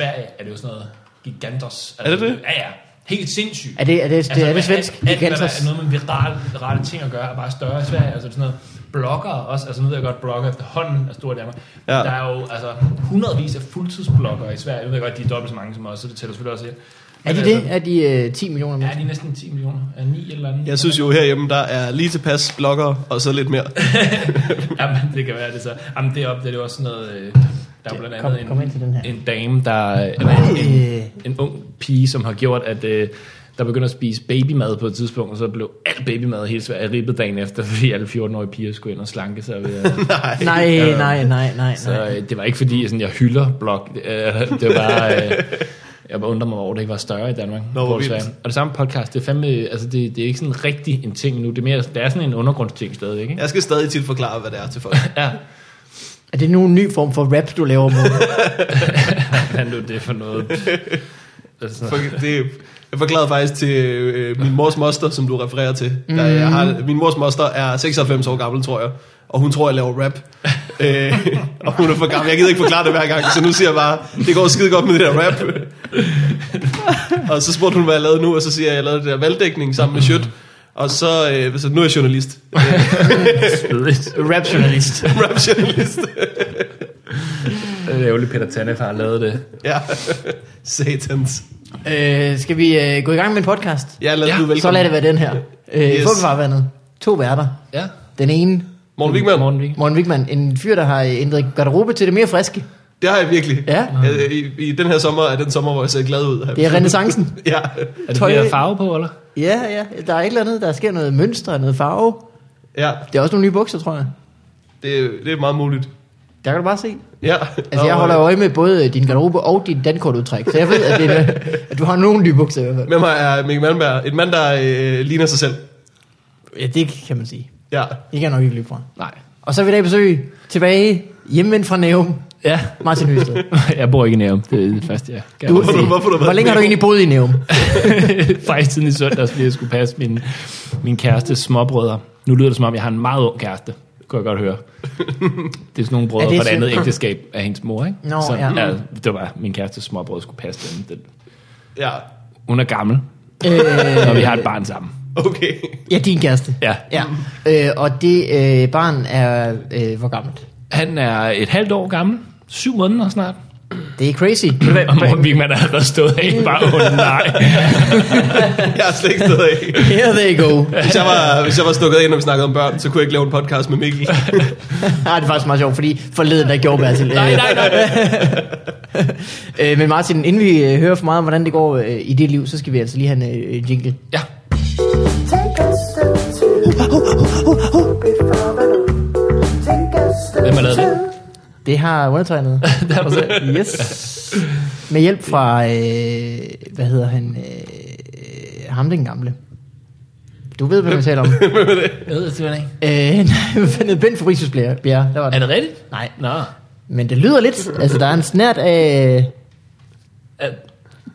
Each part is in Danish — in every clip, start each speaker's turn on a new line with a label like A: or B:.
A: øh, altså giganters.
B: Er det det?
A: Altså, Ja, ja. Helt sindssygt.
C: Er det, er det, altså, det, er det
A: alt-
C: svensk?
A: Alt, hvad der
C: Giganters?
A: er noget med virale, virale ting at gøre, er bare større i Sverige. Altså sådan noget blogger også, altså nu ved jeg godt, blogger efterhånden er store i Danmark.
B: Ja.
A: Ja. Der er jo altså hundredvis af fuldtidsblogger i Sverige. Jeg ved godt, de er dobbelt så mange som os, så det tæller selvfølgelig også ind.
C: Er de
A: Men
C: det?
A: Altså,
C: Er de øh, 10 millioner
A: ja,
C: mennesker?
A: de er næsten 10 millioner. Er 9 eller andet?
B: Jeg synes jo herhjemme, der er lige tilpas blogger, og så lidt mere.
A: Jamen, det kan være det så. Jamen, deroppe, det er det jo også sådan noget... øh, Der er blandt
C: Kom-
A: andet
C: kom
A: en,
C: ind til den her.
A: en dame, der... øh, Eller en,
C: Øh,
A: en ung pige, som har gjort, at øh, der begynder at spise babymad på et tidspunkt, og så blev alt babymad helt svært ribbet dagen efter, fordi alle 14-årige piger skulle ind og slanke sig. Ved, øh.
C: nej,
A: Ja.
C: nej, nej, nej,
A: Så
C: nej.
A: øh, det var ikke fordi, sådan, jeg hylder blog. Øh, det var bare... Øh, jeg bare undrer mig over, at det ikke var større i Danmark.
B: hvor
A: Hvor det
B: vildt.
A: er. og det samme podcast, det er, fandme, altså det, det er ikke sådan rigtig en ting nu. Det er, mere, det er sådan en undergrundsting stadig, ikke?
B: Jeg skal stadig tit forklare, hvad det er til folk.
A: Ja.
C: Er det nu en ny form for rap, du laver, Morten?
A: Hvad nu er det for noget? Altså,
B: For, det, jeg forklarede faktisk til øh, min mors moster, som du refererer til. Mm. Der, jeg har, min mors moster er 96 år gammel, tror jeg. Og hun tror, jeg laver rap. øh, og hun er for gammel. Jeg gider ikke forklare det hver gang, så nu siger jeg bare, det går skide godt med det der rap. og så spurgte hun, hvad jeg lavede nu, og så siger jeg, at jeg lavede det der valgdækning sammen med Sjøt. Og så, øh, så nu er jeg journalist.
A: svedigt.
C: Rap-journalist.
B: Rap-journalist.
A: Det er ærgerligt, Peter Tanef har lavet det.
B: ja. Satans.
C: Øh, skal vi øh, gå i gang med en podcast?
B: Ja, lad os
A: Ja,
B: ja, nu velkommen.
C: Så lad det være den her. Øh, yes.
B: Yes.
C: Fuglefarvandet. To værter.
A: Ja.
C: Den ene,
B: Morten Wigman.
A: Morten Wigman.
C: Morten Wigman, en fyr, der har øh, ændret garderobe til det mere friske.
B: Det har jeg virkelig.
C: Ja.
B: Jeg, i, I den her sommer er den sommer, hvor jeg ser glad ud.
C: Det er renaissancen.
B: Ja.
A: Er det
C: Tøj-
A: mere farve på, eller?
C: Ja, ja. Der er et eller andet, der sker noget mønster, noget farve.
B: Ja,
C: Det er også nogle nye bukser, tror jeg.
B: det, det er meget muligt.
C: Der kan du bare se.
B: Ja.
C: Altså,
B: Nå,
C: jeg holder
B: øh,
C: øje med både din garderobe og dit dankortudtræk, så jeg ved, at, det er, at du har nogle nye bukser i hvert fald.
B: Med mig er Mikkel Malmberg, en mand, der øh, ligner sig selv.
C: Ja, det kan man sige.
B: Ja.
C: Det kan jeg nok ikke løbe fra.
A: Nej.
C: Og så vil jeg besøge tilbage hjemvendt fra Nævum,
A: Ja,
C: Martin Høsted.
A: jeg bor ikke i Nærum. Det er det første, jeg kan.
B: Hvorfor du- hvorfor du har været
C: hvor længe har du
B: i
C: egentlig boet i Nævum?
A: Faktisk siden i søndags, fordi jeg skulle passe min, min kærestes småbrødre. Nu lyder det, som om jeg har en meget ung kæreste. Det kunne jeg godt høre. Det er sådan nogle brødre
C: Er det
A: fra et andet
C: synd?
A: ægteskab af hendes mor, ikke?
C: Nå,
A: så,
C: ja.
A: det var min kærestes småbrødre skulle passe dem. Den,
B: Ja,
A: hun er gammel,
C: øh,
A: og vi har et barn sammen.
B: okay.
C: ja, din kæreste.
A: Ja.
C: Ja, øh, og det øh, barn er, øh, hvor gammelt?
A: Han er et halvt år gammel. Syv måneder snart.
C: Det er crazy.
A: Og Morten Wigman er allerede stået af. Bare, oh, nej.
B: Jeg er slet ikke stået af.
C: Here they go.
B: Hvis jeg, var, hvis jeg var stukket ind, når vi snakkede om børn, så kunne jeg ikke lave en podcast med Mikkel.
C: Nej, det er faktisk meget sjovt, fordi forleden der gjorde Bertil. Øh,
A: Nej, nej, nej.
C: øh, men Martin, inden vi øh, hører for meget om, hvordan det går øh, i dit liv, så skal vi altså lige have en øh, jingle.
A: Ja.
D: Take a step to before the moon. Take a step
A: Hvem har lavet
D: to
A: det?
C: Det har undertegnet.
A: Det har du selv.
C: yes. Med hjælp fra, øh, hvad hedder han, øh, ham den gamle. Du ved, hvad vi taler om.
A: Jeg ved det simpelthen ikke.
C: øh, nej, hvad fanden hed Bent Fabricius Bjerre, Bjerre, der var
A: Er
C: den.
A: det rigtigt?
C: Nej,
A: Nå.
C: men det lyder lidt, altså der er en snært af
A: Øh,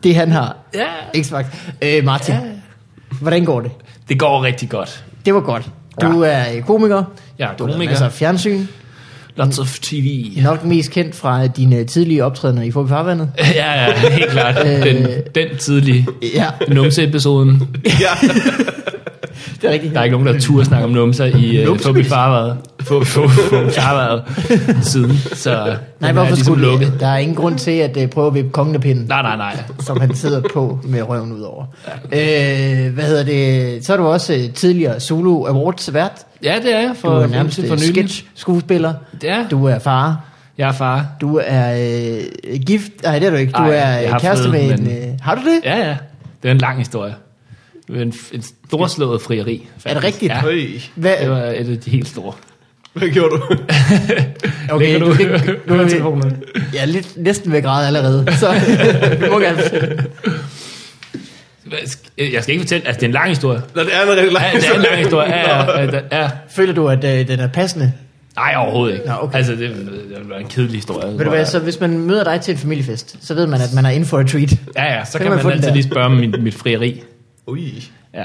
C: det, han har.
A: Ja.
C: X-Factor. Øh, Martin, hvordan går det?
A: Det går rigtig godt.
C: Det var godt. Du er øh, komiker.
A: Jeg er
C: Du har
A: komiker.
C: altså fjernsyn.
A: Lots of TV.
C: Nok mest kendt fra øh, dine tidlige optrædener i Forbi Farvandet.
A: ja, ja, helt klart.
C: Øh.
A: Den, den tidlige
C: Ja,
A: numse-episoden.
B: ja.
C: det er rigtigt.
A: Der er ikke nogen, der turde snakke om numser i uh,
C: Numse?
A: Fubi Farvaret. Fubi Farvadet siden. Så den
C: Nej,
A: er
C: hvorfor
A: ligesom
C: skulle
A: lukket.
C: det? Der er ingen grund til at uh, prøve at vippe konglepinden,
A: Nej, nej, nej.
C: som han sidder på med røven ud over. Øh, hvad hedder det? Så er du også uh, tidligere Zulu Awards vært.
A: Ja, det er jeg
C: Du
A: for,
C: er nærmest
A: for
C: uh,
A: nylig.
C: sketch-skuespiller.
A: Ja,
C: Du er far.
A: jeg er far.
C: Du er øh, gift. Nej, det er du ikke. Du
A: Ej,
C: er
A: jeg
C: øh,
A: har
C: kæreste
A: fået
C: med
A: den,
C: en... Øh, har du det?
A: Ja, ja. Det er en lang historie. Det er En, en storslået frieri. Faktisk.
C: Er det rigtigt?
A: Ja,
B: Øj.
A: det
C: Hvad?
A: var et af de helt store.
B: Hvad gjorde du?
C: Okay,
A: Lægger
C: du, kan- nu er vi,
A: telefonen?
C: jeg er lidt, næsten ved grad allerede. Så du må gerne...
A: Hvad sk- Jeg skal ikke fortælle, altså det er en lang historie.
B: Nå, det er en rigtig lang
A: Ja, det er en lang historie. Ja, ja, ja, ja.
C: Føler du, at øh, den er passende?
A: Nej, overhovedet ikke.
C: Nå, okay.
A: Altså, det, det var en kedelig historie.
C: Ved du hvad, så hvis man møder dig til en familiefest, så ved man, at man er in for a treat.
A: Ja, ja, så
C: kan
A: kan
C: man
A: man,
C: få den
A: altid
C: der.
A: lige spørge om mit, mit frieri.
B: Ui.
A: Ja.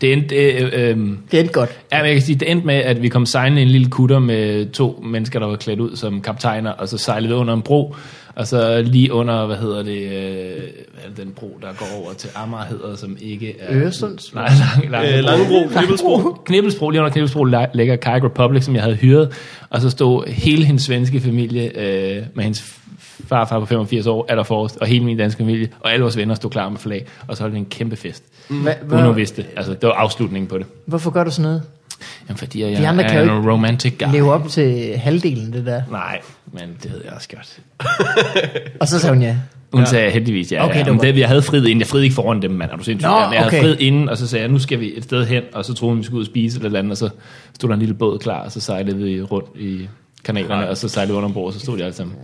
A: Det endte, øh, øh, øh,
C: Det endte godt.
A: Ja, men jeg kan sige, det endte med, at vi kom sejlende i en lille kutter med to mennesker, der var klædt ud som kaptajner, og så sejlede under en bro, og så lige under, hvad hedder det, øh, hvad er det den bro, der går over til Amager, hedder, som ikke er...
C: Øresunds-
A: Nej, lang, lang,
B: Øh, Langebro, Knibbelsbro.
A: Knibbelsbro, lige under Knibbelsbro la- ligger Kai Republic, som jeg havde hyret, og så stod hele hendes svenske familie øh, med hendes f- farfar på 85 år allerforrest, og hele min danske familie, og alle vores venner stod klar med flag, og så holdt vi en kæmpe fest.
C: Hva,
A: Uden at
C: hva,
A: vidste det. Altså, det var afslutningen på det.
C: hvorfor gør du sådan noget?
A: Jamen, fordi jeg
C: De andre kan
A: er
C: jo
A: en
C: ikke
A: romantic guy.
C: Leve op til halvdelen det der.
A: Nej, men det havde jeg også gjort.
C: Og så sagde hun ja.
A: Hun ja. sagde heldigvis, ja.
C: Okay,
A: ja.
C: det var
A: Men
C: godt.
A: det, jeg havde friet inden. Jeg friede ikke foran dem, mand. Er du sindssyg?
C: Nå,
A: Ja, men jeg
C: okay.
A: havde friet inden, og så sagde jeg, nu skal vi et sted hen. Og så troede hun, vi skulle ud og spise eller et eller andet. Og så stod der en lille båd klar, og så sejlede vi rundt i kanalerne. Og så sejlede vi under bord, og så stod de alle sammen.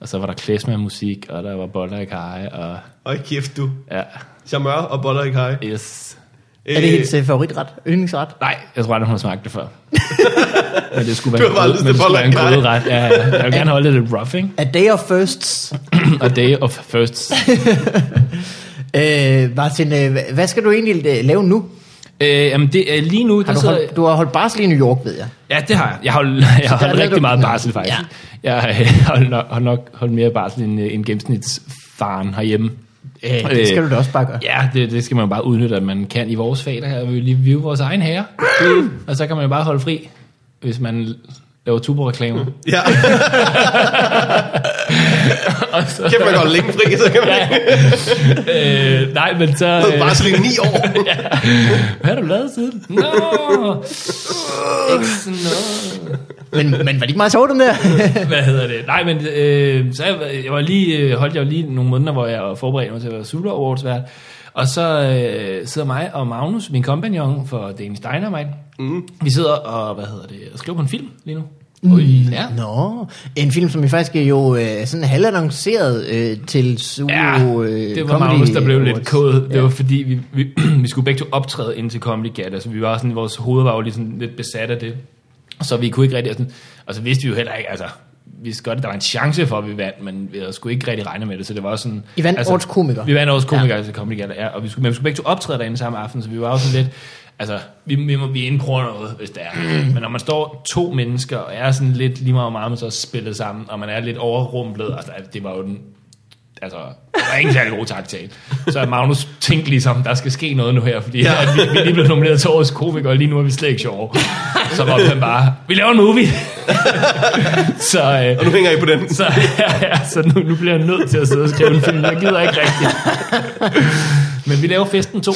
A: Og så var der klæsme af musik, og der var boller i kaj, og
B: Og kæft, du.
A: ja,
B: Jamør og boller i kaj.
A: yes.
C: Er det hendes øh, favoritret? Yndlingsret?
A: Nej, jeg tror aldrig, hun har smagt det før. men det skulle
B: Du
A: være en,
B: har bare
A: grød,
B: lyst
A: men
B: til
A: det skulle være en
B: boller i
A: grødret. Ja, ja. Jeg vil gerne holde det lidt rough, ikke?
C: A Day of Firsts.
A: A day of firsts.
C: Øh, Martin, øh, hva- hvad skal du egentlig øh, lave nu?
A: Øh, jamen det, øh, lige nu,
C: Har
A: der
C: du,
A: sidder...
C: holdt, du har holdt barsel i New York, ved jeg.
A: Ja, det har jeg. Jeg har holdt, jeg har
C: der
A: holdt
C: er
A: rigtig
C: du-
A: meget barsel, faktisk. Ja. Jeg har holdt nok, har nok holdt mere barsel end, øh, end gennemsnitsfaren herhjemme.
C: Øh, det skal du da også bare gøre.
A: Ja, det, det skal man jo bare udnytte, at man kan i vores fag, der er vi jo lige vive vores egen herre.
C: Mm.
A: og så kan man jo bare holde fri, hvis man laver tubo-reklamer.
B: Ja.
C: Mm.
B: Kæft, man går længe fri, så kan man ikke
A: øh, nej, men så... Øh,
B: bare slinge ni år.
A: hvad har du lavet siden? Nå! Ikke sådan noget.
C: Men, men var det ikke meget sjovt, den der?
A: hvad hedder det? Nej, men øh, så jeg, jeg var lige, øh, holdt jeg jo lige nogle måneder, hvor jeg var forberedt mig til at være Super Awards vært. Og så øh, sidder mig og Magnus, min kompagnon for Danish Dynamite, mm. vi sidder og, hvad hedder det, og skriver på en film lige nu. Mm. Ja.
C: Nå, en film, som vi faktisk jo øh, sådan halvannonceret øh, til Zulu
A: Ja,
C: øh,
A: det var
C: Comedy
A: Magnus, der blev lidt
C: Awards.
A: kået. Det var fordi, vi, vi, vi skulle begge to optræde ind til Comedy Gala, så vi var sådan, vores hoved var jo lige sådan lidt besat af det. Så vi kunne ikke rigtig, og, sådan, og så vidste vi jo heller ikke, altså, vi vidste godt, at der var en chance for, at vi vandt, men vi havde sgu ikke rigtig regnet med det, så det var også sådan... altså,
C: I vandt årets komiker.
A: Vi vandt årets komiker ja. til Comedy Gala, ja, og vi skulle, men vi skulle begge to optræde derinde samme aften, så vi var også sådan lidt, altså, vi, vi må vi indkroner noget, hvis det er. Men når man står to mennesker, og er sådan lidt lige meget og meget, man så spillet sammen, og man er lidt overrumplet, altså, det var jo den altså, der er ingen særlig god taktal. Så Magnus tænkte ligesom, der skal ske noget nu her, fordi ja. at vi, vi er lige blevet nomineret til årets komiker, og lige nu er vi slet ikke sjove. Så råbte han bare, vi laver en movie! så, øh,
B: Og nu hænger I på den.
A: så, ja, ja, så nu, nu bliver jeg nødt til at sidde og skrive en film, jeg gider ikke rigtigt. Men vi laver festen to,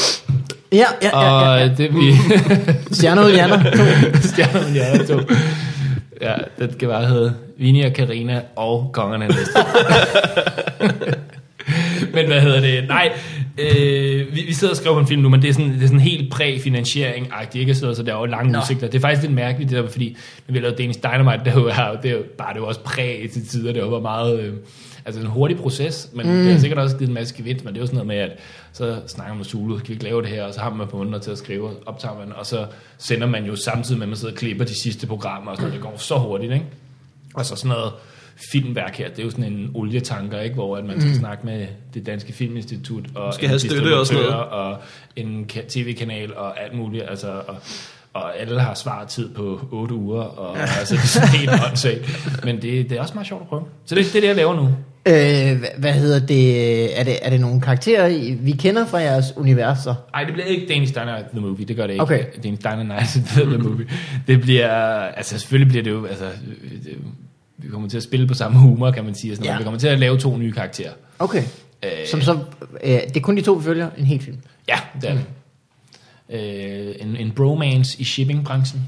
C: Ja, ja, ja. ja.
A: og det vi...
C: Stjerner ud, hjerner.
A: Stjerner med hjerner to. Ja, den skal bare hedde Vini og Karina og Kongerne af Næste. men hvad hedder det? Nej, øh, vi, vi sidder og skriver på en film nu, men det er sådan, det er sådan helt præfinansiering-agtigt, ikke? Så så der er jo lange udsigter. Det er faktisk lidt mærkeligt, det der, fordi når vi har lavet Danish Dynamite, det er jo, det er jo bare det er jo også præ til tider, det var meget... Øh, altså en hurtig proces, men mm. det har sikkert også givet en masse gevinst, men det er jo sådan noget med, at så snakker man med Zulu, kan vi ikke lave det her, og så har man på måneder til at skrive, og optager man, og så sender man jo samtidig med, at man sidder og klipper de sidste programmer, og sådan noget, det går så hurtigt, ikke? Og så sådan noget filmværk her, det er jo sådan en olietanker, ikke? hvor at man skal mm. snakke med det danske filminstitut, og
B: Skal
A: en
B: have støtte og sådan noget.
A: distributør, og en ka- tv-kanal, og alt muligt, altså, og, og alle har svartid på 8 uger, og altså, det er sådan helt åndssvagt. Men det, det er også meget sjovt at prøve. Så det, det er det, jeg laver nu.
C: øh, hva- hvad hedder det? Øh, Er, det? er det nogle karakterer, I- vi kender fra jeres universer?
A: Ej, det bliver ikke Danish Dynamite The Movie, det gør det ikke.
C: Okay.
A: Danish Dynamite The Movie.
B: Mm.
A: Det bliver, altså selvfølgelig bliver det jo, altså, øh, det, vi kommer til at spille på samme humor, kan man sige. og Sådan
C: Ja.
A: ja. Vi kommer til at lave to nye karakterer.
C: Okay.
A: Øh.
C: Som så, øh, det er kun de to, vi følger en hel film.
A: Ja, det er det. Øh, en, en bromance i shippingbranchen.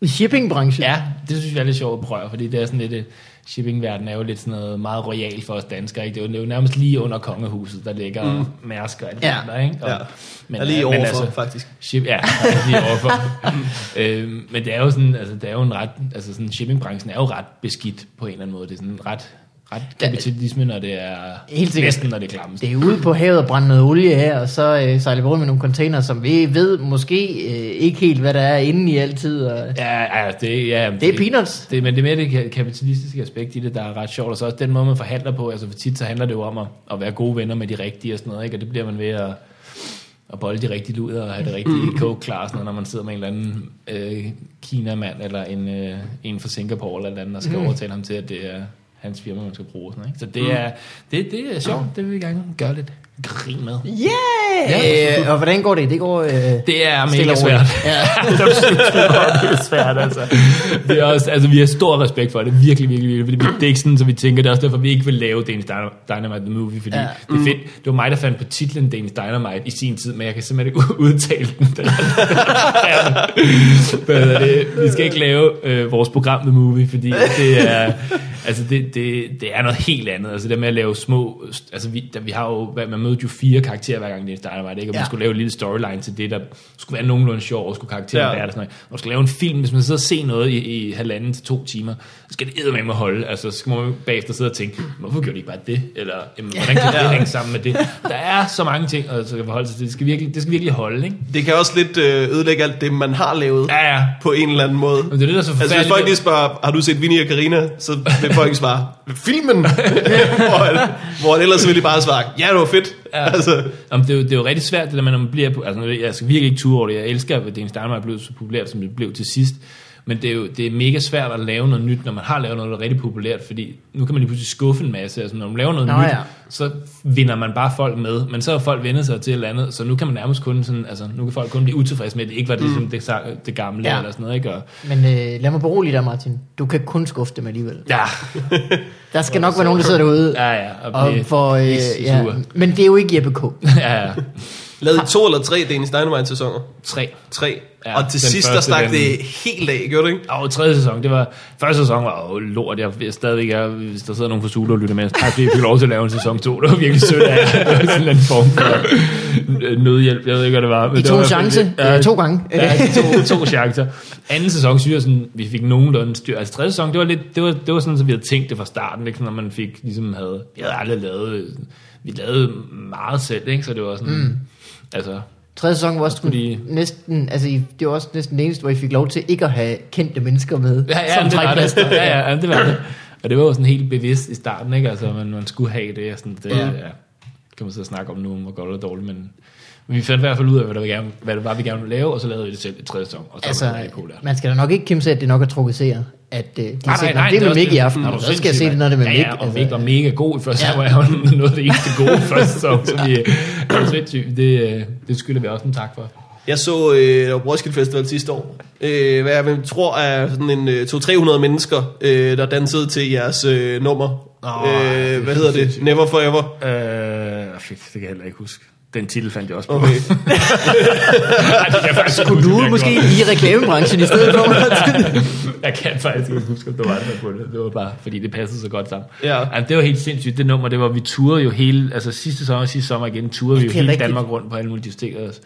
C: I shippingbranchen?
A: Ja, det synes jeg er lidt sjovt at prøve, fordi det er sådan lidt, øh, shippingverden er jo lidt sådan noget meget royal for os danskere, ikke? Det er jo- det er jo nærmest lige under kongehuset, der ligger mm. mærsker og alt
C: Ja.
A: ja. der, ikke? Og,
B: Ja.
A: Men,
B: Jeg er lige
A: øh, men
B: overfor, faktisk.
A: Ship, ja, der er lige overfor. øhm, men det er jo sådan, altså, det er jo en ret, altså sådan, shippingbranchen er jo ret beskidt på en eller anden måde. Det er sådan ret, ret kapitalisme, når det er
C: Helt sikkert.
A: næsten, når det er klammest.
C: Det er ude på havet og brænde noget olie her, og så øh, sejler vi rundt med nogle container, som vi ved måske øh, ikke helt, hvad der er inde i altid. Og...
A: Ja, ja, det, ja,
C: Det er peanuts.
A: Det, men det er mere det ka- kapitalistiske aspekt i det, der er ret sjovt, og så også den måde, man forhandler på. Altså for tit så handler det jo om at, at være gode venner med de rigtige og sådan noget, ikke? og det bliver man ved at, at at bolle de rigtige luder og have det
C: Mm.
A: rigtige coke klar, og sådan noget, når man sidder med en eller anden øh, kinamand eller en, øh, en fra Singapore eller et eller andet, og skal mm. overtale ham til, at det er hans firma, man skal bruge. og Sådan, noget, ikke? Så
C: Mm.
A: det, er, det, det er sjovt, det vil vi gerne gøre lidt grin med.
C: Yeah! Øh, og hvordan går det? Det går... Øh,
A: Det er
C: stille
A: mega
C: og
A: svært.
C: roligt. Ja.
A: det er svært, altså. Det er også, altså, vi har stor respekt for det, virkelig, virkelig, virkelig, fordi vi, det er ikke sådan, så vi tænker, det er også derfor, vi ikke vil lave Danish Dynam- Dynamite The Movie, fordi
C: Ja. Mm.
A: ja. det er fedt. Det var mig, der fandt på titlen Danish Dynamite i sin tid, men jeg kan simpelthen ikke udtale den. Den er- Hvad hedder det? vi skal ikke lave øh, vores program The Movie, fordi det er... Altså, det, det, det er noget helt andet. Altså, det med at lave små... Altså, vi, der, vi har jo... hvad- Man mødte jo fire karakterer hver gang, det startede mig, ikke? Og
C: Ja.
A: man skulle lave en lille storyline til det, der skulle være nogenlunde sjov, og skulle karakteren
B: Ja.
A: ja. være der. Sådan noget. Og man skal lave en film, hvis man sidder og ser noget i, i halvanden til to timer, så skal det eddermame holde. Altså, så skal man bagefter sidde og tænke, hvorfor gjorde de ikke bare det? Eller, jamen, hvordan kan det hænge sammen med det? Der er så mange ting, og så kan forholde sig til. Det skal virkelig, det skal virkelig holde, ikke?
B: Det kan også lidt øh, ødelægge alt det, man har lavet ja.
A: Ja, ja.
B: på en eller anden måde.
A: Men det er det, der er så
B: Altså,
A: forfærdeligt.
B: hvis folk lige spørger, har du set Vinnie og Karina, så vil folk svare, filmen! hvor, hvor ellers vil de bare svare, ja, det var fedt. Ja. Altså,
A: Jamen, det, er jo, det er jo rigtig svært, det der med, når man bliver... på- Altså, jeg skal virkelig ikke ture over det. Jeg elsker, at Danish Danmark blev så populært, som det blev til sidst. Men det er jo det er mega svært at lave noget nyt, når man har lavet noget, der er rigtig populært, fordi nu kan man lige pludselig skuffe en masse. Altså, når man laver noget
C: Nå
A: nyt,
C: ja.
A: så vinder man bare folk med. Men så har folk vendt sig til et eller andet, så nu kan man nærmest kun sådan, altså, nu kan folk kun blive utilfredse med, at det ikke var det, mm. det, det, det gamle
C: Ja.
A: ja. eller sådan noget, ikke? Og,
C: Men øh, lad mig berolige dig, Martin. Du kan kun skuffe dem alligevel.
A: ja,
C: Der skal nok være nogen, der sidder derude.
A: ja, ja.
C: Og
A: blive
C: for, øh,
A: pisse
C: ja,
A: sure.
C: men det er jo ikke Jeppe K.
A: ja, ja.
B: lavede I to eller tre Danish Dynamite-sæsoner?
A: Tre.
B: Tre. Ja,
A: Ja,
B: og til
A: den
B: sidst, der
A: første,
B: stak
A: den-
B: det helt af, gjorde det ikke?
A: Og tredje sæson, det var... Første sæson var jo lort. Jeg, jeg stadigvæk er, hvis der sidder nogen fra Zulu og lytter med, tak fordi jeg fik lov til at lave en sæson 2. Det var virkelig sødt af jer. Det var sådan en eller anden form for nødhjælp. Jeg ved ikke, hvad det var. Men
C: I
A: det
C: tog
A: var i
C: en
A: hvert fald-
C: chance
A: Ja,
C: øh, to gange.
A: Ja, to, to chancer. Anden sæson synes jeg, sådan, vi fik nogenlunde styr. Altså tredje sæson, det var, lidt, det var, det var sådan, så vi havde tænkt det fra starten, ikke? Sådan, når man fik, ligesom havde, vi havde aldrig lavet, vi lavede meget selv, ikke? så det var sådan, mm. altså,
C: Tredje sæson var også
A: Fordi-
C: fordi... næsten, altså I, det var også næsten den eneste, hvor I fik lov til ikke at have kendte mennesker med
A: Ja, ja,
C: som
A: det var det.
C: trækplaster.
A: Ja, ja, ja, det var det. Og det var jo sådan helt bevidst i starten, ikke? Altså, man, man skulle have det, og sådan, det ja. Ja, kan man så snakke om nu, om hvor godt og dårligt, men, men vi fandt i hvert fald ud af, hvad det, var, gerne, hvad det var, vi gerne ville lave, og så lavede vi det selv i tredje sæson, og så altså, var det
C: Altså,
A: rigtig populært.
C: man skal da nok ikke kæmpe sig, at det nok er trukket seer. At øh, de nej, har set, nej, nej, det er med
A: også
C: Mick i aften,
A: Nå, er du
C: og så skal jeg
A: sindssyg,
C: se det, når det er med
A: mand.
C: Mick.
A: Ja, ja, og
C: altså.
A: Mick var mega god i første
C: Ja.
A: ja. var jeg jo noget af det eneste gode i første sæson, som vi er sindssygt. Det, øh, det skylder vi også en tak for.
B: Jeg så øh, der var Roskilde Festival sidste år. Øh, hvad jeg vel tror er sådan en øh, 200-300 mennesker, øh, der dansede til jeres øh, nummer.
A: Nå, det
B: øh,
A: er
B: hvad hedder det? Never Forever.
A: Øh, fik, det kan jeg heller ikke huske. Den titel fandt jeg også på.
B: Okay.
C: Kunne du måske i reklamebranchen i stedet for?
A: jeg kan faktisk ikke huske, om der var andre på det. Det var bare, fordi det passede så godt sammen.
B: Ja.
A: Altså, det var helt sindssygt, det nummer. Det var, vi turede jo hele, altså sidste sommer og sidste sommer igen, turede vi jo
C: det er
A: hele
C: rigtigt.
A: Danmark rundt på alle mulige distrikter også.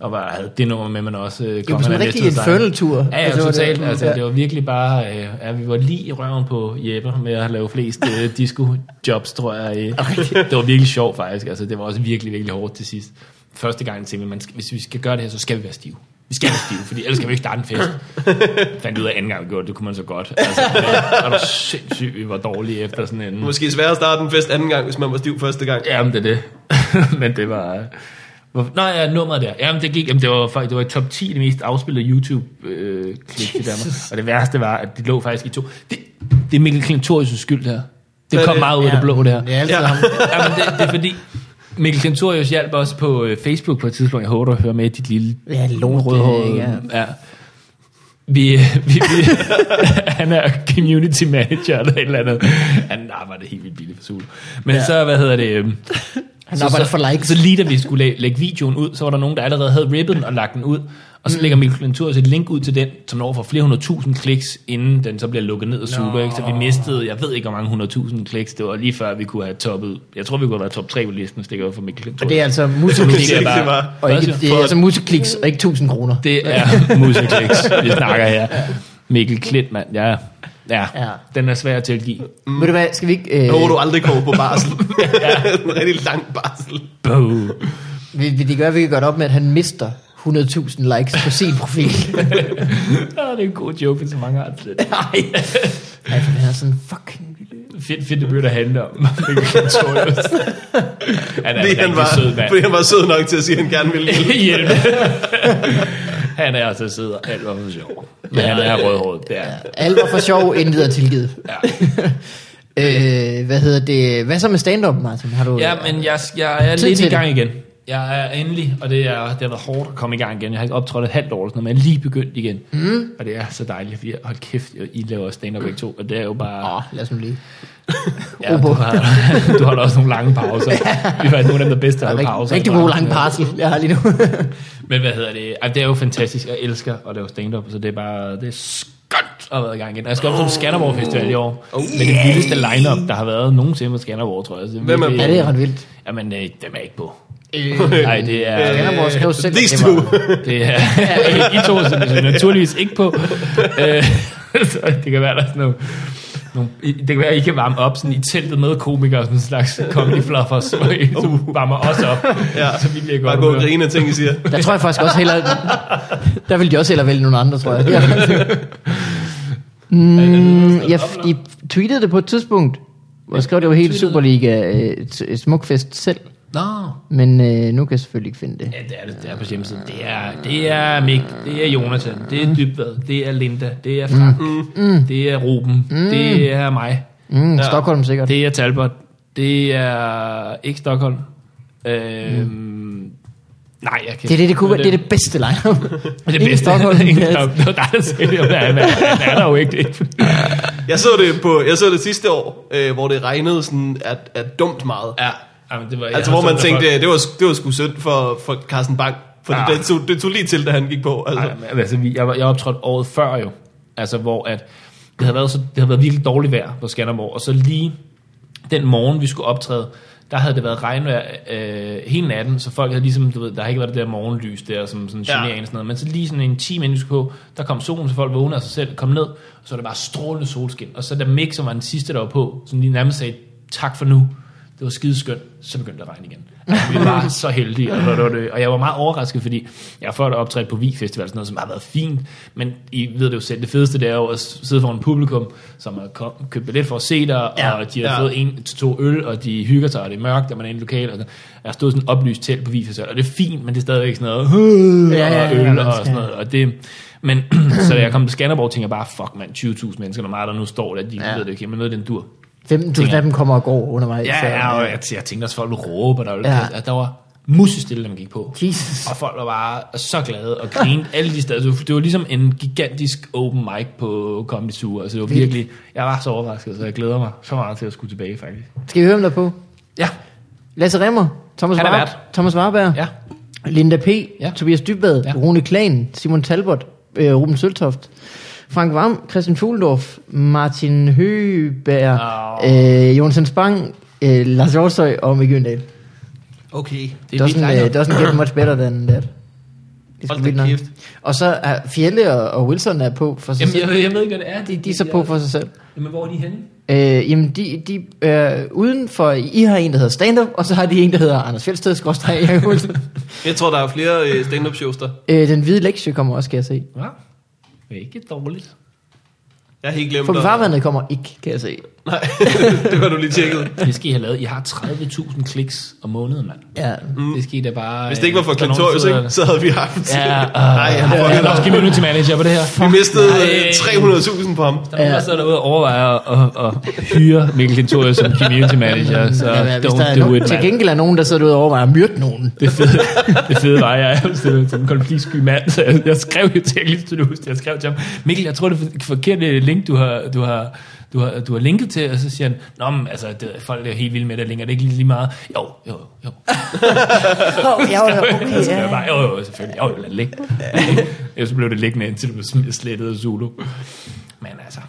A: Og var, havde det nummer med, man også øh,
C: var
A: kom
C: sådan en rigtig infernal-tur.
A: Ja, ja, altså,
C: Altså, det var det.
A: totalt. Altså,
C: Ja.
A: ja. det var virkelig bare, øh, ja, vi var lige i røven på Jeppe med at lave flest øh, disco-jobs, tror jeg. Øh. det var virkelig sjovt faktisk. Altså, det var også virkelig, virkelig hårdt til sidst. Første gang tænkte vi, man skal, hvis vi skal gøre det her, så skal vi være stive. Vi skal være stive, fordi ellers kan vi ikke starte en fest fandt ud af anden gang, vi gjorde det, det kunne man så godt. Altså, det var- var du sindssygt, vi var dårlige efter sådan en...
B: Måske sværere at starte en fest anden gang, hvis man var stiv første gang.
A: Jamen, det er det. Men det var... øh, Hvor, nej, ja, nummeret der. Jamen, det gik... Jamen, det var faktisk... Det var i top 10 det mest afspillede YouTube-klip øh, klip i Danmark. Og det værste var, at det lå faktisk i to... Det, det er Mikkel Klintorius' skyld, det her.
B: er
A: Det kom
B: det?
A: meget ud af det blå, det her.
C: Det er altid
B: Ja.
C: ham.
A: Jamen, det, det er fordi... Mikkel Klintorius hjalp også på øh, Facebook på et tidspunkt. Jeg håber, du hører med i dit lille
C: Ja, lort,
A: rødhårede.
C: det er,
A: ja. Vi, øh, vi, vi, han er community manager eller et eller andet. Han arbejder helt vildt billigt for Zulu. Men
C: Ja.
A: ja. så, hvad hedder det? øhm,
C: Han arbejder for likes.
A: Så lige da vi skulle læ- lægge videoen ud, så var der nogen, der allerede havde rippet den og lagt den ud. Og så
C: Mm.
A: lægger Mikkel Klintorius et link ud til den, som når for flere hundrede tusind kliks, inden den så bliver lukket ned af Zulu. Ikke? Så vi mistede, jeg ved ikke, hvor mange hundredtusind kliks. Det var lige før, vi kunne have toppet. Jeg tror, vi kunne have været top 3 på listen, hvis det ikke var for Mikkel Klintorius.
C: Og det er altså
A: Det
C: musikliks,
A: siger
B: Det
A: bare,
B: var-
C: og ikke,
A: Hvad
C: det
A: siger
C: er
A: du?
C: altså musikliks, og ikke 1000 kroner.
A: det er musikliks, vi snakker her. Mikkel Klint, mand. Ja, ja.
C: Ja.
A: ja. Den er svær at tilgive.
C: Ved du hvad, skal vi ikke...
B: Jeg
C: Øh,
B: håber, du aldrig kommer på barsel. en rigtig lang barsel.
A: Boo.
C: vil, vil det gøre, at vi kan gøre det op med, at han mister 100.000 likes på sin profil?
A: Ah, det er en god joke, men så mange har det.
C: Nej. Nej, for den er sådan fucking lille.
A: fedt, fedt debut at handle om. Notorious. han er altså en
B: Fordi han,
A: rigtig
B: var,
A: sød mand.
B: fordi han var sød nok til at sige, at han gerne ville hjælpe.
A: Hjælpe. han er altså sød og alt var for sjov. Men han er rødhåret. Det er han.
C: Alt var for sjov, intet er tilgivet. Ja. øh, hvad hedder det? Hvad så med stand-up, Martin? Har du,
A: Ja, men jeg, jeg er
C: Tid
A: lidt
C: til
A: i
C: det.
A: gang igen. Jeg er endelig, og det, er, det har været hårdt at komme i gang igen. Jeg har ikke optrådt et halvt år, eller sådan noget, men jeg er lige begyndt igen. Mm. Og det er så dejligt, fordi hold kæft, I laver stand-up begge to, og det er jo bare...
C: Åh, lad os nu lige.
A: Ja, du, har, du holder også nogle lange pauser. Vi er faktisk nogle af dem, der bedst
C: Der
A: har
C: er
A: pauser.
C: rigtig, rigtig god lang parsel, jeg har lige nu.
A: Men hvad hedder det? Ej, det er jo fantastisk. Jeg elsker at lave stand-up, så det er bare... Det er skønt at have været i gang igen. Og jeg skal op til Skanderborg
C: Oh,
A: Festival i år. Med det vildeste lineup der har været nogensinde på Skanderborg, tror jeg. Så
B: Hvem er
A: virkelig-
C: ja, det er ret vildt.
A: Jamen, øh, dem er jeg ikke på.
C: Øh,
A: Nej, det er...
C: Skanderborg skrev selv,
B: These
C: at det var-
B: two.
A: Det er, I to er naturligvis ikke på. Øh, så det kan være, der er sådan nogle, nogle, I- det kan være, I kan varme op sådan i teltet med komikere, sådan en slags comedy fluffers, hvor I uh. varmer os op,
B: Ja.
A: ja. så vi bliver i
B: Bare
A: godt
B: gå og
A: humør.
B: grine af ting, I siger.
C: Der tror jeg faktisk også hellere... Der ville de også hellere vælge nogle andre, tror jeg. Ja. Mm, jeg, jeg tweetede det på et tidspunkt, hvor jeg skrev, det var helt Superliga øh, t- smukfest selv.
A: Nå.
C: Men øh, nu kan jeg selvfølgelig ikke finde det.
A: Ja, det er det, det er på hjemmesiden. Det er, det er Mik, det er Jonathan, det er Dybvad, det er Linda, det er Frank, mm. det er Ruben, mm. det er mig,
C: Mm, ja. Stockholm sikkert. Det.
A: det er Talbot, det er ikke Stockholm. Øhm, Nej, jeg kan
C: Mm. Det, er det, det, kunne, være-
A: Nå,
C: det er det bedste lineup.
A: Men det
C: Ingen
A: bedste
C: Stockholm.
A: er ingen Stockholm. Det var dig, der sagde det. Han er, han er der jo ikke det.
B: Jeg så det, på, jeg så det sidste år, øh, hvor det regnede sådan, at, at dumt meget.
A: Ja, jamen, det var,
B: Altså, hvor man tænkte, det var, det var sgu synd for, for Carsten Bang. For ja.
A: Ja.
B: det, det, tog, det tog lige til, da han gik på. Altså.
A: Nej, men altså, vi- jeg, var- jeg optrådte året før jo, altså hvor at, det havde været, så, det havde været virkelig dårligt vejr på Skanderborg, og så lige den morgen, vi skulle optræde, der havde det været regnvejr øh, hele natten, så folk havde ligesom, du ved, der har ikke været det der morgenlys der, som sådan
B: Ja.
A: generer en og sådan noget, men så lige sådan en time inden vi skulle på, der kom solen, så folk vågnede af sig selv, kom ned, og så var det bare strålende solskin, og så da Mick, som var den sidste, der var på, som lige nærmest sagde, tak for nu, det var skideskønt, så begyndte det at regne igen. Altså, vi var så heldige, og, det var det. og jeg var meget overrasket, fordi jeg har før optræde på Vi Festival, sådan noget, som har været fint, men I ved det jo selv, det fedeste det er jo at sidde foran publikum, som har kom, købt billet for at se dig,
C: Ja.
A: ja. og de har
B: Ja.
A: ja. fået en til to øl, og de hygger sig, og det er mørkt, og man er i en lokal, og sådan. jeg stod i sådan en oplyst telt på Vi Festival, og det er fint, men det er stadigvæk sådan noget, "Øh",
C: Ja, ja, ja,
A: og øl
C: man
A: og
C: skal-
A: sådan noget, og det, men så da jeg kom til Skanderborg, tænkte jeg bare, fuck mand, 20.000 mennesker, der meget der nu står der, de
C: Ja.
A: ja. ved det ikke, men noget af den dur.
C: 15.000 af dem kommer og går undervejs. så- øh,
A: Ja, ja, og jeg, jeg tænkte også, folk ville råbe, og der,
C: Ja.
A: ja. at der var musestille, når man gik på.
C: Jesus.
A: Og folk var bare så glade og grinede alle de steder. Så Det var ligesom en gigantisk open mic på Comedy Zoo. Altså det var
C: Vildt.
A: virkelig, jeg var så overrasket, så jeg glæder mig så meget til at skulle tilbage faktisk.
C: Skal vi høre, om der er på?
A: Ja,
C: Lasse Remmer, Thomas,
A: Han er
C: Warberg, Thomas Warberg,
A: ja.
C: Linda P., ja.
A: Ja.
C: Tobias Dybvad, ja.
A: Ja.
C: Rune Klan, Simon Talbot, øh, Ruben Søltoft, Frank Vam, Christian Fuglendorf, Martin Høberg, oh. øh, Jonsen Spang, øh, Lars Hjortøj og Mikke Øndal.
B: Okay.
A: Det er vildt
C: doesn't, uh,
A: langt.
C: doesn't get much better than that. Det
B: Hold
C: skal
B: da
C: vildt nok.
B: kæft.
C: Og så er Fjelle og, og Wilson er på for sig
A: Jamen,
C: selv.
A: jeg, jeg ved ikke, hvad det er.
C: De, de er så på for sig selv.
A: Jamen, hvor er de henne?
C: Øh, jamen, de, de er uden for... I har en, der hedder stand-up, og så har de en, der hedder Anders Fjeldsted, skorstræk, Jakob Olsen.
B: Jeg tror, der er flere øh, stand-up shows der.
C: øh, den hvide lektie kommer også, kan jeg se.
A: Ja. Det er ikke dårligt.
B: Jeg har helt glemt
C: For
B: at-
C: farvandet kommer ikke, kan jeg se.
B: Nej, det var du lige tjekket.
A: Det skal I have lavet. I har 30.000 kliks om måneden, mand.
C: Ja.
A: Det skal I da bare...
B: Mm. Hvis det ikke var for
A: øh, der er nogen,
B: Klintorius,
A: der sidder-
B: ikke, så havde vi haft...
A: Ja, øh,
B: Nej,
A: jeg
B: han fuckede
A: kan også
B: dig.
A: give community manager på det her.
B: Vi mistede øh,
A: Nej.
B: 300.000 på ham.
A: Der er nogen, der sidder derude og overvejer at, at, at hyre Mikkel Kentorius som community manager, så
C: ja, hvis der
A: don't
C: er
A: do
C: nogen,
A: it,
C: til
A: mand.
C: gengæld er nogen, der sidder derude og overvejer at myrde nogen.
A: Det fede, det fede var, at jeg er jo sådan sådan en konfliktsky mand, så jeg, jeg skrev jo til Mikkel Kentorius, jeg skrev til ham, Mikkel, jeg tror, det er for- forkerte link, du har, du har, du har, du har linket til, og så siger han, Nå, men, altså, det, folk er jo helt vilde med, der linker det er ikke lige meget. Jo, jo, jo.
C: Oh, ja,
A: Så skrev jeg bare, jo, jo, selvfølgelig, jo, jo, lad det ligge. Ja, så blev det liggende, indtil det blev sm- slettet af Zulu. Men altså,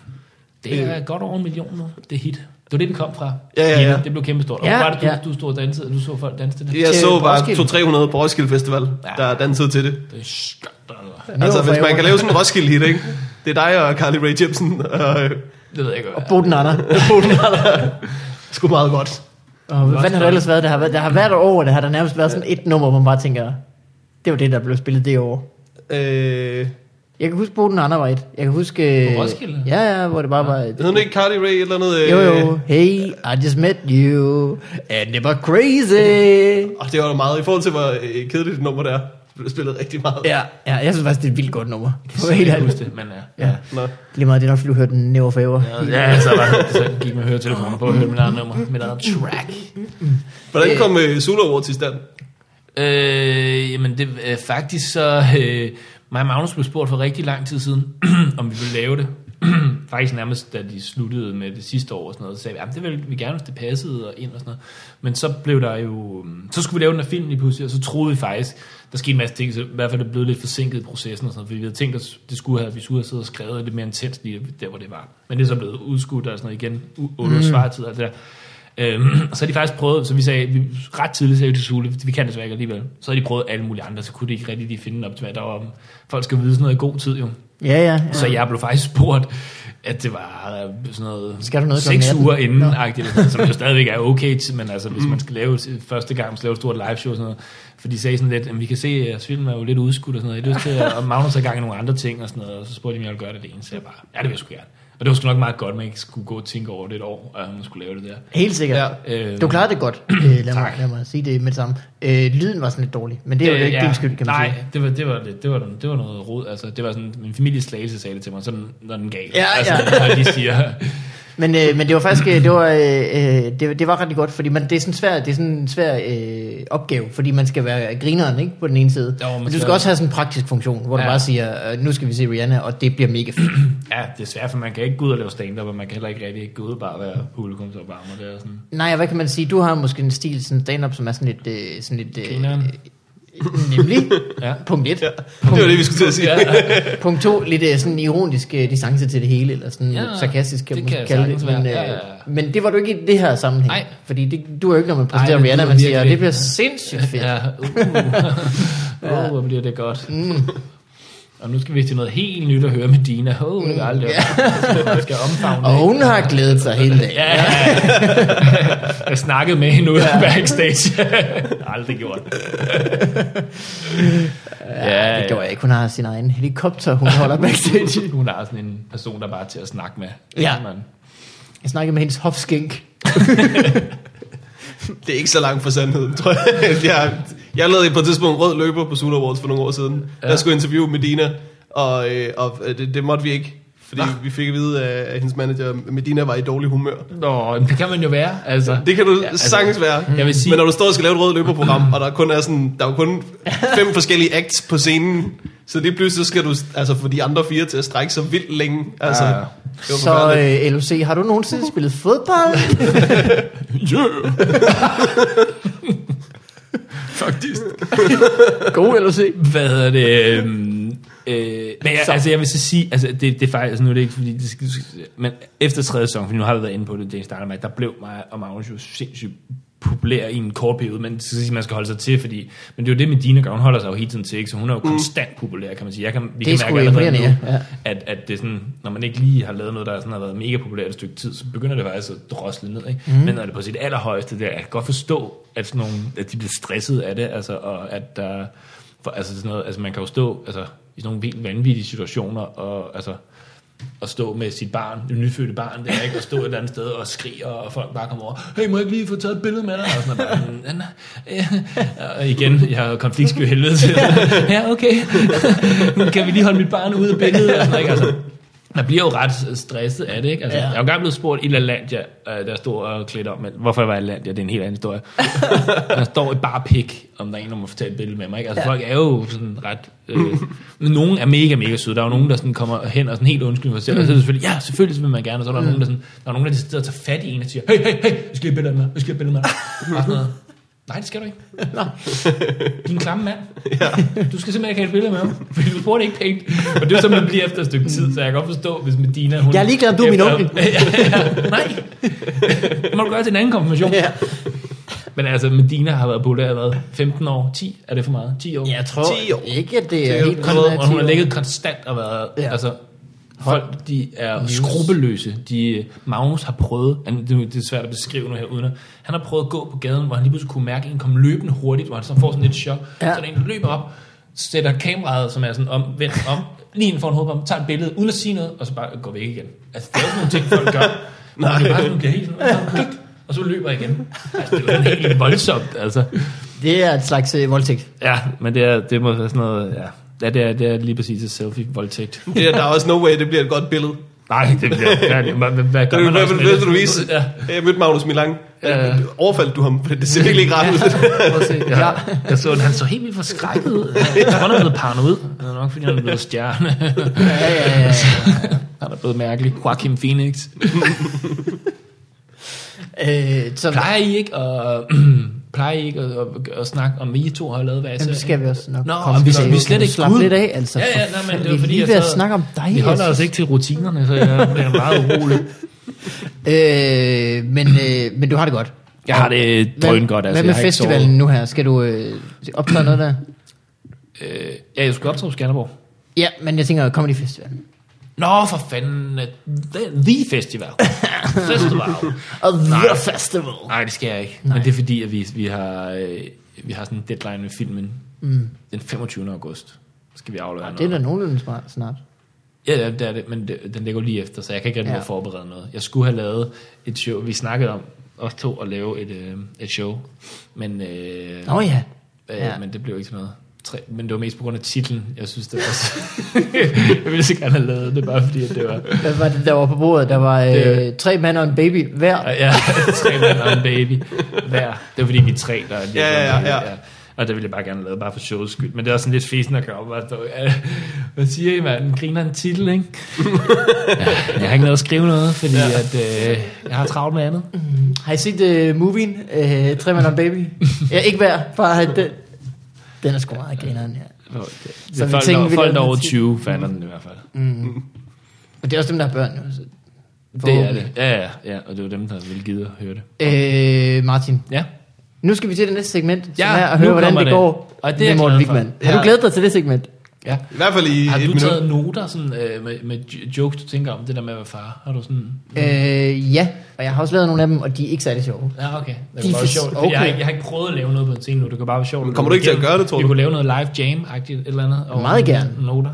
A: det er godt over en million nu, det er hit. Det var det, vi kom fra.
B: Ja, ja, ja.
A: Hittet, Det blev kæmpestort. Og
C: Ja,
A: ja, var det, du,
C: ja.
A: ja. du stod og dansede, du så folk danse til det?
B: Jeg
C: Til
B: så
C: Roskilde.
B: bare 200-300 på Roskilde Festival,
A: Ja.
B: der er danset til det.
A: Det er skønt. altså.
B: Altså, hvis man kan lave sådan en Roskilde-hit, ikke? Det er dig og Carly Rae Jepsen, og øh,
A: Det ved jeg ikke, hvad er.
C: Boden Anna.
B: sgu meget godt.
C: Og hvad fanden har der ellers været? Der har, været- der har været over, der har der nærmest været sådan et nummer, hvor man bare tænker, det var det, der blev spillet det år.
B: Øh,
C: Jeg kan huske Boden Andre var et. Jeg kan huske... øh,
A: På Roskilde?
C: Ja, ja, hvor det bare var...
B: Hed hun ikke Carly Ray et eller andet?
C: Jo,
B: øh,
C: jo. Hey, I just met you. And it was crazy.
B: Og det var da meget, i forhold til hvor øh, kedeligt et nummer det er. Det blev spillet rigtig meget.
C: Ja, ja, jeg synes faktisk, det er et vildt godt nummer. På helt
A: Jeg kan
C: ærligt.
A: huske det, men øh, ja.
C: Ja.
B: Nå.
C: Lige meget, det er nok, fordi du hørte den never forever.
A: Ja, så var det, så gik med høretelefoner på og hørte mit eget nummer, mit eget track.
B: Hvordan kom øh, Sula over til stand?
A: Øh, jamen det øh, faktisk så, øh, mig og Magnus blev spurgt for rigtig lang tid siden, om vi ville lave det. faktisk nærmest, da de sluttede med det sidste år og sådan noget, så sagde vi, jamen det ville vi gerne, hvis det passede og ind og sådan noget. Men så blev der jo, mm, så skulle vi lave den her film lige pludselig, og så troede vi faktisk, der skete en masse ting, så i hvert fald det blev lidt forsinket i processen og sådan noget, fordi vi havde tænkt os, det skulle have, vi skulle have siddet og skrevet lidt mere intenst lige der, hvor det var. Men det er så blevet udskudt og sådan noget igen, u- under mm. svartid og alt det der. Øhm, og så har de faktisk prøvet, så vi sagde, vi, ret tidligt sagde vi til Sule, vi kan desværre ikke alligevel. Så har de prøvet alle mulige andre, så kunne de ikke rigtig lige finde en optimal. Der var, folk skal vide sådan noget i god tid jo.
C: Ja, ja. ja.
A: Så jeg blev faktisk spurgt, at det var øh, sådan noget,
C: Skal du noget klokken
A: 6
C: atten?
A: uger inden,
C: Nå. Mm.
A: no. som jo stadigvæk er okay, til, men altså, hvis man skal lave første gang, man skal lave et stort liveshow og sådan noget, for de sagde sådan lidt, at vi kan se, at jeres film er jo lidt udskudt og sådan noget, I har lyst til at, og Magnus har gang i nogle andre ting og sådan noget, og så spurgte de, om jeg ville gøre det alene, så jeg bare, ja, det vil jeg sgu gerne. Og det var sgu nok meget godt, at man ikke skulle gå og tænke over det et år, at man skulle lave det der.
C: Helt sikkert.
B: Ja,
C: Ja,
A: øh,
C: øh, du klarede det godt. Øh, lad, mig,
A: tak.
C: lad mig sige det med det samme. Øh, lyden var sådan lidt dårlig, men det er jo ikke din skyld, kan man
A: Nej,
C: sige.
A: det var, det, var, det, det, var, det var noget rod. Altså, det var sådan, min familie slagelse sagde det til mig, sådan, når den gav.
C: Ja,
A: altså,
C: ja.
A: Når de siger,
C: Men, øh, men det var faktisk øh, det var, øh, øh, det, det var rigtig godt, fordi man, det er sådan en svær, det er sådan en svær øh, opgave, fordi man skal være grineren ikke, på den ene side.
A: Jo, men
C: men du
A: så-
C: skal også have sådan en praktisk funktion, hvor ja.
A: Ja.
C: du bare siger, øh, nu skal vi se Rihanna, og det bliver mega fedt.
A: ja, det er svært, for man kan ikke gå ud og lave stand-up, og man kan heller ikke rigtig gå ud og bare være publikumsopvarmer. Det er sådan,
C: Nej, og hvad kan man sige? Du har måske en stil, sådan stand-up, som er sådan lidt... Øh, sådan lidt øh,
A: Grineren.
C: øh, nemlig.
A: Ja.
C: Punkt 1. Ja.
B: Det var det, vi skulle til at sige.
A: ja,
C: Punkt 2. Lidt øh, sådan ironisk øh, distance til det hele, eller sådan
A: Ja,
C: ja, sarkastisk, kan
A: det
C: man
A: kan
C: kalde det.
A: sagtens være.
C: Men, øh,
A: Ja, ja, ja.
C: men det var du ikke i det her sammenhæng.
A: Nej.
C: Fordi Altså, det, du er jo ikke, når man præsenterer
A: men
C: Ej, Rihanna,
A: du er
C: man siger,
A: virkelig-
C: det bliver sindssygt fedt. Ja.
A: ja. Uh, uh, hvor bliver det godt.
C: Mm.
A: Og nu skal vi til noget helt nyt at høre med Dina. Åh, oh, det var aldrig. Jeg skal omfavne
C: Mm, Og hun har glædet sig hele dagen.
A: Ja, jeg snakkede med hende ude ja. backstage. Jeg har aldrig gjort det.
C: Ja, det gjorde jeg ikke. Hun har sin egen helikopter, hun holder backstage.
A: Hun er sådan en person, der bare er til at snakke med.
C: Ja.
A: Man.
C: Jeg snakkede med hendes hofskink.
B: Det er ikke så langt fra sandheden, tror jeg. Jeg, jeg lavede på et tidspunkt en rød løber på Sula Awards for nogle år siden. Ja. Der skulle jeg interviewe Medina, og, øh, og øh, det, det måtte vi ikke. Fordi vi fik at vide af af hendes manager, at Medina var i dårlig humør.
A: Nå, men det kan man jo være. Altså.
B: Det kan du ja,
A: altså,
B: altså, sagtens være.
A: jeg vil sige-
B: Men når du står og skal lave et rød løberprogram, og der kun er sådan, der er jo kun fem forskellige acts på scenen, så lige pludselig så skal du altså, få de andre fire til at strække så vildt længe. Altså,
A: Ja.
B: ja. det var
C: Så
B: forfærdeligt.
C: øh, LOC, har du nogensinde spillet fodbold?
A: Yeah. Faktisk.
C: God LOC.
A: Hvad hedder det? øhm, Øh, men jeg,
C: Så.
A: altså, jeg vil så sige, altså, det, det er faktisk, altså, nu er det ikke, fordi det skal, men efter tredje sæson, for nu har vi været inde på det, James Dynamite, der blev mig og Magnus jo sindssygt populær i en kort periode, men det skal sige, man skal holde sig til, fordi, men det er jo det med Dina, hun holder sig jo hele tiden til, ikke? så hun er jo konstant populær, kan man sige. Jeg kan, vi
C: Mm. Det er
A: kan
C: sgu
A: mærke allerede nu,
C: imponerende, ja.
A: ja. at, at det er sådan, når man ikke lige har lavet noget, der sådan har været mega populært et stykke tid, så begynder det faktisk at drosle ned. Ikke? Mm. Men når det er på sit allerhøjeste, der, jeg kan godt forstå, at, sådan nogle, at de bliver stresset af det, altså, og at der, for, altså sådan noget, altså man kan jo stå altså, i sådan nogle helt vanvittige situationer, og altså, at stå med sit barn, det nyfødte barn, der ikke, og stå et eller andet sted og skrige, og folk bare kommer over, hey, må jeg ikke lige få taget et billede med dig? Og sådan noget, bare, sådan, "Ja, nej." og igen, jeg har jo konfliktsky helvede til. ja, okay. kan vi lige holde mit barn ude af billedet? Og sådan, noget, ikke? Altså, man bliver jo ret stresset af det, ikke? Altså,
C: Ja.
A: ja. Jeg er jo engang blevet spurgt i LaLandia, øh, der stod og klædte om, men hvorfor jeg var i LaLandia, det er en helt anden historie. der står et bare pik, om der er en, der må få taget et billede med mig, ikke? Altså, ja. folk er jo sådan ret... Øh, men nogen er mega, mega søde. Der er jo nogen, der sådan kommer hen og sådan helt undskyld for sig selv, og så er det selvfølgelig, ja, selvfølgelig vil man gerne, og så er der nogen, der sådan... Der er nogen, der sidder og tager fat i en og siger, hey, hey, hey, vi skal have et billede med dig, vi skal have et billede med dig. Bare sådan noget. Nej, det skal du ikke. Din klamme mand. Du skal simpelthen ikke have et billede med ham, fordi du spurgte ikke pænt. Og det er jo sådan, man bliver efter et stykke tid, så jeg kan godt forstå, hvis Medina... Hun
C: Jeg er ligeglad, om du er min onkel.
A: ja, ja, nej. Det må du gøre til en anden konfirmation.
C: Ja.
A: Men altså, Medina har været populær i hvad? 15 år? 10? Er det for meget? 10 år?
C: Jeg tror
B: 10 år.
C: ikke, at det er
B: Det er jo
C: helt
A: Hun har været- og hun har
C: konservativt.
A: ligget konstant og været...
C: Ja.
A: Ja. Altså, folk, de er skrupelløse. De, Magnus har prøvet... han- Det er- det er svært at beskrive nu her uden at, Han har prøvet at gå på gaden, hvor han lige pludselig kunne mærke, at en kom løbende hurtigt, hvor han så får sådan lidt chok.
C: Ja.
A: Ja. Så er der en, der løber op, sætter kameraet, som er sådan om, vendt om, lige inden foran hovedet på ham, tager et billede, uden at sige noget, og så bare går væk igen. Altså, det er jo sådan nogle ting, folk gør. Nej. Det er bare sådan, bliver helt sådan, og så klik, og så løber igen. Altså, det er jo sådan helt voldsomt, altså.
C: Det er et slags øh, voldtægt.
A: Ja, men det, er, det må være sådan noget, ja. Ja, det er, det er lige præcis et selfie-voldtægt.
B: Det der, der er også no way, det bliver et godt billede.
A: Nej, det bliver færdigt. Hvad, hvad, hvad
B: Det
A: gør
B: er i
A: man
B: hvert
A: også
B: fald
A: med
B: det,
A: det?
B: du viser.
A: Ja.
B: Jeg mødte Magnus Milang.
A: Ja.
B: Overfaldt du ham? For Det ser virkelig ikke ret ud.
A: Prøv at se. Ja. Jeg så, han så helt vildt forskrækket ud. Jeg tror, han er blevet paranoid. Det er nok, fordi han er blevet stjerne.
C: Ja, ja, ja.
A: Han er blevet mærkelig. Joaquin Phoenix.
C: øh, så,
A: Plejer I ikke at, plejer I ikke at, at, at snakke om, hvad I to har lavet hver
C: Jamen, det skal vi også nok
A: Nå,
C: komme
A: og vi,
C: tilbage
A: vi er
C: til.
A: slet ikke
C: Slap
A: ude.
C: lidt af, altså.
A: Ja, ja,
C: For
A: nej, men
C: fanden,
A: det var
C: vi er
A: fordi,
C: lige
A: jeg
C: ved at
A: sad-
C: snakke om dig, altså.
A: Vi holder
C: jeg
A: os ikke til rutinerne, så jeg bliver meget urolig.
C: øh, men, øh, men du har det godt.
A: Jeg har det drøn godt, altså.
C: Hvad med
A: jeg har ikke
C: festivalen nu her? Skal du øh, optræde noget der?
A: sovet. Øh, ja, jeg skulle optage på Skanderborg.
C: Ja, men jeg tænker Comedy Festivalen.
A: Nå, for fanden. øh, The, the Festival. Festival.
C: Og
A: Nej.
C: The Festival.
A: Nej, det skal jeg ikke. Nej. Men det er fordi, at vi, vi, har, øh, vi har sådan en deadline med filmen. Mm. Den 25. august skal vi aflevere
C: Det er da
A: noget.
C: nogenlunde smart- snart.
A: Ja, ja, det er det, men det, den ligger jo lige efter, så jeg kan ikke rigtig
C: Ja.
A: ja. forberede noget. Jeg skulle have lavet et show. Vi snakkede om os to at lave et, øh, et show, men, øh,
C: Nå ja.
A: øh,
C: ja.
A: men det blev ikke til noget. Tre, men det var mest på grund af titlen. Jeg synes, det var så... jeg ville så gerne have lavet det, bare fordi at det var...
C: Hvad var det, der var på bordet? Der var øh,
A: Det-
C: tre mænd og en baby hver.
A: Ja, tre mænd og en baby hver. Det var fordi, vi er tre, der er lige
B: Ja, ja, ja.
A: Og det ville jeg bare gerne lave, bare for showets skyld. Men det er også sådan lidt fesen at gøre op. og stå, ja, Hvad siger I, mand? Griner en titel, ikke? ja, jeg har ikke noget at skrive noget, fordi ja. at, øh, jeg har travlt med andet.
C: Har I set øh, movien? Øh, tre mænd og en baby? ja, ikke hver. Bare den. Den er sgu meget grineren her.
A: Det,
C: Så
A: så
C: vi
A: folk,
C: tænkte,
A: tænker,
C: vi
A: folk
C: lavede
A: der er over
C: en titel.
A: 20 fandt den i hvert fald.
C: Og det er også dem, der har børn nu. Så
A: Det er det. Ja, ja, ja. Og det var dem, der ville gide at høre det.
C: forhåbentlig. Øh, Martin,
A: Ja.
C: nu skal vi til det næste segment, som
A: Ja,
C: er at
A: nu
C: høre, hvordan
A: kommer
C: det,
A: det.
C: går
A: Og det er
C: med
A: jeg
C: Morten
A: glad for.
C: Wigman. Har du
B: Ja.
C: glædet dig til det segment?
A: ja.
B: I hvert fald i
A: Har
B: et
A: du
B: minut.
A: taget noter sådan, øh, med, med j- jokes, du tænker om det der med at være far? Har du sådan...
C: Øh, ja, og jeg har også lavet nogle af dem, og de er ikke særlig sjove.
A: Ja, okay. Det
C: De
A: er
C: er
A: bare sjovt. Okay.
C: okay.
A: Jeg, har ikke, jeg har ikke prøvet at lave noget på en scene nu. Det kan bare være sjovt. at gå
B: kommer du ikke til at
A: igennem.
B: gøre det, tror
A: Vi
B: du?
A: kunne lave noget live jam-agtigt et eller andet. over
C: Meget gerne.
A: nogle Noter.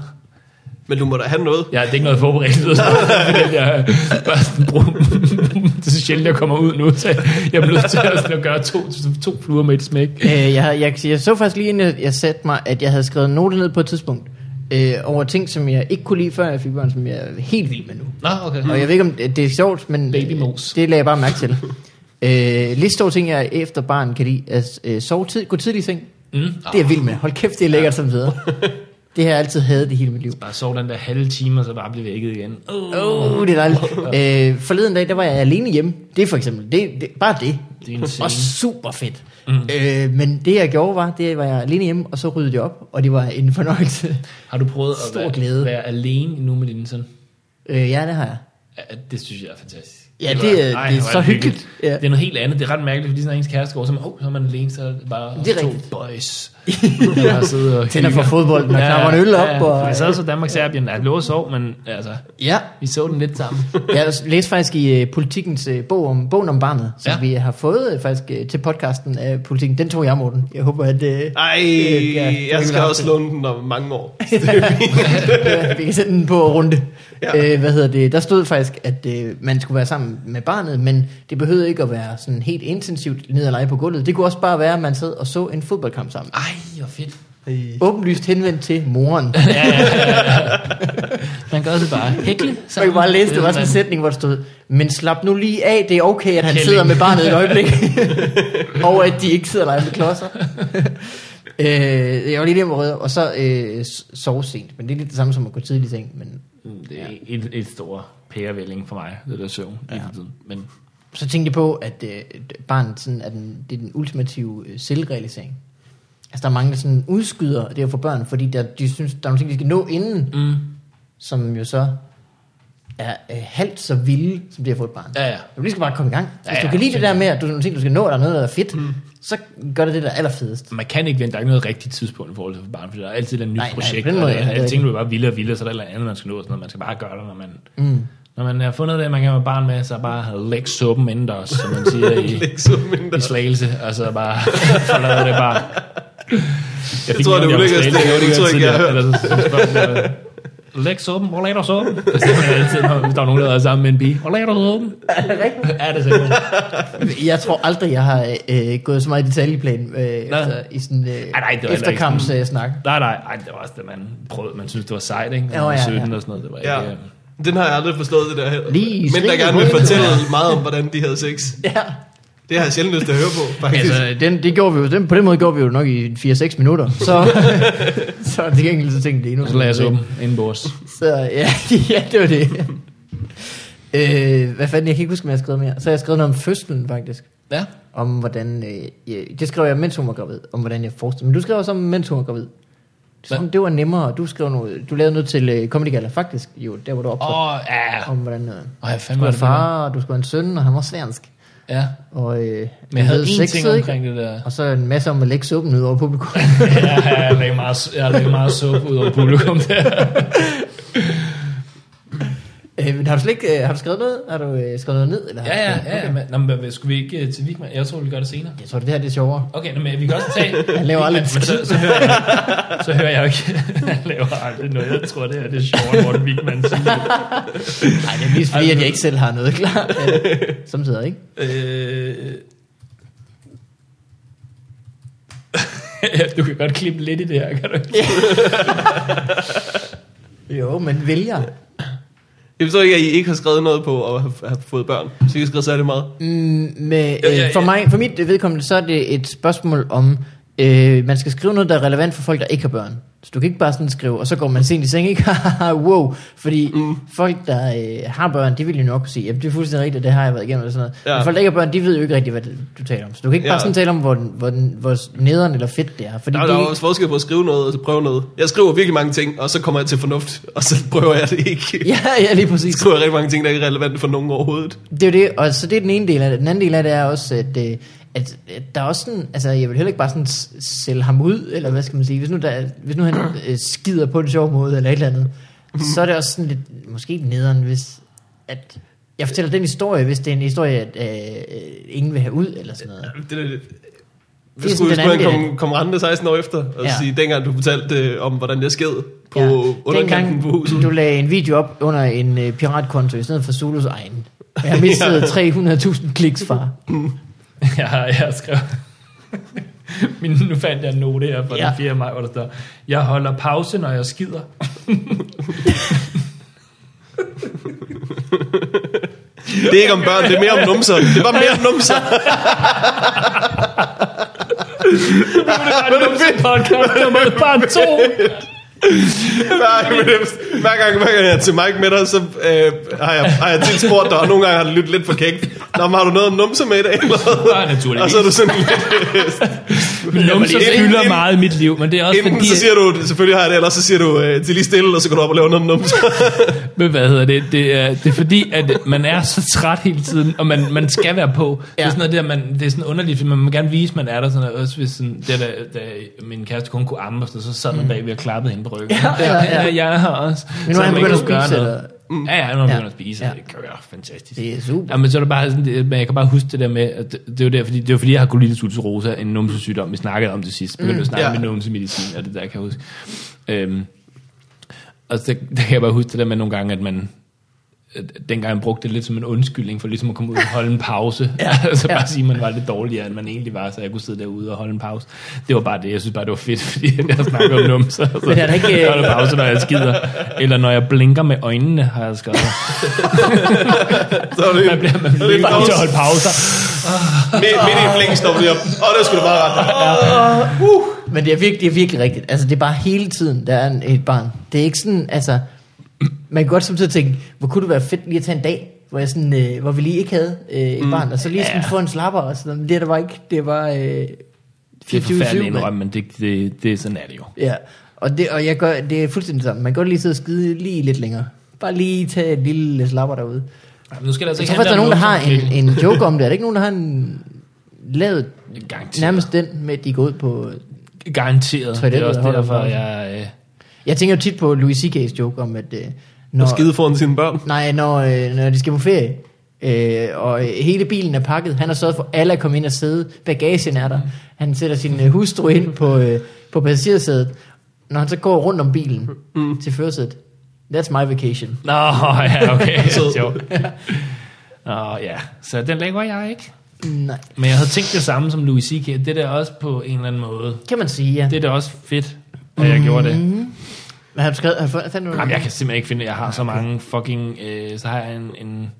B: Men du må da have noget.
A: Ja, det er ikke noget forberedt. Det er øh, bare sådan, brum. det er så sjældent, jeg kommer ud nu. Så jeg er nødt til at, sådan, at gøre to, to fluer med et smæk.
C: Øh, jeg, havde- jeg, kan sige, jeg så faktisk lige inden jeg- jeg satte mig, at jeg havde skrevet noter ned på et tidspunkt, øh, over ting, som jeg ikke kunne lide, før jeg fik børn, som jeg er helt vild med nu.
A: Nå, okay.
C: Og jeg ved ikke, om det det er sjovt, men
A: Mm. Baby
C: øh,
A: mos.
C: det lagde jeg bare mærke til. øh, lidt store ting, jeg efter barn kan lide, at øh, sove tid, gå tidlig i seng.
A: Mm.
C: Det er jeg vild med. Hold kæft, det er lækkert som videre. Det har jeg altid hadet i hele mit liv.
A: Bare sov den der halve time, og så bare blive vækket igen. Oh,
C: Åh, oh, det er dejligt. Øh, forleden dag, der var jeg alene hjemme. Det er for eksempel, det, det, bare det.
A: Det er en scene.
C: Og super fedt. Mm. Øh, men det jeg gjorde var, det var jeg alene hjemme, og så ryddede jeg op, og det var en fornøjelse.
A: Har du prøvet at
C: Stor
A: være,
C: glæde.
A: være alene nu med din søn?
C: Øh, ja, det har jeg.
A: Ja, det synes jeg er fantastisk.
C: Ja, det er- det er
A: hvor
C: så hyggeligt. Ja.
A: Det er noget helt andet. Det er ret mærkeligt, fordi når ens kæreste går, så er man, oh, så er man alene, så er det bare
C: Det er
A: to
C: rigtigt.
A: boys. der bare sidder og
C: Tænder
A: hygger.
C: for fodbolden og knapper en øl op,
A: Ja,
C: og-
A: for vi sad så Danmark-Serbien. Jeg lå og sov, men altså,
C: Ja,
A: vi så den lidt sammen.
C: jeg læste faktisk i uh, Politikens uh, bog om, bogen om barnet, som ja.
A: Ja.
C: vi har fået uh, faktisk uh, til podcasten af Politiken. Den tog jeg, Morten. Jeg håber, at uh,
B: Ej,
C: Øh, ja, det er
B: jeg skal
C: klart.
B: også låne den om mange år.
C: vi kan sende den på runde. Ja.
B: Ja.
C: Øh, hvad hedder det? Der stod faktisk, at øh, man skulle være sammen med barnet, men det behøvede ikke at være sådan helt intensivt ned og lege på gulvet. Det kunne også bare være, at man sad og så en fodboldkamp sammen.
A: Ej, hvor fedt.
C: Åbenlyst henvendt til moren.
A: Ja, ja, ja, ja. Man gør det bare. Hækle.
C: Så jeg
A: sammen.
C: kunne bare læse, det var sådan en
A: man-
C: sætning, hvor der stod, men slap nu lige af, det er okay, at han
A: Kælling.
C: sidder med barnet et øjeblik. og at de ikke sidder og leger med klodser. øh, jeg var lige hjemme og rydde, og så øh, s- sove sent. Men det er lidt det samme som at gå tidligt i seng, men
A: Mm, Det er et, et stor pærevælling for mig, det der søvn. Ja. Men
C: så tænkte jeg på, at øh, barnet sådan er den, det er den ultimative øh, selvrealisering. Altså der er mange, der sådan udskyder det at få børn, fordi der, de synes, der er nogle ting, de skal nå inden,
A: mm,
C: som jo så er øh, halvt så vilde, som det at få et barn.
A: ja, ja.
C: Du lige skal bare komme i gang. Hvis
A: Ja,
C: du
A: ja,
C: kan lide det der
A: fuldstændig.
C: med, at du nogle ting, du skal nå, og der er noget, der er fedt, mm. så gør det det, der er allerfedest.
A: man kan ikke vente, der er ikke noget rigtigt tidspunkt i forhold til for barn, fordi der er altid et nyt
C: Nej, nej,
A: projekt,
C: på den
A: nej,
C: måde,
A: måde, og
C: ja, det er
A: der, alting bliver bare vildere og vildere, så er der er andet, man skal nå, og sådan noget. man skal bare gøre det, når man, mm. når man har fundet det, man kan have barn med, så bare læg suppen indendørs, som man siger i,
B: Ikke så mindre.
A: i slagelse, og så bare forlade det bare. Jeg
B: tror, det er ulækkert, det er ulækkert, jeg har hørt.
A: Læg såben, hvor lader såben? Det siger man altid, når, hvis der er nogen, der er sammen med en bi. Hvor lader såben?
C: Er det rigtigt?
A: Ja, det er sikkert.
C: Jeg tror aldrig, jeg har øh, gået så meget i detaljeplan øh, efter, i sådan øh,
A: Ej, nej, det var heller ikke
C: efterkamps
A: sådan-
C: øh, snak.
A: Nej, nej, ej, det var også det, man prøvede. Man synes, det var sejt, ikke?
C: Ja,
A: Ja,
C: ja,
A: ja,
C: ja.
A: 17 og sådan noget. Det var
B: Ja.
A: ikke, øh,
B: Den har jeg aldrig forstået, det der heller.
C: Lige
B: Men der
C: slikket
B: gerne vil
C: hovedet.
B: fortælle meget om, hvordan de havde sex.
C: Ja.
B: Det har jeg sjældent lyst til at høre på, faktisk.
C: Altså, den, det gjorde vi jo, den, på den måde gjorde vi jo nok i 4-6 minutter. Så, så til gengæld så tænkte jeg endnu.
A: Og så lagde jeg såben indenbords.
C: Så ja, ja, det var det. øh, hvad fanden, jeg kan ikke huske, hvad jeg har skrevet mere. Så har jeg skrevet noget om fødslen, faktisk.
A: Ja.
C: Om hvordan, øh, ja, det skrev jeg, mens hun var gravid, om hvordan jeg forestillede Men du skrev også om, mens hun var gravid.
A: Hvad?
C: Som, det var nemmere. Du skrev noget, du lavede noget til øh, Comedy Gala, faktisk, jo, der hvor du optrådte.
A: Åh, ja.
C: Om hvordan, øh, du
A: Og jeg fandme
C: skulle
A: var
C: have
A: det far.
C: far, og du skulle have en søn, og han var svensk.
A: Ja.
C: Og, øh,
A: Men jeg havde én ting
C: sexet, ikke?
A: omkring det der.
C: Og så en masse om at lægge suppen ud over publikum.
A: ja, jeg lagde meget, jeg lagde meget suppe ud over publikum der.
C: øh, men har du slet ikke, øh, har du skrevet noget? Har du øh, skrevet noget ned? Eller har
A: Ja,
C: du
A: ja,
C: skrevet-
A: ja. Okay. Men, nå, men hvad- skulle vi ikke øh, til Vigman? Jeg tror, vi gør det senere.
C: Jeg tror, det her det er sjovere.
A: Okay, nå, men vi kan også tage...
C: Han laver aldrig en
A: Men så, så, hører jeg, så hører jeg jo ikke... Han laver aldrig noget. Jeg tror, det her det er sjovt, Morten Vigman siger.
C: Nej, det er mest fordi, at jeg ikke selv har noget klar. Øh, Samtidig, ikke?
A: Øh... du kan godt klippe lidt i det her, kan du ikke?
C: Jo, men vælger.
B: Jeg forstår ikke, at I ikke har skrevet noget på og har, har fået børn. Så I har skrevet særlig meget.
C: Mm, med,
A: Ja, ja, ja.
C: øh, for, mig, for mit vedkommende, så er det et spørgsmål om, øh, man skal skrive noget, der er relevant for folk, der ikke har børn. Så du kan ikke bare sådan skrive, og så går man sent i seng, ikke? Haha, wow. Fordi mm. folk, der øh, har børn, de vil jo nok sige, jamen det er fuldstændig rigtigt, det har jeg været igennem, eller sådan noget.
B: Ja.
C: Ja. Men folk, der ikke har børn, de ved jo ikke rigtigt, hvad det, du taler om. Så du kan ikke ja.
B: Ja.
C: bare sådan tale om, hvor, hvor, hvor nederen eller fedt det er. Fordi
B: Der,
C: det,
B: der er jo også forskel på at skrive noget og så prøve noget. Jeg skriver virkelig mange ting, og så kommer jeg til fornuft, og så prøver jeg det ikke.
C: ja, ja, lige præcis.
B: Jeg skriver rigtig mange ting, der ikke er relevante for nogen overhovedet.
C: Det er jo det, og så det er den ene del af det. Den anden del af det er også, at, øh, at, at der er også sådan, altså jeg vil heller ikke bare sådan s- sælge ham ud, eller hvad skal man sige, hvis nu, der, er- hvis nu han øh, skider på en sjov måde, eller et eller andet,
B: Mm-hmm.
C: så er det også sådan lidt, måske lidt nederen, hvis at, jeg fortæller den historie, hvis det er en historie, at øh, øh, ingen vil have ud, eller sådan noget.
B: Det, det,
C: sådan
B: det skulle
C: den
B: skulle han
C: anden del.
B: komme, komme rende 16 år efter og
C: Ja.
B: ja. sige, dengang du fortalte øh, om, hvordan jeg sked på ja. underkanten på huset.
C: du lagde en video op under en øh, piratkonto, i stedet for Zulus egen. Og Jeg mistede 300.000 kliks, far.
A: Jeg, har- jeg skrev... Min, nu fandt jeg en note her fra ja.
C: Ja.
A: den 4. maj, hvor der står, jeg holder pause, når jeg skider.
B: Det er ikke om børn, det er mere om numser. Det var mere om numser.
A: Hvad er det fedt? Podcast nummer bare to.
B: Nej, men det- hver gang, hver gang jeg er til Mike med dig, så øh, har, jeg, har jeg tit spurgt dig, og nogle gange har det lyttet lidt for kægt. Nå, men har du noget om numser med i dag? Eller? hvad?"
A: Ja, naturligvis.
B: Og så er du sådan lidt... øh,
A: Numser
B: Inden-
A: fylder
B: inden-
A: meget i mit liv, men det er også
B: Enten
A: fordi...
B: så siger du, selvfølgelig har jeg det, eller så siger du, øh, til lige stille, og så går du op og laver noget om numser.
A: Men hvad hedder det? Det er, det er fordi, at man er så træt hele tiden, og man, man skal være på. Ja. Det
C: Ja.
A: er sådan noget der, man, det er sådan underligt, fordi man må gerne vise, man er der. Sådan noget. Også hvis sådan, det der, da min kæreste kun kunne amme, og sådan noget, så sad man bagved og klappede hende på ryggen.
C: Mm. Ja, ja, ja.
A: Der, jeg er her også.
C: Men nu
A: Så
C: er han
A: man
C: begyndt at
A: ikke kunne
C: spise,
A: gøre noget.
C: eller? Mm.
A: Ja, ja, nu er han
C: Ja.
A: begyndt at spise,
C: Ja.
A: og det kører fantastisk.
C: Det er super.
A: Ja, men så er det bare sådan, det, men jeg kan bare huske det der med, at det, det er jo der, fordi, det er jo fordi, jeg har colitis ulcerosa, en numsesygdom, vi snakkede om det sidst, begyndte mm, at snakke
B: ja.
A: yeah. med numsemedicin, og det der, kan jeg huske. Øhm, og så, der kan jeg bare huske det der med nogle gange, at man, at dengang jeg brugte det lidt som en undskyldning for ligesom at komme ud og holde en pause. ja, altså bare
C: ja.
A: sige, at man var lidt dårligere, end man egentlig var, så jeg kunne sidde derude og holde en pause. Det var bare det, jeg synes bare, det var fedt, fordi jeg snakker om numser. Så
C: Men er der ikke-
A: Jeg holder pause, når jeg skider. Eller når jeg blinker med øjnene, har jeg skrevet.
B: Så er det,
A: Man bliver, man bliver nødt til at holde pauser.
B: midt, midt i en flink stopper lige op. Åh, det skulle du bare rette.
C: Men det er virkelig, det er virkelig rigtigt. Altså, det er bare hele tiden, der er en, et barn. Det er ikke sådan, altså... Man kan godt samtidig tænke, hvor kunne det være fedt lige at tage en dag, hvor, jeg sådan, øh, hvor vi lige ikke havde øh, et mm. barn, og så lige sådan
A: Ja.
C: få en slapper og sådan noget. Men det er der var ikke. Det var øh,
A: Det er
C: 24-7,
A: forfærdeligt at
C: mand.
A: indrømme, men det, det, det, sådan er det jo.
C: Ja, og, det, og jeg gør, det er fuldstændig sammen. Man kan godt lige sidde og skide lige lidt længere. Bare lige tage et lille slapper derude.
A: Nu skal der altså
C: Jeg tror faktisk, der er nogen, der har en, en joke om det. Er der ikke nogen, der har en, lavet
A: Garanteret.
C: nærmest den med, at de går ud på...
A: Garanteret. Det
C: Toilettet
A: er også
C: holder
A: derfor,
C: pausen.
A: jeg... Øh,
C: Jeg tænker jo tit på Louis C.K.'s joke om, at... Øh, når,
B: Og skide foran sine børn.
C: Nej, når, øh, når de skal på ferie, øh, og øh, hele bilen er pakket. Han har sørget for, at alle er kommet ind og sidde. Bagagen er der. Han sætter sin øh, hustru ind på, øh, på passagersædet, når han så går rundt om bilen mm. til førersædet. That's my vacation.
A: Nå, ja, okay. Sjovt. Nå, ja. Så den laver jeg ikke.
C: Nej.
A: Men jeg havde tænkt det samme som Louis C.K. Det er da også på en eller anden måde.
C: Kan man sige, ja.
A: Det er da også fedt, at jeg gjorde det.
C: Men han skrev, han fandt noget.
A: Jamen, jeg kan simpelthen ikke finde, at jeg har så mange fucking... Øh, så har jeg en, en,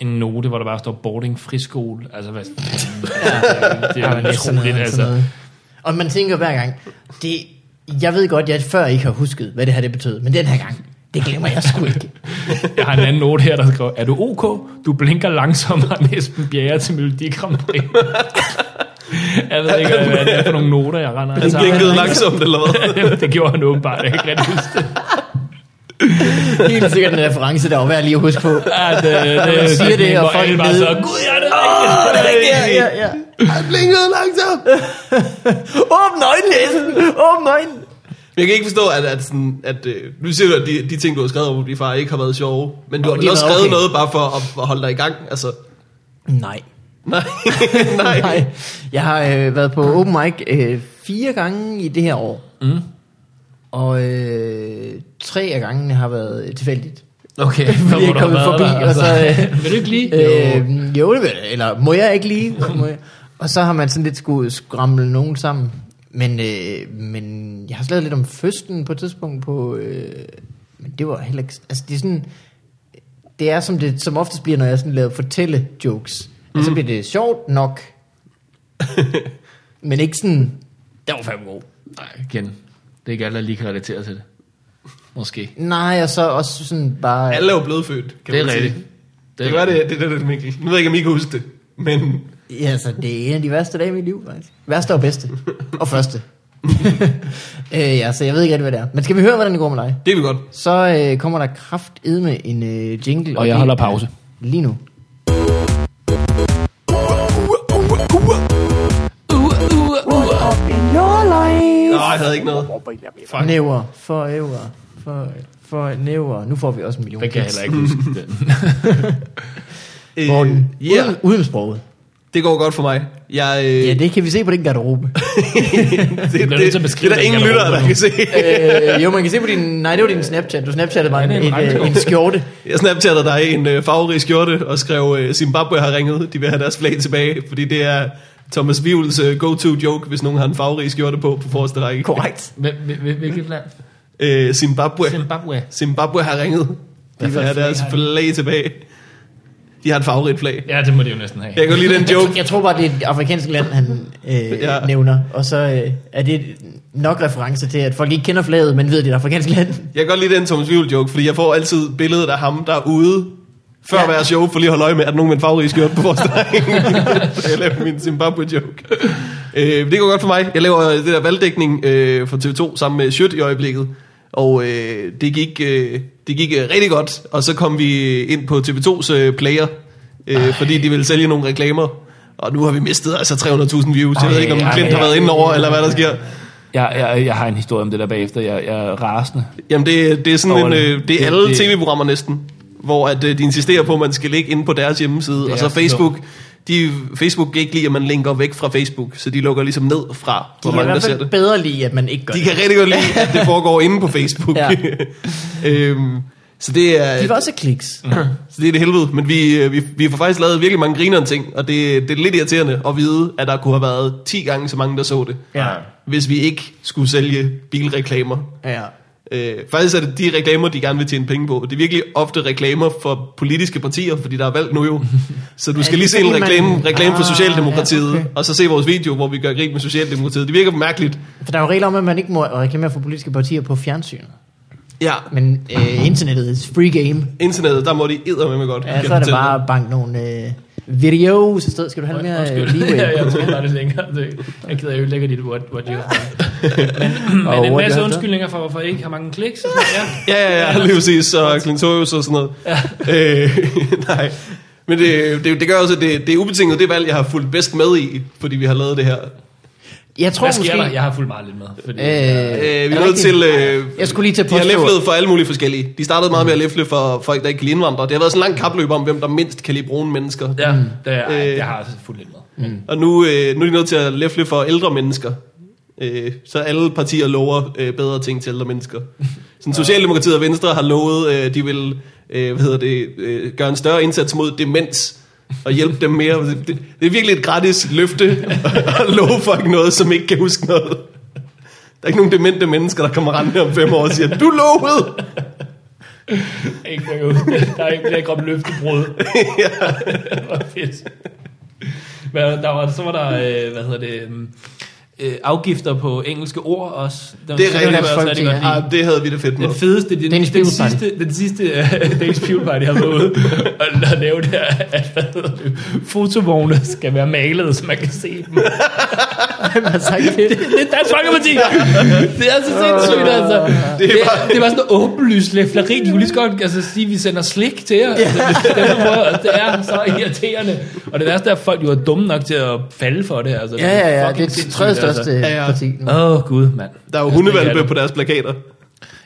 A: en note, hvor der bare står boarding friskole. Altså, hvad, ja, det er jo utroligt, altså.
C: Og man tænker hver gang, det, jeg ved godt, jeg før ikke har husket, hvad det her det betød, men den her gang, det glemmer jeg sgu ikke.
A: Jeg har en anden note her, der skriver, er du ok? Du blinker langsommere end Esben Bjerre til Melodi Grand Prix. Jeg ved ikke, hvad det er for nogle noter, jeg render.
B: Han
A: Altså,
B: blinkede langsomt, eller hvad?
A: det gjorde han åbenbart, jeg kan ikke rigtig huske det.
C: Helt sikkert en reference, der var værd lige at huske på.
A: Ja, det, øh, det,
C: Man siger det, og
A: hvor
C: folk
A: alle bare
C: nede.
A: så, gud, ja, det er rigtigt.
C: Ja, ja, ja.
B: Han blinkede langsomt.
C: Åbn øjnene, Esben! Åbn øjnene!
B: Men Jeg kan ikke forstå, at, at, sådan, at øh, nu siger du, at de, de ting, du har skrevet om at blive far, ikke har været sjove. Men du
C: Nå,
B: har
C: de
B: vel
C: har
B: også
C: været
B: skrevet
C: okay.
B: noget bare for at, at holde dig i gang. Altså,
C: Nej.
B: nej, nej.
C: Nej. Jeg har øh, været på open mic øh, fire gange i det her år. Mm. Og øh, tre af gangene har været øh, tilfældigt.
A: Okay,
C: Fordi jeg
A: hvor du
C: kommet
A: har været
C: forbi,
A: der, Altså,
C: og så... Øh,
A: Vil du ikke lige?
C: Øh, jo, det vil jeg. Eller må jeg ikke lige? Må jeg? Og så har man sådan lidt skulle skramle nogen sammen. Men, øh, men jeg har slået lidt om føsten på et tidspunkt på... Øh, men det var heller ikke... Altså, det er sådan... Det er som det som oftest bliver, når jeg sådan laver fortælle jokes. Mm. Så bliver det sjovt nok. men ikke sådan... Det var fandme god.
A: Nej, igen. Det er ikke alle, der lige kan relatere til det. Måske.
C: Nej, og så også sådan bare...
B: Alle er jo blevet født, kan
A: Det er
B: man sige.
A: rigtigt.
B: Det gør det, det er det, Mikkel. Nu ved jeg ikke, om I kan huske det, men
C: Ja, altså, det er en af de værste dage i mit liv, faktisk. Værste og bedste. Og første. øh, ja, så jeg ved ikke rigtig, hvad det er. Men skal vi høre, hvordan det går med dig?
B: det er vi godt.
C: Så øh, kommer der kraftedme med en øh, jingle.
A: Og jeg
C: det
A: holder
C: er
A: pause.
C: Lige nu.
D: Up in your life.
B: Nå, jeg havde ikke noget.
C: Fuck. Næver. For øver. For, for næver. Nu får vi også en million.
A: Det kan jeg
C: hits.
A: heller ikke huske den.
B: Øh,
C: Morten,
B: Ja, yeah,
C: uden, uden sproget.
B: det går godt for mig. Jeg, øh,
C: Ja, det kan vi se på din garderobe.
B: det,
A: bliver nødt til at
B: det,
A: beskrive
B: det, er der
A: den
B: ingen lyttere,
A: garderobe
B: der kan se.
C: øh, jo, man kan se på din... Nej, det var din Snapchat. Du snapchattede bare en,
A: Ja, det er en
C: en, øh,
A: regnskov.
C: en skjorte.
B: Jeg snapchattede dig i en øh, farverig skjorte og skrev, øh, Zimbabwe har ringet, de vil have deres flag tilbage, fordi det er Thomas Vivels øh, go-to joke, hvis nogen har en farverig skjorte på på forreste række.
C: Korrekt.
A: Hvil- hvil- hvil- Hvilket land?
B: Øh, Zimbabwe.
A: Zimbabwe.
B: Zimbabwe har ringet. De
A: Hvad for
B: vil
A: et
B: have
A: flag
B: deres
A: har de?
B: flag tilbage. De har et farverigt flag.
A: Ja, det må det jo næsten have.
B: Jeg kan godt lide den joke.
C: Jeg tror bare, det er et afrikansk land, han øh, ja.
B: Ja.
C: nævner. Og så øh, er det nok reference til, at folk ikke kender flaget, men ved, at det er et afrikansk land.
B: Jeg kan godt lide den Thomas Vivel joke, fordi jeg får altid billedet af ham, der er ude før
C: Ja.
B: ja. hver show, for lige at holde øje med, at nogen med en farverig skjorte på vores Så jeg laver min Zimbabwe-joke. Øh, men det går godt for mig. Jeg laver det der valgdækning øh, for TV2 sammen med Schødt i øjeblikket. Og øh, det gik, øh, det gik øh, rigtig godt. Og så kom vi ind på TV2's øh, player, øh, fordi de ville sælge nogle reklamer. Og nu har vi mistet altså 300.000 views. Jeg ved
A: Ej,
B: ikke, om
A: ej,
B: Klint
A: ej.
B: har været inde over, eller hvad der sker.
A: Jeg, jeg, jeg har en historie om det der bagefter. Jeg, jeg er rasende.
B: Jamen, det, det er sådan
A: Over
B: en,
A: det.
B: øh, det
A: Det-
B: er alle
A: det-
B: tv-programmer næsten, hvor at, øh, de insisterer på, at man skal ligge inde på deres hjemmeside,
A: Det
B: og
A: er
B: så
A: så
B: Facebook, de, Facebook kan ikke lide, at man linker væk fra Facebook, så de lukker ligesom ned fra,
C: De
B: hvor
C: kan i
B: mange der
C: hvert
B: ser
C: fald
B: det.
C: bedre lide, at man ikke gør
B: De
C: det.
B: kan rigtig godt lide, at det foregår inde på Facebook.
C: Ja.
B: øhm, så det er,
C: De vil også have kliks.
B: så det er det helvede, men vi, øh, vi, vi får faktisk lavet virkelig mange griner ting, og det, det er lidt irriterende at vide, at der kunne have været 10 gange så mange, der så det,
C: Ja.
B: hvis vi ikke skulle sælge bilreklamer
C: ja.
B: Øh, faktisk er det de reklamer, de gerne vil tjene penge på. Det er virkelig ofte reklamer for politiske partier, fordi der er valg nu jo. Så du
C: Ja,
B: skal
C: det
B: lige se en
C: fordi man-
B: reklame, reklame for
C: Ah,
B: Socialdemokratiet,
C: ja, okay.
B: og så se vores video, hvor vi gør grin med Socialdemokratiet. Det virker mærkeligt.
C: For der er jo regler om, at man ikke må reklamere for politiske partier på fjernsynet.
B: Ja,
C: Men øh, internettet er free game.
B: internettet, der må de edder med godt. kan
C: Ja, så
B: jeg
C: er det
B: fortælle
C: bare
B: dig.
C: at banke nogle øh, videos i stedet. Skal du have lidt mere øh,
A: Undskyld. ja,
C: leeway?
A: jeg tror bare, det er længere. Det- Jeg gider jo lægge dit what, what you have. Men, men
C: Og
A: en
C: what you
A: masse
C: have
A: undskyldninger for, hvorfor I ikke har mange kliks. og sådan noget. Ja.
B: Ja, ja, ja, lige præcis, og Clintorius og sådan noget. Øh, nej. Men det, det, det gør også, at det, det er ubetinget det valg, jeg har fulgt bedst med i, fordi vi har lavet det her.
C: Jeg tror
A: Hvad sker der?
C: måske...
A: Jeg har fulgt meget lidt med. Fordi,
C: Øh,
B: Øh, vi
C: er
B: er nødt
C: rigtigt?
B: til... Øh,
C: Jeg skulle lige til at
B: De har
C: påstå-
B: læflet for alle mulige forskellige. De startede meget med at læfle for folk, der ikke kan lide indvandrere. Det har været sådan en lang kapløb om, hvem der mindst kan lide brune mennesker.
A: Ja, det, er,
B: Øh.
A: jeg har altså fulgt lidt med.
B: Og nu, øh, nu er de nødt til at læfle for ældre mennesker. Øh, så alle partier lover øh, bedre ting til ældre mennesker. Sådan, Socialdemokratiet og Venstre har lovet, øh, de vil øh, hvad hedder det, øh, gøre en større indsats mod demens og hjælpe dem mere. Det, det, det er virkelig et gratis løfte at love folk noget, som ikke kan huske noget. Der er ikke nogen demente mennesker, der kommer rendende om fem år og siger, du lovede!
A: Ikke noget, jeg husker. der er ikke bliver ikke om løftebrud. det var fedt. Men der var, så var der, øh, hvad hedder det, øhm, øh, afgifter på engelske ord også. Det, var-
B: Det er
A: kunne jeg
B: rigtigt.
A: også rigtig godt
B: Ah,
A: lide.
B: det havde vi det fedt med.
A: Den fedeste, den, den,
C: Danish
A: den,
C: Fuel Party.
A: sidste, den sidste øh, Danish Fuel Party har været ude og, og lave det her, at hvad hedder det, fotovogne skal være malet, så man kan se dem.
C: Hvem har sagt det?
A: Det er Dansk Folkeparti. Det er så sindssygt, altså. Det er bare, det er bare sådan noget åbenlyst læfleri. De kunne lige så godt altså, sige, at vi sender slik til jer. Altså, det, stemmer på, altså, det er så irriterende. Og det værste er, at folk jo er dumme nok til at falde for det. Altså,
C: Ja, ja, ja. Det
A: fucking
C: er det
A: sindssygt,
C: tredje største
A: altså.
C: altså.
B: Ja, ja.
C: parti nu.
A: Åh, oh, gud, mand.
B: Der er jo
A: det er
B: hundevalpe
A: det.
B: på deres plakater.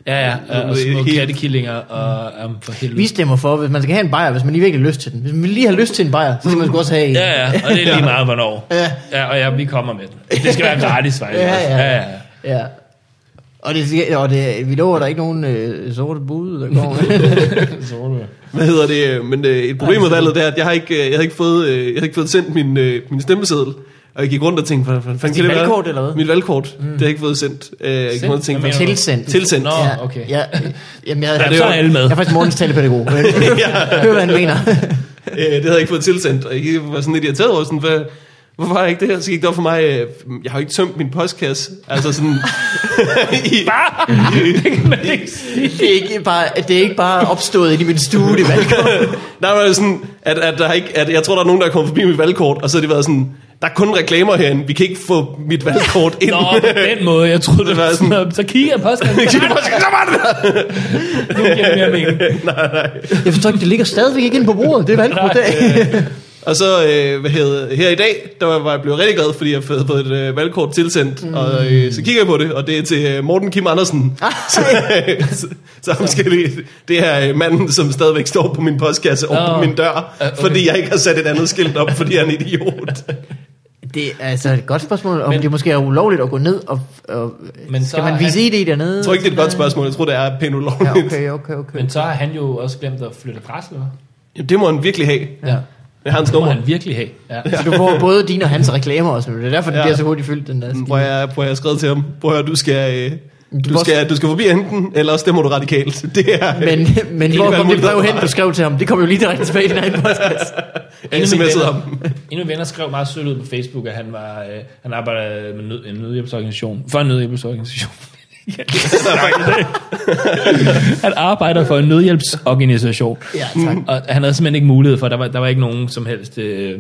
A: Ja, ja, og
B: Det er
A: små
B: helt-
A: kattekillinger og um, for helvede.
C: Vi stemmer for, hvis man skal have en bajer, hvis man lige virkelig har lyst til den. Hvis man lige har lyst til en bajer, så skal man sgu også have en.
A: Ja, ja, og det er lige meget, hvornår.
C: Ja.
A: ja og ja, vi kommer med den. Det skal være gratis, faktisk.
C: Ja,
A: også.
C: ja.
A: ja, ja.
C: ja. Og, det, og det, vi lover, at der er ikke nogen øh, sorte bud, der kommer
B: Hvad hedder det? øh, Men øh, et problem med valget det er, at jeg har ikke, øh, jeg har ikke, fået, øh, jeg har ikke fået sendt min, øh, min stemmeseddel. Og jeg gik rundt og tænkte, hvordan fanden kan det
C: dit
B: være?
C: valgkort, eller hvad?
B: Mit valgkort. Mm. Det har jeg ikke fået sendt. Øh, jeg gik rundt og tænkte,
A: Hvad mener
B: hvordan-
A: du?
C: Tilsendt.
B: Tilsendt.
A: Nå.
C: Ja,
A: okay.
C: Ja, øh, jamen, jeg,
A: Ja, så er alle med.
C: Jeg er faktisk morgens talepædagog. Øh, Hør, hvad han mener.
B: Øh, det havde jeg ikke fået tilsendt. Og jeg var sådan lidt irriteret over, sådan, hvad, hvorfor har jeg ikke det her? Så gik det op for mig, øh, jeg har jo ikke tømt min postkasse. Altså sådan... i,
C: Det er ikke bare, det er ikke bare opstået inde i min stue, det valg.
B: Nej, men det er sådan, at, at, der er ikke, at jeg tror, der er nogen, der er kommet forbi mit valgkort, og så har de været sådan, der er kun reklamer herinde, vi kan ikke få mit valgkort ind.
A: Nå, på den måde, jeg troede, det
B: Det var
A: var sådan, så kigger jeg på os,
B: Så var det der!
A: nu giver det mere mening.
C: Jeg forstår ikke, det ligger stadigvæk ikke inde på bordet. Det er valg på
A: Nej,
C: dag.
B: Og så øh, hvad hedder, her i dag, der var jeg blevet rigtig glad, fordi jeg havde fået et øh, valgkort tilsendt, mm. og øh, så kigger jeg på det, og det er til øh, Morten Kim Andersen.
C: Ah.
B: så, øh, så, så han skal lige, det er øh, manden, som stadigvæk står på min postkasse og
A: Nå.
B: på min dør,
A: Ja, okay.
B: fordi jeg ikke har sat et andet skilt op, fordi jeg er en idiot.
C: Det er altså et godt spørgsmål, om
A: Men-
C: men, det måske er ulovligt at gå ned og... og
A: Men
C: men
A: så
C: skal
A: er
C: man vise ID dernede?
B: Jeg tror ikke, det er et godt spørgsmål, jeg tror, det er pænt ulovligt.
C: Ja, okay, okay, okay.
A: Men så har han jo også glemt at flytte adresse, eller hvad?
B: Jamen, det må han virkelig have.
A: Ja.
B: Jeg har hans
A: Det må
B: nummer.
A: han virkelig have. Ja.
C: Så Altså, du får både dine og hans reklamer også nu. Det er derfor, det
B: Ja.
C: bliver så hurtigt fyldt, den der skide.
B: Prøv at, jeg- prøv at jeg har skrevet til ham. Prøv at høre, du skal, øh, du,
C: må-
B: skal, du skal forbi enten, eller også stemmer du radikalt. Det er øh,
C: Men, men hvor
B: hvad
C: kom
B: må
C: det
B: du-
C: brev hen, du skrev til ham? Det kom jo lige direkte tilbage i din egen postkasse.
B: jeg sms'ede ham.
A: en af mine venner skrev meget sødt ud på Facebook, at han, var, øh, han arbejder med nød, en nødhjælpsorganisation. For en nødhjælpsorganisation. Ja, det er sagt. han arbejder for en nødhjælpsorganisation.
C: Ja, tak.
A: Og han havde simpelthen ikke mulighed for, der var, der var ikke nogen som helst, øh,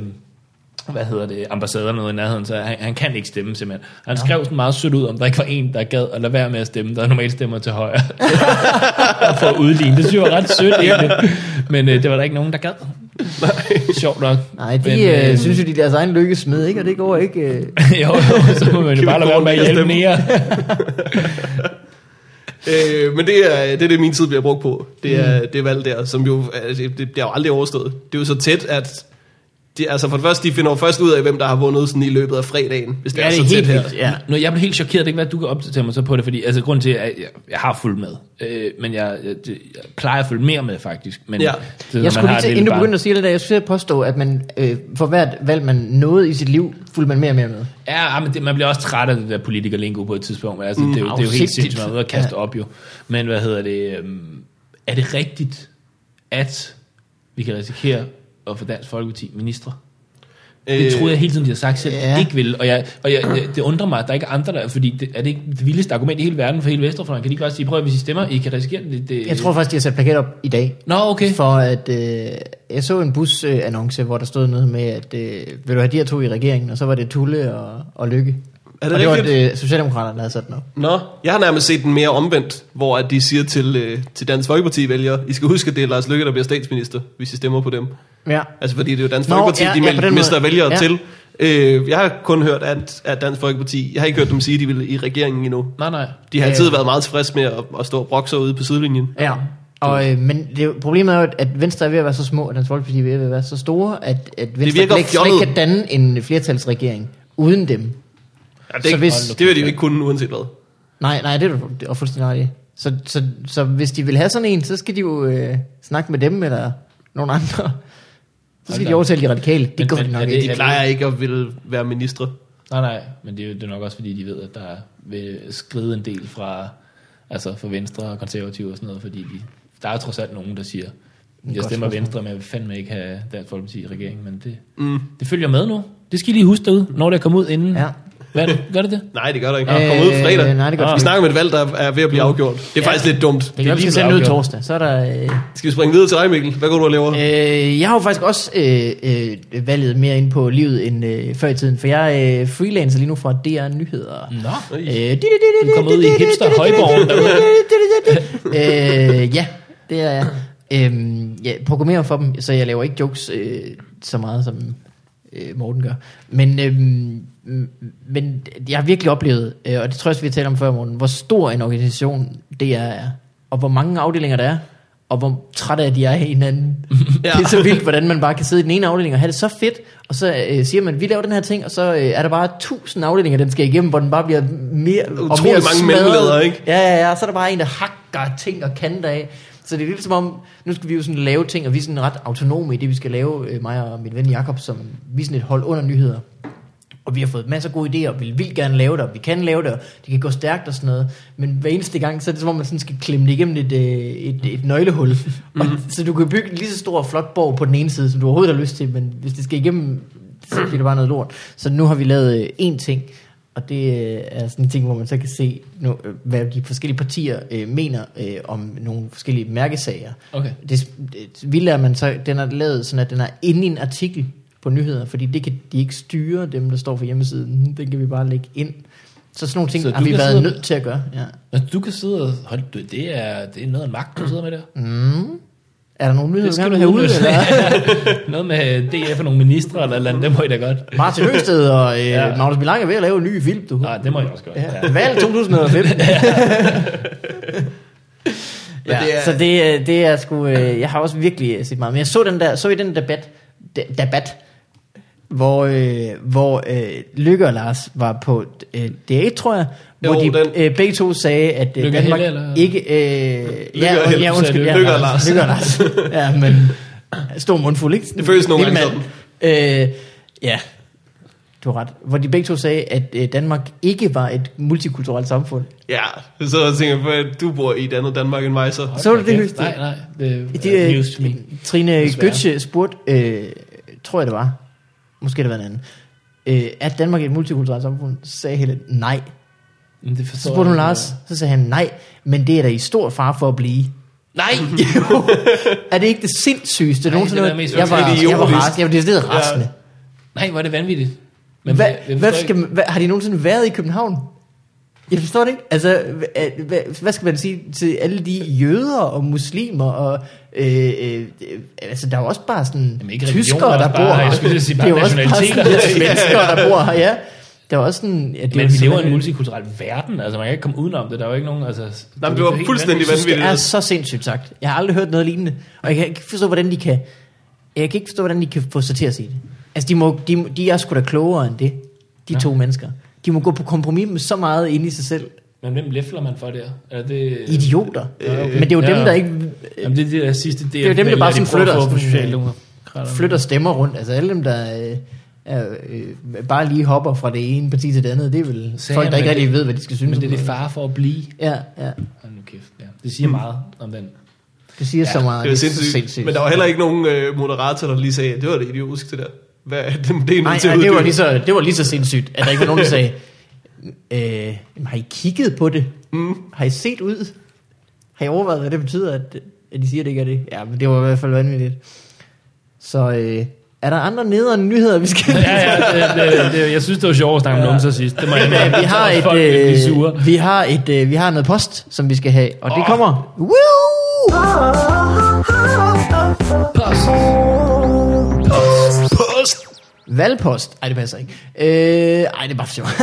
A: hvad hedder det, ambassader eller noget i nærheden, så han, han kan ikke stemme simpelthen. Han skrev sådan meget sødt ud, om der ikke var en, der gad at lade være med at stemme, der normalt stemmer til højre. for at udligne. Det synes jeg var ret sødt egentlig. Men øh, det var der ikke nogen, der gad. Sjovt nok.
C: Nej, de
A: Men,
C: øh, synes jo, de er deres egen lykke smed, ikke? Og det går ikke... Øh.
A: jo, jo, så må man jo
B: Kan
A: bare
B: vi
A: lade være
B: gå
A: med at
B: rundt
A: hjælpe
B: og
A: mere.
B: Øh, men det er, det er det, min tid bliver brugt på. Det er mm. det valg der, som jo, altså, det, det bliver jo aldrig overstået. Det er jo så tæt, at de, altså for det første, de finder jo først ud af, hvem der har vundet sådan i løbet af fredagen, hvis det
C: Ja,
B: er,
C: det
B: så
C: er
B: tæt
C: helt
B: her.
C: vildt. Ja.
A: Nu, jeg blev helt chokeret, det kan være, at du kan opdatere mig så på det, fordi altså, grunden til, at jeg, jeg har fulgt med, øh, men jeg, jeg, det- jeg, plejer at følge mere med, faktisk. Men,
B: Ja.
A: så, når
C: Jeg skulle
A: har
C: lige
A: et
C: til,
A: lille
C: inden du
A: barn-
C: begyndte at sige det der, jeg skulle til at påstå, at man øh, for hvert valg, man nåede i sit liv, fulgte man mere og mere med.
A: Ja, ja, men det, man bliver også træt af det der politikerlingo på et tidspunkt. men Altså, mm, det, er jo, det er jo helt
C: afsindigt.
A: sindssygt, man er ude at kaste
C: Ja.
A: op jo. Men hvad hedder det? øhm, Er det rigtigt, at vi kan risikere at få Dansk Folkeparti ministre? Det troede jeg hele tiden, de havde sagt selv, ja.
C: Øh, ja.
A: de ikke ville. Og, jeg, og jeg, jeg- det undrer mig, at der ikke er andre, der... Fordi det, er det ikke det vildeste argument i hele verden for hele Vesterfløjen? Kan de ikke også sige, prøv at hvis I stemmer, I kan risikere det? det
C: Jeg tror faktisk, de har sat plakat op i dag,
A: Nå, okay.
C: for at... Øh, jeg så en busannonce, hvor der stod noget med, at øh, vil du have de her to i regeringen, og så var det Tulle og, og Lykke.
B: Er det
C: og det var
B: rigtigt?
C: det, Socialdemokraterne, der havde sat den op.
B: Nå, jeg har nærmest set den mere omvendt, hvor at de siger til, øh, til Dansk Folkeparti-vælgere, I skal huske, at det er Lars Løkke, der bliver statsminister, hvis I stemmer på dem.
C: Ja.
B: Altså fordi det er jo Dansk
C: Nå,
B: Folkeparti,
C: ja,
B: de
C: ja, på
B: mel-
C: den
B: mister
C: måde.
B: vælgere ja.
C: Ja.
B: til. Øh, jeg har kun hørt, at, at Dansk Folkeparti, jeg har ikke hørt dem sige, at de vil i regeringen endnu.
A: Nej, nej.
B: De har
C: Ja,
B: altid
C: ja.
B: været meget tilfredse med at, at stå og brokke sig ude på sidelinjen.
C: Ja, og, øh, men det, er jo- problemet er jo, at Venstre er ved at være så små, og Dansk Folkeparti er ved at være så store, at, at Venstre
B: virker
C: slet ikke, slet ikke
B: fjollet.
C: kan danne en flertalsregering uden dem.
B: Ja, det,
C: Så
B: er ikke,
C: hvis-
B: det vil de jo ikke kunne, uanset hvad.
C: Nej, nej, det er du- det er fuldstændig ret i. Så, så, så hvis de vil have sådan en, så skal de jo øh, snakke med dem eller nogen andre. Så skal
A: Hold
C: de
A: da.
C: overtale de radikale. Det
A: Men-
C: går
A: men
C: de nok
A: er det-
C: ikke.
B: De plejer ikke at ville være ministre.
A: Nej, nej, men det er jo det er nok også, fordi de ved, at der vil skride en del fra, altså fra Venstre og konservative og sådan noget, fordi de, der er trods alt nogen, der siger, jeg
C: Godt
A: stemmer
C: spørgsmål.
A: Venstre, men jeg vil fandme ikke have Dansk Folkeparti i regeringen, men det, mm. det følger med nu. Det skal I lige huske derude, når det kommer ud inden.
C: Ja.
A: Hvad er det? Gør det det?
B: Nej, det gør der ikke.
C: Øh,
B: Øh, Kom ud fredag.
C: nej, det gør
B: vi
C: det ikke. Mm.
B: snakker om et valg, der er ved at blive afgjort. Det er ja. faktisk lidt dumt.
C: Det kan vi skal
A: blevet
C: sende ud
A: afgjort.
C: torsdag. Så er der... Øh,
B: Skal vi springe videre til dig, Mikkel? Hvad går du og laver?
C: Øh, jeg har jo faktisk også øh, øh, valget mere ind på livet end øh, før i tiden, for jeg øh, freelancer lige nu fra DR Nyheder.
A: Nå.
C: Øh,
A: Du kommer ud i hipster-højborgen
C: øh, ja, det er jeg. Øhm, jeg programmerer for dem, så jeg laver ikke jokes øh, så meget, som øh, Morten gør. Men, øhm, m- men jeg har virkelig oplevet, øh, og det tror jeg også, vi har talt om før, Morten, hvor stor en organisation det er, og hvor mange afdelinger der er, og hvor trætte af de er af hinanden. ja.
B: Ja.
C: Det er så vildt, hvordan man bare kan sidde i den ene afdeling og have det så fedt, og så øh, siger man, vi laver den her ting, og så øh, er der bare tusind afdelinger, den skal igennem, hvor den bare bliver mere
B: Utrolig mange
C: smadret.
B: mellemledere, ikke?
C: Ja, ja, ja, så er der bare en, der hakker ting og kanter af. Så det er lidt som om, nu skal vi jo sådan lave ting, og vi er sådan ret autonome i det, vi skal lave, øh, mig og min ven Jakob, som vi er sådan et hold under nyheder. Og vi har fået masser af gode idéer, og vi vil gerne lave det, og vi kan lave det, og det kan gå stærkt og sådan noget. Men hver eneste gang, så er det som om, man sådan skal klemme det igennem et, øh, et, et nøglehul. Mm. Og, så du kan bygge en lige så stor og flot borg på den ene side, som du overhovedet har lyst til, men hvis det skal igennem, så bliver det bare noget lort. Så nu har vi lavet øh, én ting, og det øh, er sådan en ting, hvor man så kan se, nu, øh, hvad de forskellige partier øh, mener øh, om nogle forskellige mærkesager.
A: Okay.
C: Det, det vildt er at man så, den er lavet sådan, at den er inde i en artikel på nyheder, fordi det kan de ikke styre, dem der står for hjemmesiden, Hmm, den kan vi bare lægge ind. Så sådan nogle ting
A: Så
C: så har
A: du
C: vi
A: kan
C: været
A: sidde og-
C: nødt til at gøre. Ja.
A: Men du kan sidde og... Hold, du- det er, det er noget af magt, du sidder med der.
C: Mm. Er der nogle nyheder,
A: Det
C: du
A: skal
C: gerne
A: du
C: vil have ud?
A: udnytte.
C: Eller?
A: Noget med DF og nogle ministre eller et eller andet, det må I da godt.
C: Martin Høsted og øh, ja.
A: Ja.
C: Magnus Milang er ved at lave en ny film, du.
A: Nej, det må I også godt.
C: Ja. Valg 2005.
B: Men
C: ja,
B: det er-
C: Så det, er- det er sgu... øh, Jeg har også virkelig øh, set meget. Men jeg så den der, så i den debat, de- debat hvor, øh, hvor øh, Lykke og Lars var på øh, det tror jeg, hvor
B: Jo,
C: de
B: den.
C: øh, begge to sagde, at øh,
A: Lykke og
C: Danmark
A: Helle, eller?
C: ikke... Øh, ja,
B: og Helle,
C: ja,
A: du
C: undskyld.
A: sagde
C: Ja,
B: Lykke og Lars.
C: Lykke og Lars. ja, men stor mundfuld, ikke?
B: Det føles nogle
C: Lille
B: gange
C: mand. Øh, ja, du har ret. Hvor de begge to sagde, at øh, Danmark ikke var et multikulturelt samfund.
B: Ja, så tænker jeg, at du bor i et andet Danmark end mig, så...
C: Så du det, Høsted?
A: Nej, nej. Det,
C: Det,
A: er
C: øh,
A: news to me.
C: Trine
A: Desværre.
C: Gøtje spurgte, øh, tror jeg det var, måske det var en anden, øh, er Danmark et multikulturelt samfund? Så sagde Helle nej.
A: Men det
C: Så
A: forstår
C: spurgte
A: jeg
C: hun
A: ikke.
C: Lars, så sagde han nej, men det er da i stor far for at blive.
A: Nej!
C: Jo. er det ikke det sindssygeste?
A: Nej,
C: nogensinde
A: det er da
C: har hørt?
A: mest
C: jeg var,
B: idiotisk.
C: jeg var rasende. Jeg var decideret rasende.
A: Nej, hvor er det vanvittigt.
C: Hvad,
A: jeg
C: hvad
A: forstår
C: skal, man- hvad, har de nogensinde været i København? Jeg forstår det ikke. Altså, hvad, hvad, hvad skal man sige til alle de jøder og muslimer og... Øh, øh, øh, altså, der er jo også bare sådan
A: Jamen, ikke religioner,
C: tyskere, der
A: bare-
C: bor her.
A: jeg skulle til at sige,
C: det
A: bare
C: er jo også bare sådan
A: nationaliteter.
C: lidt svenskere, der bor her, ja. Der er også sådan... Ja, det er
A: ikke. Men
C: jo
A: vi
C: sådan-
A: lever i en multikulturel verden, altså man kan ikke komme udenom det. Der er jo ikke nogen, altså...
B: Nej, men det
A: er
B: var
A: helt
B: fuldstændig
A: vanvittigt.
B: vanvittigt.
C: Det er så sindssygt sagt. Jeg har aldrig hørt noget lignende. Og jeg kan ikke forstå, hvordan de kan... Jeg kan ikke forstå, hvordan de kan få sig til at sige det. Altså, de, må, de, de er sgu da klogere end det. De to mennesker. De må gå på kompromis med så meget inde i sig selv.
A: Men hvem læfler man for der? Er det...
C: Idioter.
A: Ja, okay.
C: Men det er jo dem,
A: Øh, Ja.
C: der ikke øh,
A: Jamen, det er det der sidste del.
C: er jo dem, der bare sådan flytter
A: på
C: sådan, øh,
A: Socialdemokraterne.
C: flytter stemmer rundt. Altså, alle dem, der øh, er, øh, bare lige hopper fra det ene parti til det andet, det er vel
A: Sagen
C: folk, der
A: er,
C: ikke
A: men
C: rigtig
A: det-
C: ved, hvad de skal synes.
A: Men det
C: om
A: er det far for at blive.
C: Ja, ja.
A: Hold nu kæft, ja. Det
C: Mm.
A: siger meget om den.
C: Det siger ja, så meget.
B: Det var sindssygt. sindssygt. Men der var heller ikke nogen øh, moderator, der lige sagde, at det var det idiotisk, det der. Hvad, det, det er nødt
C: Nej,
B: til
C: nej
B: at
C: det, var ligesom-
B: uddybe.
C: lige så, det var lige så sindssygt, at der ikke var nogen, der sagde, øh, jamen, har I kigget på det? Mm. Har I set ud? Har I overvejet, hvad det betyder, at, at de siger, at det ikke er det? Ja, men det var i hvert fald vanvittigt. Så øh, er der andre nederen nyheder, vi skal...
A: Ja, ja, det, det, det, jeg synes, det var sjovt at snakke ja. om numser sidst. Det må jeg indrømme.
C: vi har
A: Så
C: et,
A: folk vil blive sure.
C: øh, vi har et, øh, vi har noget post, som vi skal have, og det
A: Åh.
C: kommer. Woo!
D: Ah,
B: Post!
C: Valgpost. Ej, det passer ikke. Øh, ej, det er bare for sjov.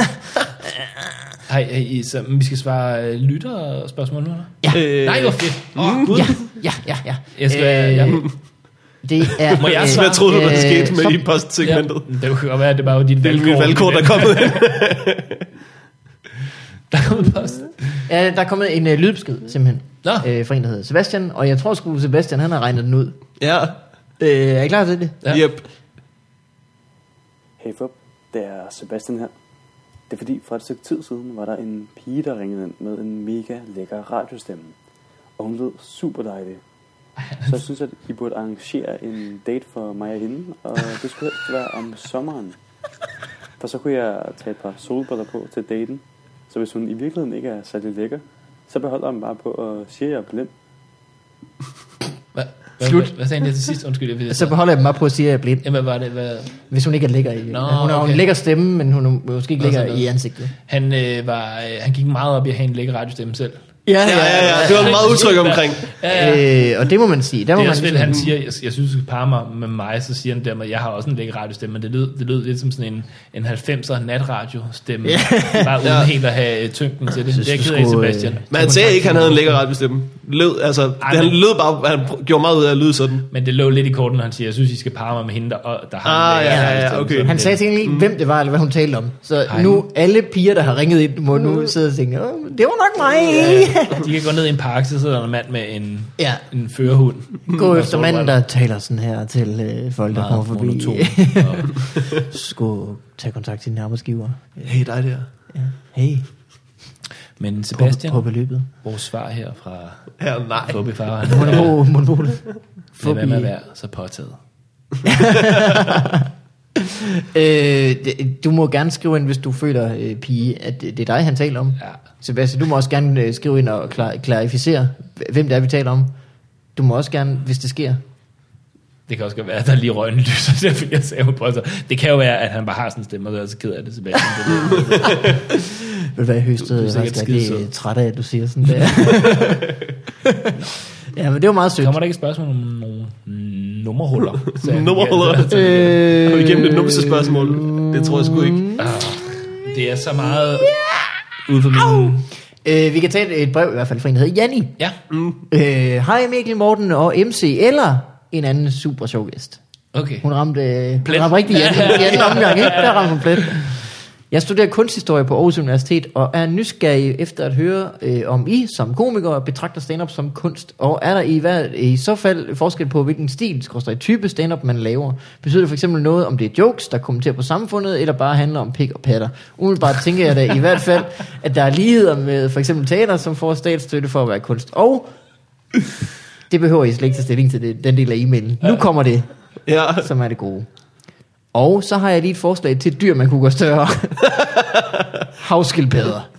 A: Hej, hey, så vi skal svare øh, lytterspørgsmål nu, eller?
C: ja.
B: Øh,
A: Nej, hvor fedt. Åh, Gud.
C: ja, ja, ja, ja.
A: Jeg skal- ja.
C: Det er...
A: Må jeg
C: øh,
A: svare?
B: Hvad troede du, der
C: øh,
B: skete med
C: så-
B: i postsegmentet?
A: Ja, det kunne godt være, at det bare var dit
B: Det er mit
A: valgkort.
B: valgkort, der er kommet ind.
A: Der er kommet post.
C: Ja, der er kommet en øh, lydbesked, simpelthen.
A: Nå.
C: Øh, fra en, der hedder Sebastian. Og jeg tror sgu, Sebastian han har regnet den ud.
B: Ja,
C: Øh, er I klar til det?
A: Ja.
B: ja. Yep.
E: Hey Fup, det er Sebastian her. Det er fordi, for et stykke tid siden var der en pige, der ringede ind med en mega lækker radiostemme. Og hun lød super dejlig. Så jeg synes, at I burde arrangere en date for mig og hende, og det skulle helst være om sommeren. For så kunne jeg tage et par solbriller på til daten. Så hvis hun i virkeligheden ikke er særlig lækker, så beholder hun bare på at sige, at jeg er blind.
A: Hvad, hvad,
C: Slut. Altså,
A: Hvad, hvad sagde han der til sidst? Undskyld, jeg ved
C: Så beholder jeg dem op på at sige, at jeg er blind.
A: Jamen, hvad var det? Hvad,
C: Hvis hun ikke er lækker i...
A: Nå,
C: hun har jo
A: okay.
C: en lækker stemme, men hun er måske ikke
A: Nå,
C: lækker
A: sådan noget.
C: i ansigtet.
A: han, øh, var, øh, han gik meget op i at have en lækker radiostemme selv.
C: Ja,
B: Ja, ja, ja. Det var meget utryg omkring.
A: Ja, ja.
C: Øh, og det må man sige. Der
A: Det
C: må
A: er
C: man
A: også vel,
C: ligesom-
A: han siger, jeg, jeg synes, du skal parre mig med mig, så siger han dermed, jeg har også en lækker radiostemme, men det lød, det lød lidt som sådan en, en 90'er natradiostemme, yeah. bare uden
B: Ja.
A: ja. helt at have øh, tyngden til det.
C: synes,
A: det er jeg
C: du
A: ked af,
C: skulle, øh,
A: Sebastian.
B: Men han sagde ikke, at han havde en lækker ret bestemme. Lød, altså, Ej, han
A: men-
B: lød bare, han pr- gjorde meget ud af at lyde sådan.
A: Men det lå lidt i korten, når han siger, jeg synes, I skal parre mig med hende, der, og- der har
B: Ah,
A: en lækker
B: ja, ja, ja,
A: radiostemme.
B: okay.
A: Så
C: Han
A: det-
C: sagde til ikke, hvem det var, eller hvad hun talte om. Så
A: Mm. Ej. Mm.
C: nu alle piger, der har ringet ind, må nu sidde og tænke, Åh, det var nok mig.
A: De kan gå ned i en park, så sidder der en mand med en,
C: Ja.
A: en førerhund.
C: Mm. Gå
A: Og
C: efter
A: solbriller.
C: manden, der taler sådan her til øh, folk, der
A: Meget
C: kommer forbi.
A: monoton.
C: Skulle tage kontakt til din arbejdsgiver.
B: Hey, dig der.
C: Ja. Hey,
A: Men
C: på,
A: Sebastian,
C: på beløbet.
A: vores svar her fra
B: Ja, nej.
A: Fobifar, han er,
C: Monopol, monopol.
A: lad være med at
C: Fobi.
A: være så påtaget.
C: Øh, det- du må gerne skrive ind, hvis du føler, øh, pige, at det det er dig, han taler om.
A: Ja.
C: Sebastian, du må også gerne øh, skrive ind og klar, klarificere, hvem det er, vi taler om. Du må også gerne, hvis det sker.
A: Det kan også godt være, at der lige røg en lyser, der fik jeg sagde på sig. Det kan jo være, at han bare har sådan en stemme, og så er jeg så ked af det, Sebastian. Det ved jeg.
C: Ved du hvad, jeg høstede
A: Du er
C: du, du
A: sikkert
C: faktisk, at det er
A: skidesød.
C: træt af, at du siger sådan der. ja, men det var meget sødt.
A: Kommer der ikke et spørgsmål om nogle nummerhuller? Så han-
B: Nummerhuller.
A: Ja, så-
B: Er vi
C: Øh,
B: igennem det numse spørgsmål? Det tror jeg sgu ikke.
A: Ah, Det er så meget ude for min...
C: øh, vi kan tage et, et brev i hvert fald fra en, der hedder Janni.
A: Ja, Mm.
C: Øh, Hej Mikkel Morten og MC, eller en anden super sjov gæst.
A: okay.
C: Hun ramte, øh,
A: Plet.
C: Hun ramte rigtig Janni i anden omgang, ikke? Der ramte hun plet. Jeg studerer kunsthistorie på Aarhus Universitet og er nysgerrig efter at høre, øh, om I som komikere betragter stand-up som kunst. Og er der i, hver, i så fald forskel på, hvilken stil, skorstræk type stand-up man laver? Betyder det for eksempel noget, om det er jokes, der kommenterer på samfundet, eller bare handler om pik og patter? Umiddelbart tænker jeg da i hvert fald, at der er ligheder med for eksempel teater, som får statsstøtte for at være kunst. Og det behøver I slet ikke tage stilling til det, den del af e-mailen. Nu kommer det
B: Ja.
C: som er det gode. Og så har jeg lige et forslag til et dyr, man kunne gøre større. havskildpadder.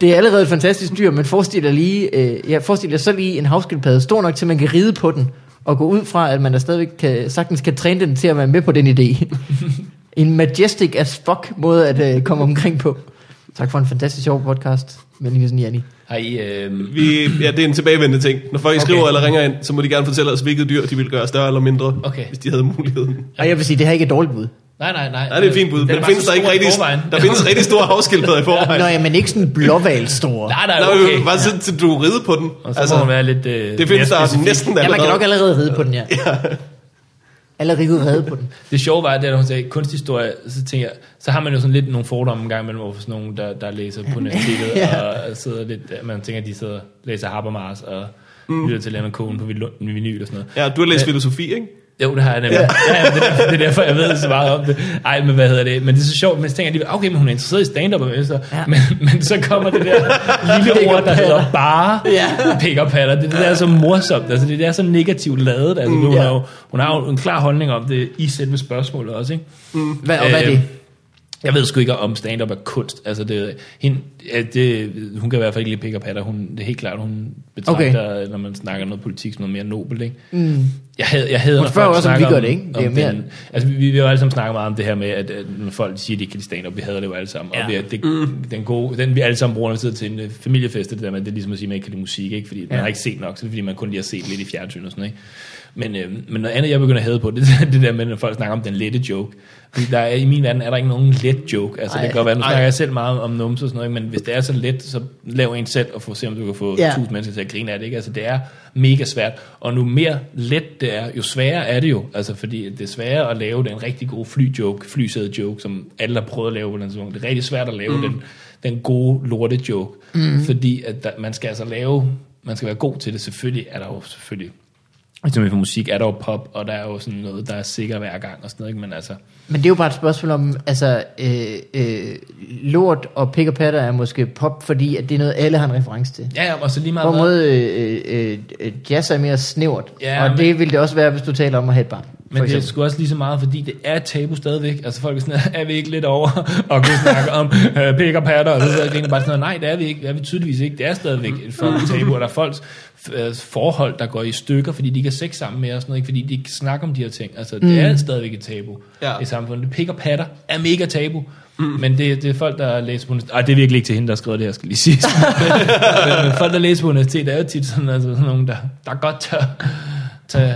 C: Det er allerede et fantastisk dyr, men forestil dig, lige, øh, ja, forestil dig så lige en havskildpadde stor nok til, at man kan ride på den, og gå ud fra, at man da stadigvæk kan, sagtens kan træne den til at være med på den idé. en majestic as fuck måde at øh, komme omkring på. Tak for en fantastisk sjov podcast. Men Nielsen Janni.
A: Har I... Øh,
B: Vi, ja, det er en tilbagevendende ting. Når folk okay.
A: Okay.
B: skriver eller ringer ind, så må de gerne fortælle os, hvilket dyr de ville gøre større eller mindre,
A: Okay.
B: hvis de havde muligheden.
C: Og jeg vil sige, det her ikke er et dårligt bud.
A: nej, nej, nej.
B: Nej, det er et fint bud,
A: Den er
B: men
A: bare
B: findes
A: så
B: der, ikke
A: stor i
B: rigtig,
A: forvejen.
B: der findes rigtig store havskildpadder i forvejen.
C: Nå ja, men ikke sådan blåvalsstore.
A: Nej, nej,
B: Der er
A: okay.
B: jo bare sådan, til du ride på den.
A: Og så altså, må hun være lidt... Øh,
B: det findes
A: mere
B: der
A: specifik.
B: næsten
C: Ja, man kan
B: allerede.
C: nok allerede ride på den, ja. Allerede ride på den.
A: Det sjove var, at da hun sagde kunsthistorie, så tænker jeg, så har man jo sådan lidt nogle fordomme en gang imellem overfor sådan nogen, der, der læser på universitetet,
C: Ja.
A: ja. og sidder lidt, man tænker, at de sidder og læser Habermas, og mm. lytter til Leonard Cohen på vinyl- vinyl og sådan noget.
B: Ja, du har læst filosofi, ikke?
A: Jo, det har jeg nemlig. Ja. Ja, det, er, det er derfor, jeg ved så meget om det. Ej, men hvad hedder det? Men det er så sjovt, men så tænker jeg lige, okay, men hun er interesseret i stand-up, og så,
C: Ja.
A: ja. men, men så kommer det der lille ord, der hedder bare
C: Ja.
A: pick up patter. Det, er det der er så morsomt, altså det der er så negativt lavet. Altså, mm, hun,
C: ja.
A: har jo, hun har jo en klar holdning om det i selve spørgsmålet også, ikke?
C: Hvad, og hvad er
A: Øh,
C: det?
A: Jeg ved sgu ikke, om stand-up er kunst. Altså, det, hende, ja, det, hun kan i hvert fald ikke lide pick up patter. Hun, det er helt klart, hun betragter, okay. når man snakker noget politik, som noget mere nobelt, ikke? Mm. Jeg havde, jeg havde
C: Hun spørger også, om vi gør det, ikke? Det er mere-
A: den, altså, vi, vi har jo alle sammen snakket meget om det her med, at, at når folk siger, at de ikke kan lide stand-up, vi hader det jo alle sammen. Ja. Og
C: Ja. Mm.
A: det, det, den, gode, den vi alle sammen bruger, når vi sidder til en øh, familiefest, det der med, det er ligesom at sige, at man ikke kan lide musik, ikke? Fordi man
C: Ja.
A: har ikke set nok, så det er fordi, man kun lige har set lidt i fjernsyn og sådan noget, ikke? Men, øh, men noget andet, jeg begynder at hade på, det er det der med, når folk snakker om den lette joke. Fordi der er, i min verden er der ikke nogen let joke. Altså,
C: Ej.
A: det kan godt være, nu snakker jeg selv meget om numse og sådan noget, ikke? men hvis det er så let, så lav en selv og få, se, om du kan få
C: Ja.
A: ja. 1000 mennesker til at grine af det. Ikke? Altså, det er mega svært. Og nu mere let det er, jo sværere er det jo. Altså, fordi det er sværere at lave den rigtig gode flyjoke, flysæde joke, som alle har prøvet at lave på den tidspunkt. Det er rigtig svært at lave mm. den, den gode lorte joke. Mm. Fordi at der, man skal altså lave, man skal være god til det. Selvfølgelig er der jo selvfølgelig, ligesom for musik er der jo pop, og der er jo sådan noget, der er sikker hver gang og sådan noget, ikke? men altså,
C: Men det er jo bare et spørgsmål om, altså, øh, øh, lort og pik og patter er måske pop, fordi at det er noget, alle har en reference til.
A: ja, ja, og så lige meget,
C: På en
A: hvad-
C: måde, øh, øh, øh, jazz er mere snævert,
A: Ja,
C: ja, og
A: men-
C: det ville det også være, hvis du taler om at have et barn. for
A: Men det er
C: eksempel.
A: sgu også lige så meget, fordi det er et tabu stadigvæk. Altså folk er sådan, er vi ikke lidt over og kunne snakke om øh, pik og patter? Og så er det bare sådan, nej, det er vi ikke. Det er vi tydeligvis ikke. Det er stadigvæk et fucking tabu, og der er folks øh, forhold, der går i stykker, fordi de ikke har sex sammen med og sådan noget, ikke? fordi de ikke snakker om de her ting. Altså
C: Mm.
A: det er stadigvæk et tabu
B: Ja.
A: i samfundet. Pik og patter er mega tabu.
C: Mm.
A: Men det, det er folk, der læser på universitetet. Ej, det er virkelig ikke til hende, der har skrevet det her, skal lige sige. men, men folk, der læser på universitetet, er jo tit sådan, altså, sådan nogen, der, der godt tør tage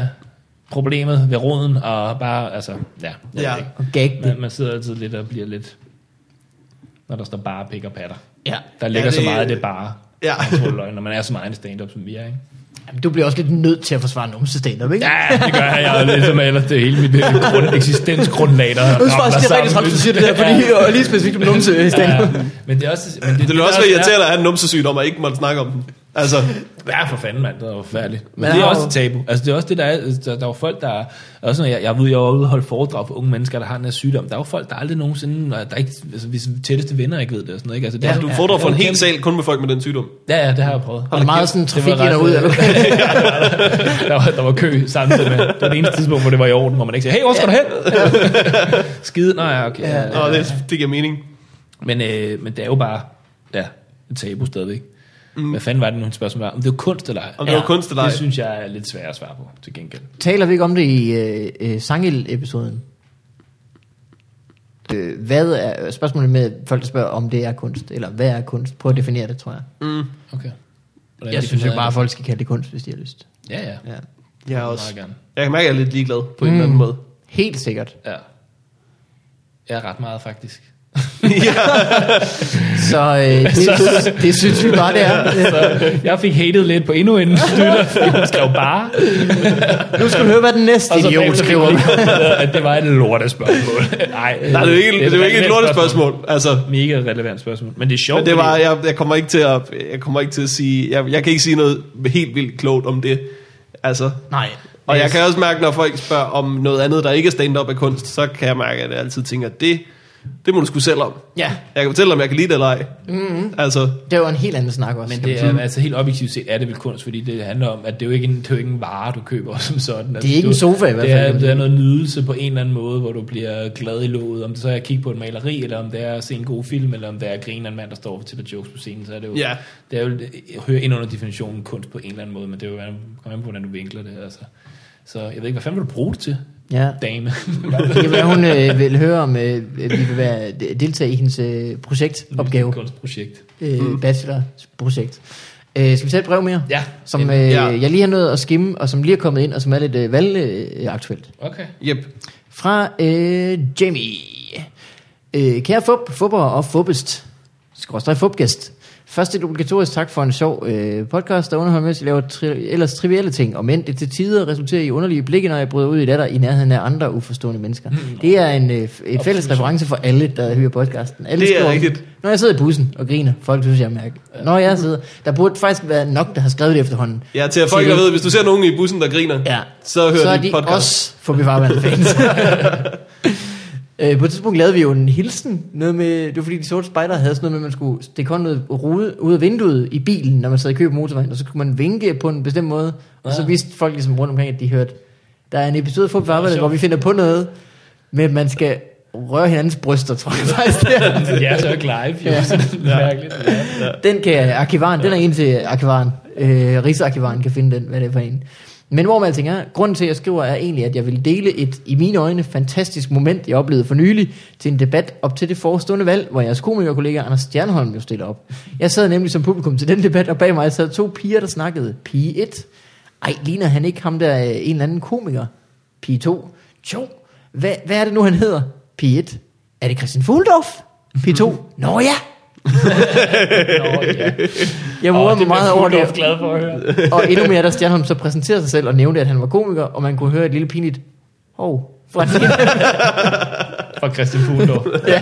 A: problemet ved roden, og bare, altså, ja. jeg ved
B: Ja.
A: ikke.
C: Og gag det.
A: Man, man sidder altid lidt og bliver lidt, når der står bare pik og patter.
C: Ja.
A: Der ligger ja,
B: det-
A: det, så meget af det bare.
B: Ja.
A: man tror løgn, Når man er så meget en stand-up, som vi er, ikke?
C: Jamen, du bliver også lidt nødt til at forsvare numsestand, ikke?
A: Ja, det gør jeg. Jeg er lidt som ellers det er hele mit øh, grund, eksistensgrundlag, der
C: Jeg synes faktisk, det er rigtig træt, du siger det der, fordi og lige specifikt om numsestand.
A: Ja, men det er også... Men det, der
B: Det ville også være
A: er-
B: irriterende at have en numsesygdom og ikke måtte snakke om den. Altså,
A: Ja, for fanden, mand. Det er jo forfærdeligt. Men,
C: Men
A: det er
C: der er
A: også
C: jo-
A: et tabu. Altså, det er også det, der er. altså, Der, der er jo folk, der... er- Også når jeg, jeg ved, jeg har ude holdt foredrag for unge mennesker, der har den her sygdom. Der er jo folk, der aldrig nogensinde... Der er ikke, altså, hvis tætteste venner ikke ved det og sådan noget, ikke? Altså, det er,
B: du
A: ja,
B: får dig for en
A: det er jo
B: hel sal kun med folk med den sygdom.
A: kæmpe- Ja, ja, det har jeg prøvet.
C: Og meget sådan
A: Det var
C: trafik
A: ret,
C: derud,
A: øh,
C: eller hvad?
A: Der var, der var kø samtidig med. Det var det eneste tidspunkt, hvor det var i orden, hvor man ikke sagde, hey, hvor skal du hen? Skide. Nej, ja, okay. Ja,
B: Og det, det giver mening.
A: Men, øh, men det er jo bare... Ja, et tabu stadigvæk. Mm. Hvad fanden var det nu, hendes spørgsmål var? Om det var kunst eller ej?
B: Om det var kunst eller ej.
A: Det synes jeg er lidt svært at svare på, til gengæld.
C: Taler vi ikke om det i øh, øh, sangild-episoden? Øh, hvad er, spørgsmålet med folk, der spørger, om det er kunst, eller hvad er kunst? Prøv at definere det, tror jeg.
A: Okay. Hvordan
C: Jeg synes jo bare, at
A: for...
C: folk skal kalde det kunst, hvis de har lyst.
A: Ja, ja.
C: Ja.
B: Jeg, Mm. er
A: Meget
B: også,
A: gerne.
B: jeg kan mærke, at jeg er lidt ligeglad på en eller anden måde.
C: Helt sikkert.
A: Ja. Jeg er ret meget, faktisk.
C: Så øh, det,
A: Så-
C: det synes vi bare, det er.
A: Så jeg fik hated lidt på endnu en støtter, fordi hun skrev bare.
C: Nu skal du høre, hvad den næste idiot
A: bagefter fik
C: skriver.
A: hun lige konkluderet, at det var et lortespørgsmål. Nej,
B: Nej, det er jo ikke, det er jo ikke et lortespørgsmål. Altså,
A: Mega relevant spørgsmål. Men det er sjovt.
B: men det
A: fordi-
B: var, jeg, jeg, kommer ikke til at, jeg kommer ikke til at sige, jeg, jeg kan ikke sige noget helt vildt klogt om det. Altså,
C: Nej.
B: og jeg kan også mærke, når folk spørger om noget andet, der ikke er stand-up af kunst, så kan jeg mærke, at jeg altid tænker, det, det må du sgu selv om.
C: Ja,
B: Jeg kan fortælle, om jeg kan lide det eller ej. Mm-hmm. Altså,
C: det var en helt anden snak også.
A: Men det er altså helt objektivt set, er det vel kunst, fordi det handler om, at det er jo ikke en, det er jo ikke en vare, du køber som sådan. Altså,
C: ikke
A: du,
C: en sofa i hvert
A: det
C: fald, kan
A: Er,
C: man
A: det er
C: sige.
A: noget nydelse på en eller anden måde, hvor du bliver glad i låget. Om det så er at kigge på et maleri, eller om det er at se en god film, eller om det er at grine af en mand, der står til at jokes på scenen, så er det jo,
B: Ja.
A: det er jo hører ind under definitionen kunst på en eller anden måde, men det er jo, kommer an på, hvordan du vinkler det. Altså. Så jeg ved ikke, hvad fanden vil du bruge det til,
C: ja.
A: dame?
C: Det kan være, hun øh, vil høre, om øh, vi vil være, deltage i hendes øh, projektopgave.
A: Kunstprojekt.
C: Øh, bachelorprojekt. Øh, skal vi tage et brev mere?
A: Ja.
C: Som
A: En-
C: øh,
B: ja.
C: jeg lige har nået at skimme, og som lige er kommet ind, og som er lidt øh, valgaktuelt.
A: Okay.
B: yep.
C: Fra øh, Jamie. Øh, kære fup, fupper og fubbest. Skråstrej fubgæst. Først et obligatorisk tak for en sjov øh, podcast, der underholder, mens jeg laver tri- ellers trivielle ting, og men det til tider resulterer i underlige blikke, når jeg bryder ud i latter i nærheden af andre uforstående mennesker.
B: Mm,
C: Det er en øh, f- øh, fælles reference for alle, der hører podcasten. Alle
B: Det er
C: skriver om-
B: rigtigt.
C: Når jeg sidder i bussen og griner, folk synes, jeg er mærke. Når jeg sidder, der burde faktisk være nok, der har skrevet det efterhånden.
B: Ja, til at folk, der ved, hvis du ser nogen i bussen, der griner,
C: Ja.
B: så hører
C: så er
B: de
C: de
B: podcast.
C: også Fubi Farvand fans. Øh, på et tidspunkt lavede vi jo en hilsen. Noget med, det var fordi de sorte spejder havde sådan noget med, at man skulle stikke hånden ud, rude, ud af vinduet i bilen, når man sad i kø på motorvejen, og så kunne man vinke på en bestemt måde. Og så
B: Ah.
A: Ja.
C: vidste folk ligesom rundt omkring, at de hørte. Der er en episode fra Farvand,
A: sjovt.
C: hvor vi finder på noget med, at man skal røre hinandens bryster, tror jeg faktisk. det er.
A: Men jeg er så ikke live, jo. Ja. Så det er mærkeligt. Ja.
C: Den kan arkivaren, den er en til arkivaren. Øh, Rigsarkivaren kan finde den, hvad det er for en. Men hvor man tænker, grunden til, at jeg skriver, er egentlig, at jeg vil dele et, i mine øjne, fantastisk moment, jeg oplevede for nylig, til en debat op til det forestående valg, hvor jeres komikerkollega Anders Stjernholm jo stiller op. Jeg sad nemlig som publikum til den debat, og bag mig sad to piger, der snakkede. Pige 1. Ej, ligner han ikke ham der, øh, en eller anden komiker? Pige 2. Jo, hvad, hvad er det nu, han hedder? Pige 1. Er det Christian Fuldorf? Pige 2. Nå ja,
A: Nå, ja.
C: jeg
A: Åh,
C: morede mig
A: det
C: meget
A: bliver
C: over
A: Fuglendorf
C: det.
A: glad for at høre.
C: Og endnu mere, da Stjernholm så præsenterede sig selv og nævnte, at han var komiker, og man kunne høre et lille pinligt hov fra den ene.
A: For fra Christian Fuglendorf.
C: ja.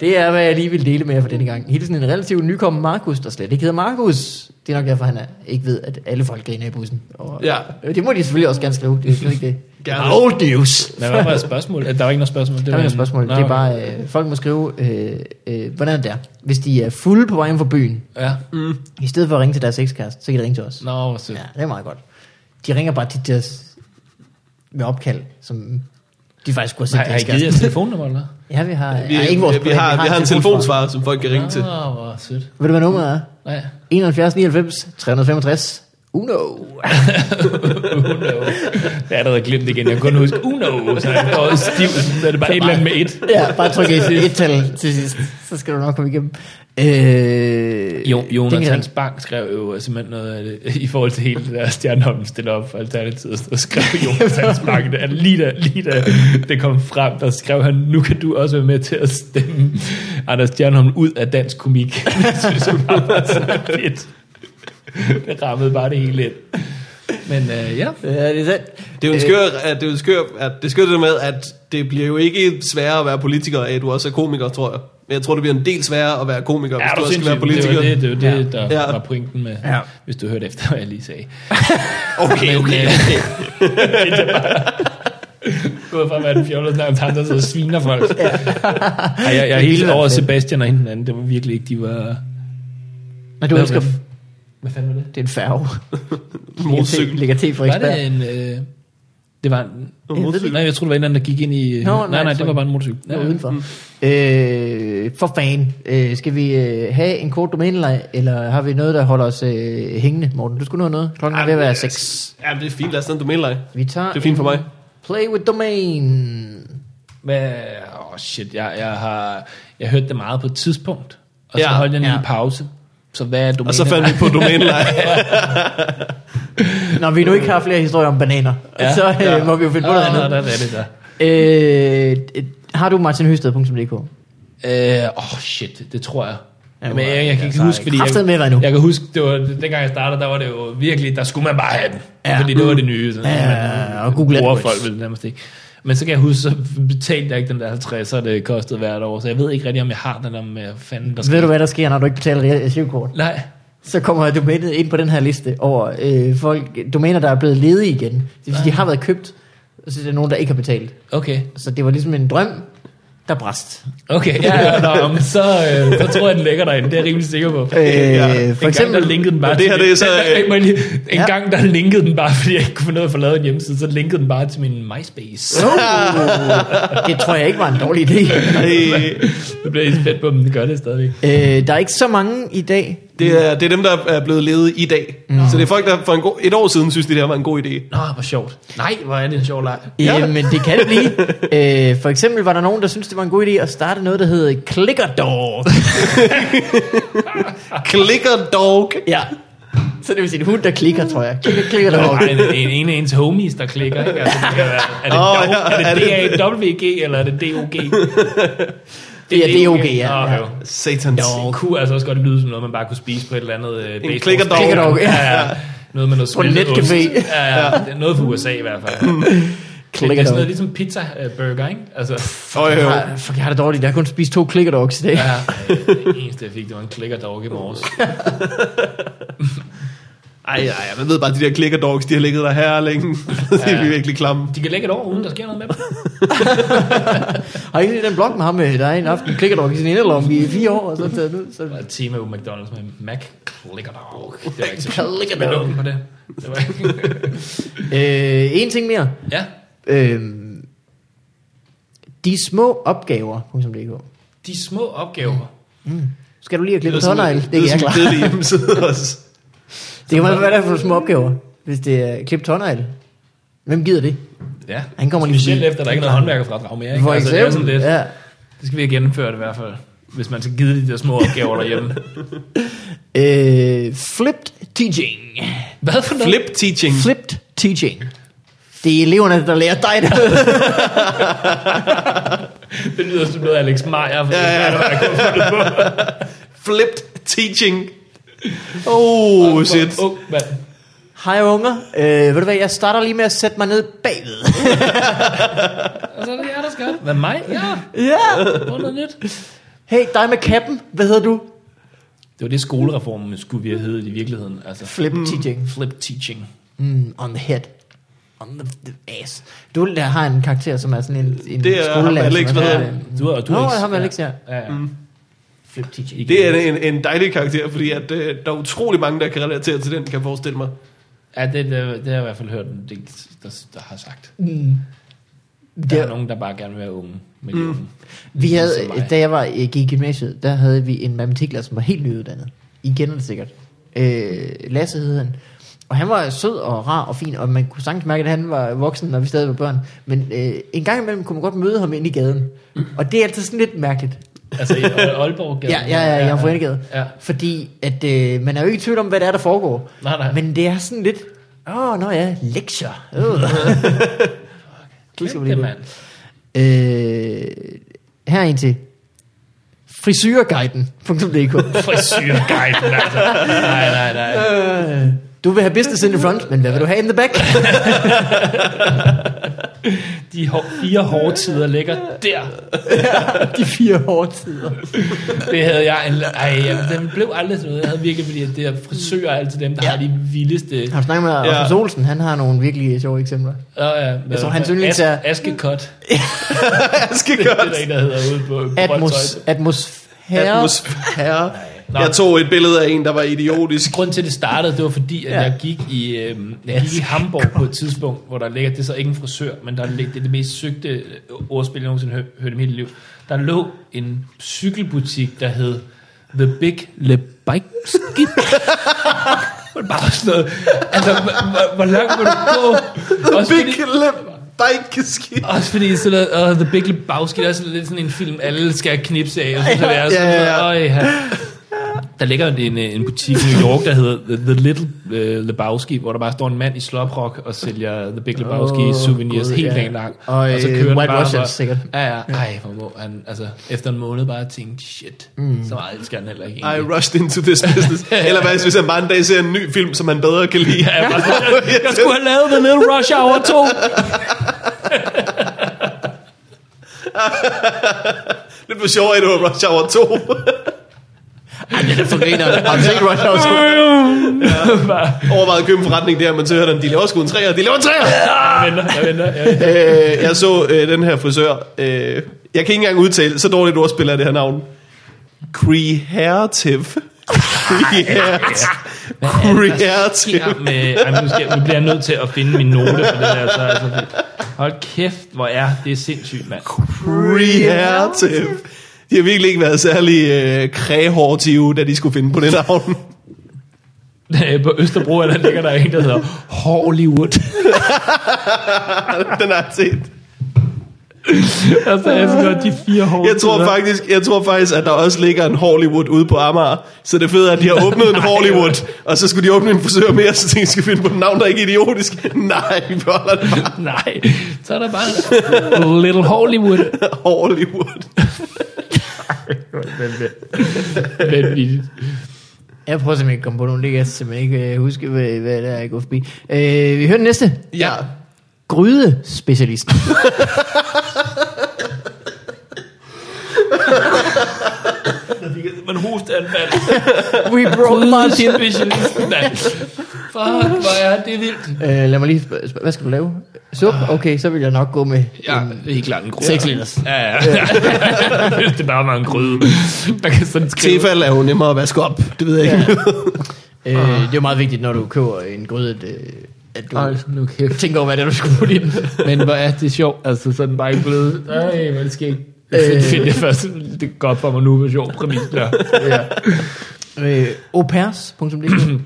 C: Det er, hvad jeg lige vil dele med jer for denne gang. Hilsen en relativt nykommen Markus, der slet ikke hedder Markus. Det er nok derfor, han er, ikke ved, at alle folk griner i bussen. Og,
B: Ja.
C: øh, Det må de selvfølgelig også gerne skrive. Det er slet ikke det.
B: Gerne.
C: Old news.
A: Men hvad var spørgsmålet? Der var ikke noget spørgsmål. Det
C: Der er ikke
A: en-
C: noget spørgsmål.
A: Nå,
C: Det er
A: okay.
C: bare, øh, folk må skrive, øh, øh, hvordan det er. Hvis de er fulde på vejen fra byen,
A: Ja.
C: i stedet for at ringe til deres ekskæreste, så kan de ringe til os.
A: Nå, hvor sødt.
C: Ja, det er meget godt. De ringer bare til deres med opkald, som de faktisk kunne
A: Har,
C: have
A: har I
C: set
A: givet jeres telefonnummer, eller?
C: Ja, vi har,
B: Vi,
C: ja, ikke vores
B: vi, har, vi har en
C: telefonsvar.
B: telefonsvarer, som folk kan ringe til.
A: Nå, hvor sødt.
C: Ved du, hvad nummeret er?
A: Nej.
C: 71 99 365 Uno.
A: Uno. Jeg har allerede glemt det igen. Jeg kan kun huske Uno, så jeg går stiv. Så er det bare et eller andet med et.
C: Ja, bare tryk et, et tal til sidst, så skal du nok komme igennem. Øh,
A: Jo,
C: det
A: Jonas
C: kan-
A: Hans Bang skrev jo simpelthen noget af det, i forhold til hele det der Stjernholm stille op for Alternativet, så skrev Jonas Hans Bang, det, at lige da, lige da det kom frem, der skrev han, nu kan du også være med til at stemme Anders Stjernholm ud af dansk komik. det synes jeg bare var så fedt. Det rammede bare det hele ind. Men øh, ja,
C: Ja, det er sandt.
B: Det er jo en skør, at det er jo en skør, at det er skørt det med, at det bliver jo ikke sværere at være politiker, af at du også er komiker, tror jeg. Men jeg tror, det bliver en del sværere at være komiker, hvis
A: er
B: du
A: du
B: også skal
A: sindssygt,
B: være
A: det
B: politiker.
A: var det, det, var det der
B: Ja.
A: ja. var pointen med,
C: Ja.
A: ja. hvis du hørte efter, hvad jeg lige sagde. øh,
B: Okay, okay, okay.
A: gået fra at være den fjollede nærmest ham, der sidder og sviner folk. Ja. Ej, jeg, jeg er helt
C: ville være
A: over
C: fedt.
A: Sebastian og hende den anden. Det var virkelig ikke, de var...
C: Men du elsker dem.
A: Hvad fanden var det?
C: Det er en færge.
B: Motorcykel.
C: Ligger til for
A: Var
C: ekspert.
A: det en... Øh, det var en...
B: En motorcykel?
A: Nej, jeg tror, det var en eller anden, der gik ind i...
C: Nå,
A: nej,
C: nej,
A: nej, nej,
C: sorry.
A: det var bare en motorcykel.
C: Ja, udenfor. Øh, for fan, øh, skal vi øh, have en kort domæneleg, eller har vi noget, der holder os øh, hængende, Morten? Du skulle nå noget. Klokken er ved at være 6.
B: altså, Ja, det er fint. Lad os tage en domænelej.
C: Vi tager
B: Ah, Det er fint for mig.
C: Play with domain.
A: Hvad? Åh, oh, shit. Jeg, jeg, har, jeg hørte det meget på et tidspunkt. Og så
B: Ja.
A: holdt jeg en
C: Ja.
A: lille pause. Så hvad er domænet?
B: Og så fandt vi på domænelej.
C: Når vi nu ikke har flere historier om bananer, ja, så øh, ja. må vi jo finde på noget
B: Ah.
A: andet.
C: andet.
A: Der er det der.
C: Øh, øh, har du martinhysted.dk?
A: Øh, Åh, oh shit, det tror jeg.
C: Ja,
A: Ja, men jeg, jeg,
C: jeg
A: kan ikke
C: tager
A: huske, fordi
C: kraftedeme
A: jeg,
C: med dig nu.
A: jeg kan huske, det var, dengang jeg startede, der var det jo virkelig, der skulle man bare have den.
C: Ja.
A: Ja. Fordi det var det nye. Sådan,
C: Ja, og Google
A: Google bruger
C: AdWords.
A: folk vel nærmest ikke. Men så kan jeg huske, så betalte jeg ikke den der 50'er, det kostede hvert år. Så jeg ved ikke rigtig, om jeg har den, om jeg fanden der
C: Ved du, hvad der sker, når du ikke betaler SU-kort?
A: Nej.
C: så kommer domænet ind på den her liste over øh, folk, domæner, der er blevet ledige igen. Det vil sige, de har været købt, og så er der nogen, der ikke har betalt.
A: Okay.
C: Så det var ligesom en drøm, der brast.
A: Okay, ja, ja, nå, men så, øh, så tror jeg, den ligger derinde. Det er jeg rimelig sikker på.
C: Øh,
B: Ja,
C: for
A: en gang,
C: eksempel,
A: der linkede den bare
B: Og det her,
A: til-
B: det er så, øh,
A: Hey, må jeg lige- en
C: ja.
A: gang, der linkede den bare, fordi jeg ikke kunne finde ud af at få lavet en hjemmeside, så linkede den bare til min MySpace.
C: oh, det tror jeg ikke var en dårlig idé.
B: Ej.
A: Nu bliver I spændt på, om den gør det stadigvæk.
C: Øh, der er ikke så mange i dag.
B: Det er, det er dem, der er blevet levet i dag. Mm. Så det er folk, der for en god, et år siden synes, det der var en god idé.
A: Nå, hvor sjovt. Nej, hvor er det en sjov leg.
C: Ja.
B: Ja.
C: Jamen, det kan det blive. Øh, for eksempel var der nogen, der syntes, det var en god idé at starte noget, der hedder Clicker Dog.
B: Clicker dog.
C: Ja. Så det vil sige en hund, der klikker, tror jeg. Klikker, klikker dog.
A: Der er en, en, en af ens homies, der klikker, ikke? Altså, det kan være, er det,
B: Åh,
A: oh,
B: ja,
A: ja, er
B: er
A: det DAWG, eller er det DOG?
C: Det er DOG, ja.
A: Nå,
C: Ja.
A: jo.
B: Satans.
A: Det kunne altså også godt lyde som noget, man bare kunne spise på et eller andet øh, baseball-
B: klikker dog.
C: Klikker dog, ja.
A: ja. ja. Noget med noget
C: På en
A: smeltet ost.
C: netcafé.
A: Ja, ja. Det er Noget fra USA i hvert fald. Det, det er
C: Klikker
A: sådan noget
C: dog.
A: ligesom pizza øh, burger, ikke? Altså,
B: Øj,
C: Jeg
B: øj.
C: har, fuck, jeg har det dårligt. Jeg har kun spist to Clicker Dogs i dag.
A: ja, det eneste, jeg fik, det var en klikker dog i morges.
B: Ej, ej, man ved bare, at de der clicker dogs, de har ligget der her længe. de er
A: Ja.
B: virkelig klamme.
A: De kan lægge et år, uden der sker noget med dem.
C: Har I ikke set den blog med ham, øh, der er en aften klikker dog i sin inderlomme i fire år, og så tager den ud? Så...
A: Der er et tema ude McDonald's med Mac Clicker Dog. Det var ikke så
C: Clicker
A: Med
C: Dog.
A: nummer på det. det var ikke.
C: Øh, en ting mere.
A: ja,
C: Øh, de små opgaver.dk
A: de små opgaver.
C: Skal du lige have klippet
B: sådan-
C: tårnegl? Det kan
B: lyder
C: jeg
B: som en
C: klare.
B: kedelig hjemmeside også.
C: Det kan man være for små opgaver, hvis det er klip tårnegl. Hvem gider det?
A: Ja.
C: Han kommer lige
A: Specielt
C: forbi.
A: efter, at der ikke er noget håndværkerfradrag mere. Ikke?
C: For
A: Altså, det, er sådan
C: eksempel,
A: lidt,
C: ja.
A: det skal vi have gennemført i hvert fald, hvis man skal give de der små opgaver derhjemme.
C: Øh, flipped teaching.
A: Hvad for noget?
B: Flip teaching.
C: Flipped teaching. Det er eleverne, der lærer dig det.
A: Det lyder som noget Alex Meyer. Ja, ja, ja.
B: Flipped teaching. Oh, shit.
A: Oh, mand.
C: Hej unger, øh, ved du hvad, jeg starter lige med at sætte mig ned bagved.
A: Og så er det jer, der skal. Hvad mig? Ja,
C: ja.
A: prøv noget nyt.
C: Hey, dig med kappen, hvad hedder du?
A: Det var det, skolereformen skulle vi have heddet i virkeligheden. Altså,
C: Flip
B: Hmm.
C: teaching.
A: flip teaching.
C: Mm, on the head. On the, the ass. Du der har en karakter, som er sådan en, en
B: Det er ham,
C: skolelærer,
B: Alex,
C: som
B: hvad
C: sådan
B: hedder
C: en-
A: Du er, du
C: Nå,
A: er
C: ham Alex, ja.
A: ja, ja. Mm.
C: Flip teaching.
B: Det er en, en dejlig karakter, fordi at, øh, der er utrolig mange, der kan relatere til den, kan jeg forestille mig.
A: ja det, det, det, har jeg i hvert fald hørt en del, der, der har sagt.
C: Mm.
A: Der
C: Det,
A: er nogen, der bare gerne vil være unge. Men mm. unge.
C: vi
A: Ligesom
C: havde,
A: mig.
C: da jeg var, øh, gik i gymnasiet, der havde vi en matematiklærer, som var helt nyuddannet. I kender det sikkert. Øh, Lasse hed han. Og han var sød og rar og fin, og man kunne sagtens mærke, at han var voksen, når vi stadig var børn. Men øh, en gang imellem kunne man godt møde ham ind i gaden. Og det er altid sådan lidt mærkeligt.
A: Altså i Aal- Aalborg
C: Ja, ja, ja, ja, jeg er fra Enegade.
A: Ja.
C: Fordi at, øh, man er jo ikke i tvivl om, hvad det er, der foregår.
A: Nej, nej.
C: Men det er sådan lidt, åh, oh, nå ja, lektier. Øh. Klisker på
A: Kæmpe
C: lige nu.
A: mand.
C: Øh, her er en til. Frisyreguiden.dk
A: Frisyrguiden, altså. Nej, nej, nej.
C: øh, Du vil have business in the front, men hvad vil du have in the back?
A: De hår, fire hårde tider ligger der.
C: De fire hårde tider.
A: Det havde jeg. En, ej, jamen, den blev aldrig sådan noget. Jeg havde virkelig, fordi at det her frisører er altid dem, der ja. har de vildeste...
C: Har du snakket med
B: Ja.
C: Rasmus Olsen? Han har nogle virkelig sjove eksempler.
A: Nå, ja, jeg
C: tror, hans yndlings er-
A: Askekot.
B: Jeg skal
A: Det er
B: gøre
A: der en, der hedder ude på... på
C: Atmos, atmosfære.
B: Atmosfære.
A: Nå.
B: Jeg tog et billede af en, der var idiotisk.
A: Grunden til, at det startede, det var fordi, at
C: Ja.
A: ja. jeg gik i, øhm, jeg gik i Hamburg på et tidspunkt, hvor der ligger, det er så ikke en frisør, men der ligger, det er det mest søgte øh, ordspil, jeg nogensinde hør, hørte i mit liv. Der lå en cykelbutik, der hed The Big Lebowski. Det var bare sådan noget. Altså, hvor- hvor- hvor langt må du gå? Også
B: Big
A: fordi-
B: lip, bikeski.
A: også fordi sådan noget, uh, The Big Lebowski, der er sådan lidt sådan en film, alle skal knipse af, og så skal det være sådan
B: Ja, ja, ja.
A: noget, "Øj, ja. Der ligger en, øh, en butik i New York, der hedder The, The Little uh, Lebowski, hvor der bare står en mand i sloprock og sælger The Big Lebowski
C: Åh,
A: oh, souvenirs
C: Gud,
A: helt
C: ja.
A: yeah. lang.
C: Og, øh, White Russians,
A: og-
C: sikkert.
A: Ja, ja. Ej, hvor må han, altså, efter en måned bare tænkte, shit, mm. så meget elsker han heller ikke.
B: I
A: egentlig.
B: rushed into this business. Eller hvad, hvis han bare en dag ser en ny film, som han bedre kan lide.
A: Ja, jeg, bare, jeg, jeg skulle have lavet The Little Rush Hour 2.
B: Lidt for sjovt, at det var Rush Hour 2.
C: Ej, det er da for griner. Har du set Rush Hour 2?
A: Bare,
B: Overvejede at købe en forretning der, men så hørte han, de laver sgu en træer, de laver en træer!
A: jeg venter, jeg venter. Jeg venter.
B: øh, jeg så øh, den her frisør. Øh, jeg kan ikke engang udtale, så dårligt ordspil er det her navn. Creative. Creative. Creative.
A: sker med... Ej, men nu, skal, nu bliver jeg nødt til at finde min note for det der. Så, altså, fordi- hold kæft, hvor er det sindssygt, mand.
B: Creative. De har virkelig ikke været særlig øh, kræhårtive, da de skulle finde på det navn.
A: Øh, På Østerbro er der ligger der en, der hedder Hollywood.
B: den har jeg set.
A: altså, jeg skal godt de fire hår.
B: Jeg tror, faktisk, jeg tror faktisk, at der også ligger en Hollywood ude på Amager. Så det fede er, at de har åbnet en Hollywood, og så skulle de åbne en frisør mere, så tænkte jeg, skal vi finde på et navn, der ikke er idiotisk. Nej, vi beholder det bare.
A: Nej, så er der bare Little Hollywood.
B: Hollywood.
A: Vanvittigt.
C: Jeg prøver simpelthen ikke at komme på nogle ligger, jeg simpelthen ikke øh, huske, hvad, hvad der er, jeg går forbi. Øh, vi hører den næste.
B: Ja.
C: Grydespecialist.
A: Men hostanfald.
C: We broke Martin.
A: Specialisten, mand. Fuck, hvor er det vildt.
C: øh, lad mig lige spørge, spørge, hvad skal du lave? Sup? Okay, så vil jeg nok gå med
A: Ja,
C: en
A: det er helt klart en krydder.
C: 6 liters.
A: Ja, ja. Hvis det bare var en gryde. Der kan sådan skrive.
B: Tefal er jo nemmere at vaske op. Det ved jeg ikke.
C: Øh, det er jo meget vigtigt, når du køber en gryde, at, øh, at du
A: Hold nu kæft.
C: tænker over, hvad det er, du skulle putte i den.
A: Men hvor er det sjovt, altså sådan bare ikke blevet... Ej, hvor er det skægt.
C: Øh.
A: Øh. Find det først, det er godt for mig nu, hvor sjov præmis der.
C: ja. øh, Opers.dk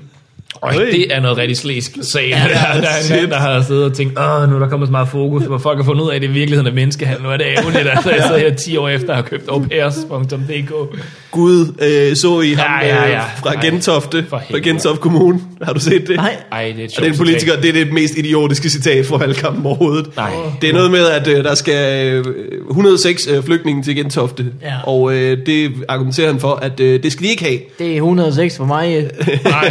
A: Øj, det er noget rigtig slæsk sag. Ja, der, der, er en
B: shit.
A: mand, der har siddet og tænkt, åh, nu er der kommet så meget fokus, hvor folk har fundet ud af, at det i virkeligheden er menneskehandel. Nu er det ærgerligt, altså jeg sidder her 10 år efter og har købt opairs.dk.
B: Gud, øh, så I ham
A: Ja, ja, ja.
B: øh, fra
A: Nej.
B: Gentofte,
A: For
B: fra
A: helvede.
B: Gentofte Kommune. Har du set det?
C: Nej.
A: Ej, det er et
B: Og den
A: sjovt
B: politiker, det er det mest idiotiske citat fra valgkampen overhovedet.
A: Nej.
B: Det er noget med, at øh, der skal øh, 106 øh, flygtninge til Gentofte.
C: Ja.
B: Og øh, det argumenterer han for, at øh, det skal de ikke have.
C: Det er 106 for mig. øh.
A: Nej,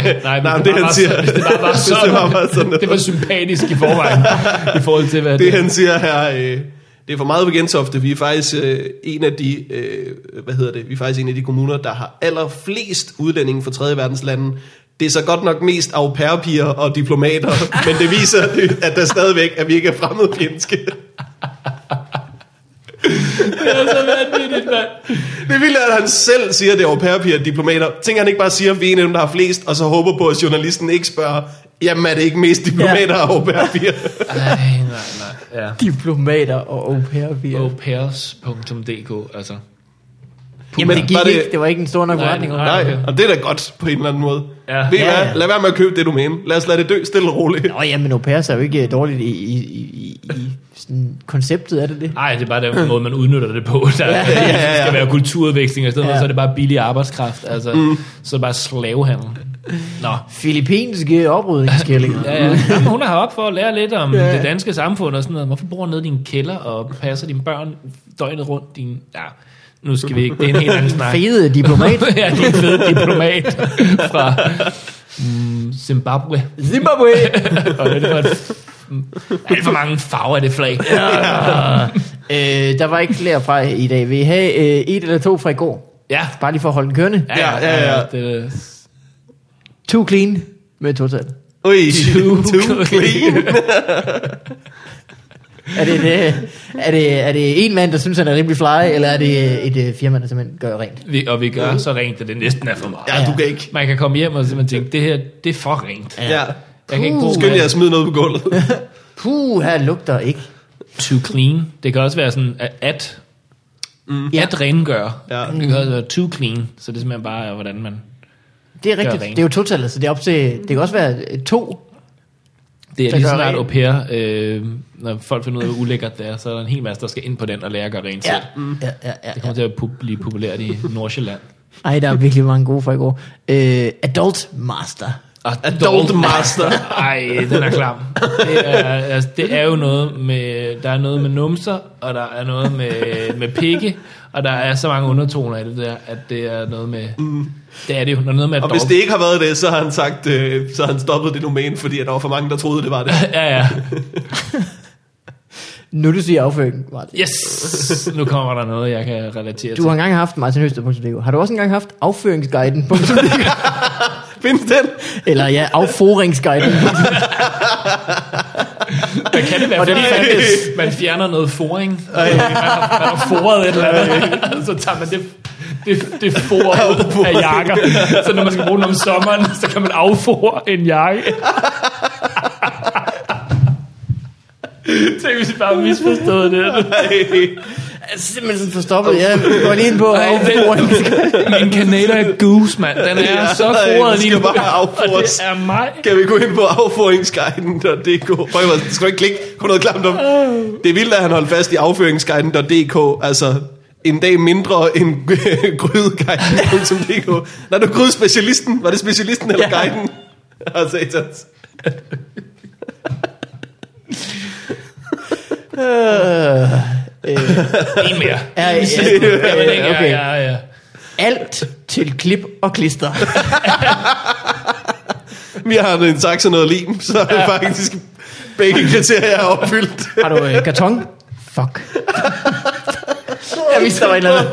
A: nej,
B: Nej, men
A: bare
B: han
A: var
B: siger.
A: så- hvis det bare var
B: Hvis det
A: sådan.
B: bare var sådan noget.
A: Det var sympatisk i forvejen, i forhold til, hvad
B: det han siger her, øh, det er for meget på Gentofte. Vi er faktisk øh, en af de, øh, hvad hedder det, vi er faktisk en af de kommuner, der har allerflest udlændinge fra tredje verdens lande. Det er så godt nok mest au pair-piger og diplomater, men det viser, at der stadigvæk, at vi ikke er fremmedfjendske.
A: Det er så vanvittigt, mand.
B: Det er vildt, at han selv siger, at det er au pair-piger og diplomater. Tænker han ikke bare siger, at vi er en af dem, der har flest, og så håber på, at journalisten ikke spørger, jamen er det ikke mest diplomater og au pair-piger?
A: Nej, nej, nej. Ja.
C: Diplomater og au pair piger. Oh,
A: Opairs.dk, altså.
C: Jamen
B: men
C: det gik
B: var
C: det...
B: det-
C: ikke, det var ikke en stor nok
A: Nej,
C: retning.
A: nej.
B: Nej,
A: okay.
B: og det er da godt på en eller anden måde.
A: Ja.
B: Ja. Ved I
C: Ja,
B: hvad?
C: ja.
B: Lad være med at købe det domæne. Lad os lade det dø stille og roligt.
C: Nå ja, men au pairs er jo ikke øh, dårligt i, i, i, i, i sådan konceptet, er det det?
A: Nej, det er bare den måde, man udnytter det på. Der ja,
B: ja, ja.
A: skal være kulturudveksling, og i stedet ja.
C: Ja.
A: så er det bare billig arbejdskraft. Altså, mm. Så er det bare slavehandel. Nå.
C: Filippinske oprydningsskillinger.
A: Ja, ja. Jamen, hun er heroppe for at lære lidt om ja. det danske samfund og sådan noget. Hvorfor bor hun nede i din kælder og passer dine børn døgnet rundt? Din... Ja, nu skal vi ikke. Det er en helt anden snak.
C: Fede diplomat.
A: ja, din fede diplomat fra mm, Zimbabwe.
C: Zimbabwe.
A: Og det er for et, alt for mange farver af det flag. Ja,
C: øh, der var ikke flere fra i dag. Vil I have øh, et eller to fra i går?
A: ja,
C: Bare lige for at holde den kørende.
A: ja.
B: Ja, ja, ja.
A: Det,
C: Too clean med total.
B: Ui,
A: Too
B: too, too clean.
C: Er det, det, er, det, er det en mand, der synes, han er rimelig fly, eller er det et øh, firma, der simpelthen gør rent?
A: vi, og vi gør så rent, at det næsten er for meget.
B: Ja, du kan ikke.
A: Man kan komme hjem og simpelthen tænke, det her, det er for rent.
B: Ja.
A: Jeg kan ikke bruge
B: Skynd jer
A: mere.
B: at smide noget på gulvet.
C: Puh, her lugter ikke.
A: too clean. Det kan også være sådan, at, at, mm. at rengøre.
B: Ja.
A: Det kan også være too clean. Så det er simpelthen bare, hvordan man...
C: Det er rigtigt.
A: rent.
C: Det er jo total, så det er op til... Det kan også være øh, to.
A: Det er
C: Der
A: lige
C: gør
A: snart au
C: rent.
A: pair, øh, når folk finder ud af, hvor ulækkert det er, så er der en hel masse, der skal ind på den og lære at gøre rent selv.
C: ja, ja, ja.
A: Det kommer til at pu- blive populært i Nordsjælland.
C: Ej, der er virkelig mange gode fra i går. Øh, adult Master.
B: Adult master.
A: Ej, den er klam. Det er, altså, det er jo noget med, der er noget med numser, og der er noget med, med pikke, og der er så mange undertoner i det der, at det er noget med, det er det jo, der er noget med at
B: Mm. Og hvis det ikke har været det, så har han sagt, øh, så har han stoppet det domæne, fordi at der var for mange, der troede, det var det.
A: Ja, ja.
C: Nu du siger afføring, Martin.
A: Yes! Nu kommer der noget, jeg kan relatere
C: Du har engang haft martinhøster.dk. Har du også engang haft afføringsguiden.dk?
B: Findes den?
C: Eller ja, afforingsguiden.
A: til. Kan det være, fordi
C: den
A: man,
B: fandtes.
A: man fjerner noget foring? Man har, man har foret et eller andet, og så tager man det, det, det for ud af jakker. Så når man skal bruge den om sommeren, så kan man affore en jakke. Tænk, hvis vi bare misforstod det.
C: Jeg er simpelthen sådan forstoppet. Jeg går lige ind på afforingsguiden.
A: Min Canada Goose, mand. Den er
B: Ja,
A: så
B: nej,
A: foret
B: den
A: lige nu.
B: skal bare
A: Og
B: affores.
A: det er mig.
B: Kan vi gå ind på afføringsguiden.dk? Prøv at skal du ikke klikke på noget klamt om. Det er vildt, at han holdt fast i afføringsguiden.dk. Altså, en dag mindre end grydeguiden.dk. Når du grydespecialisten, var det specialisten eller
C: Ja.
B: guiden? Og satans.
C: Øh, øh,
A: En mere.
C: ja, ja,
A: Ja, men ikke,
C: okay.
A: ja, ja, ja.
C: alt til klip og klister.
B: Vi har en saks og noget lim, så er det faktisk begge kriterier er opfyldt.
C: Har du øh, karton? Fuck. Jeg vidste, der var et eller andet.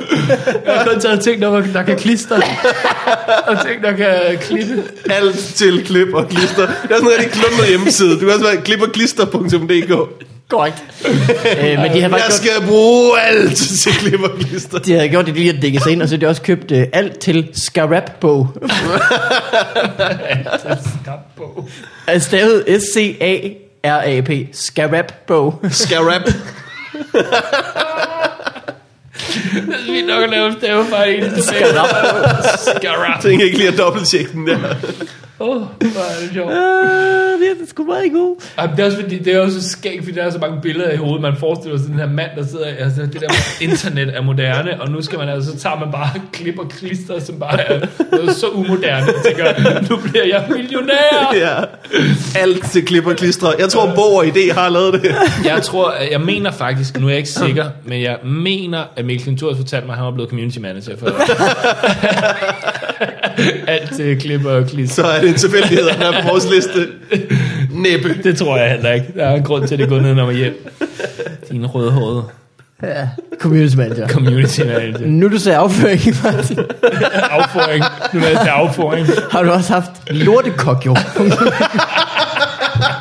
A: Jeg har kun taget ting, der, der kan klistre. og ting, der kan klippe.
B: Alt til klip og klister. Det er sådan en rigtig klundet hjemmeside. Du kan også være klipperklister.dk.
C: Korrekt. Øh, men de havde
B: Jeg
C: faktisk gjort,
B: skal bruge alt til klip og klister.
C: de havde gjort det lige at dække sig ind, og så havde de også købt øh, alt til Scarab-bog. Altså stavet S-C-A-R-A-P. Scarab-bog.
B: Scarab.
A: Vi er nok at lave stavefejl i det. Skarab. Skarab.
B: Tænk ikke lige at dobbelttjekke den der.
A: Åh, hvor er det sjovt.
C: Øh, det er sgu meget god.
A: Jamen, det er også fordi, det er også så skægt, fordi der er så mange billeder i hovedet. Man forestiller sig den her mand, der sidder... Altså, det der med, internet er moderne, og nu skal man altså... Så tager man bare klip og klister, som bare er noget så umoderne. Jeg tænker, nu bliver jeg millionær.
B: Ja. Alt til klip og klister. Jeg tror, Bo og ID har lavet det.
A: Jeg tror, at- jeg mener faktisk, nu er jeg ikke sikker, men jeg mener, at Mikkel Klintorius fortalte mig, at han var blevet community manager for Alt øh, klipper og klister.
B: Så er det en tilfældighed, at han er på vores liste. Næppe.
A: Det tror jeg heller ikke. Der er en grund til, at det går ned, når man hjem. Din rødhårede
C: Ja. Community manager.
A: community manager.
C: Nu du sagde afføring, Martin,
A: Afføring. Nu er jeg til afføring.
C: har du også haft lortekok, jo.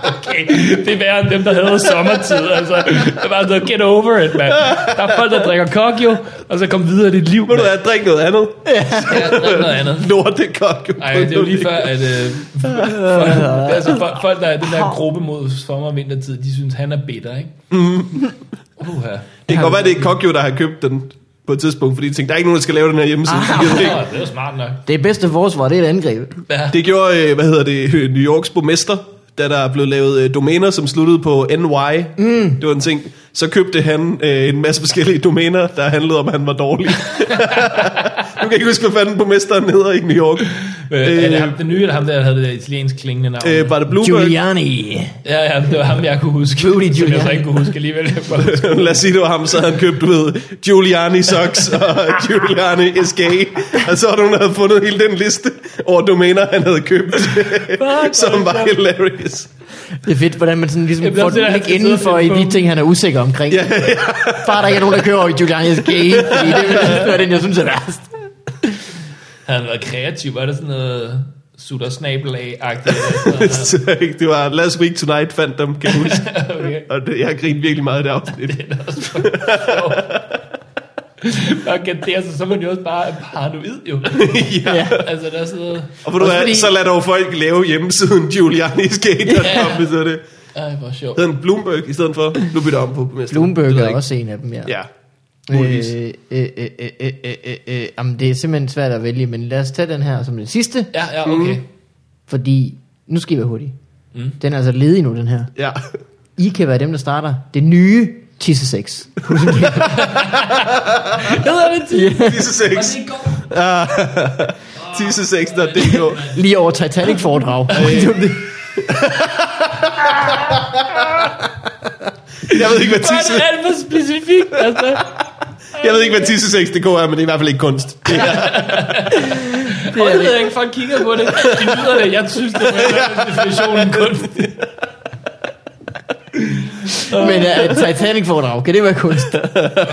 A: Okay. Det er værre end dem, der havde sommertid. Altså, det var altså, get over it, mand. Der er folk, der drikker kok jo, og så kom videre i dit liv.
B: Må
A: mand.
B: du have drik noget andet?
A: Ja, drik noget andet.
B: Lort, det godt.
A: Ej, det er jo lige før, at øh, folk, altså, folk, folk, der er i den der gruppe mod sommer- og vintertid, de synes, han er bitter, ikke? Mm. Uha.
B: Det kan godt være, det er Kokyo, der har købt den på et tidspunkt, fordi de tænkte, der er ikke nogen, der skal lave den her hjemmeside. Ah,
A: Nå, det er jo smart nok.
C: Det bedste forsvar, det er et angreb.
A: Ja.
B: det gjorde, øh, hvad hedder det, øh, New Yorks borgmester, da der blev lavet øh, domæner, som sluttede på NY. Mm. Det var en ting. Så købte han øh, en masse forskellige domæner, der handlede om, at han var dårlig. nu kan jeg ikke huske, hvad fanden borgmesteren hedder i New York.
A: Øh, er det ham,
B: Øh,
A: den nye, eller ham der, der havde det der italiensk klingende navn?
B: øh, var det Bloomberg?
C: Giuliani.
A: ja, ja, det var ham, jeg kunne huske.
C: Rudy
A: Som jeg så
C: Giuliani.
A: ikke kunne huske alligevel. Jeg kunne bare huske.
B: Lad os sige, det var ham, så havde han købt, du ved, Giuliani Socks og Giuliani SK. Og så var der nogen, der havde fundet hele den liste over domæner, han havde købt, som var hilarious.
C: Det er fedt, hvordan man sådan ligesom
A: Jamen, det er
C: får
A: også det,
C: den
A: han
C: ikke
A: skal sidde og
C: indenfor i
A: finde på.
C: de ting, han er usikker omkring. Ja, ja. Bare der ikke er nogen, der kører over i Giuliani's gate, fordi det vil det er den, jeg synes er værst.
A: Havde han været kreativ? Var det sådan noget sutter snabel agtigt Altså, okay.
B: Så, ikke, det var last week tonight, fandt dem, kan jeg huske. Og det, jeg har grint virkelig meget af det afsnit.
A: Og kan det, altså, så er man jo også bare paranoid, jo.
C: Ja.
A: altså, der er sådan noget...
B: Og ved du
C: Også
B: hvad,
C: fordi-
B: så lader dog folk lave hjemmesiden giulianiskate.com,
A: Ja.
B: hvis det er det.
A: Ej, hvor sjovt.
B: Hedder den Bloomberg i stedet for? Nu bytter jeg om på borgmesteren.
C: Bloomberg
B: Det ved
C: er
B: jeg
C: også en af dem, ja.
B: ikke. Ja. muligvis.
C: øh, øh, øh, øh, øh, øh, øh, jamen, det er simpelthen svært at vælge, men lad os tage den her som den sidste,
A: Ja, ja, okay.
C: fordi nu skal I være hurtige. Mm. Den er altså ledig nu, den her.
B: Ja.
C: I kan være dem, der starter det nye Tisse 6.
A: Hedder det til?
B: Tisse 6. Tisse 6, der DK.
C: Lige over Titanic-foredrag.
B: Jeg ved ikke, hvad
A: Hvor er
B: tisse,
A: det alt for specifikt, altså.
B: jeg ved ikke, hvad tisse6.dk er, men det er i hvert fald ikke kunst. Det er,
A: Og det ved jeg ikke, folk kigger på det. De nyder det. Jeg synes, det er definitionen kun.
C: Men uh, et Titanic-foredrag, kan det være kunst?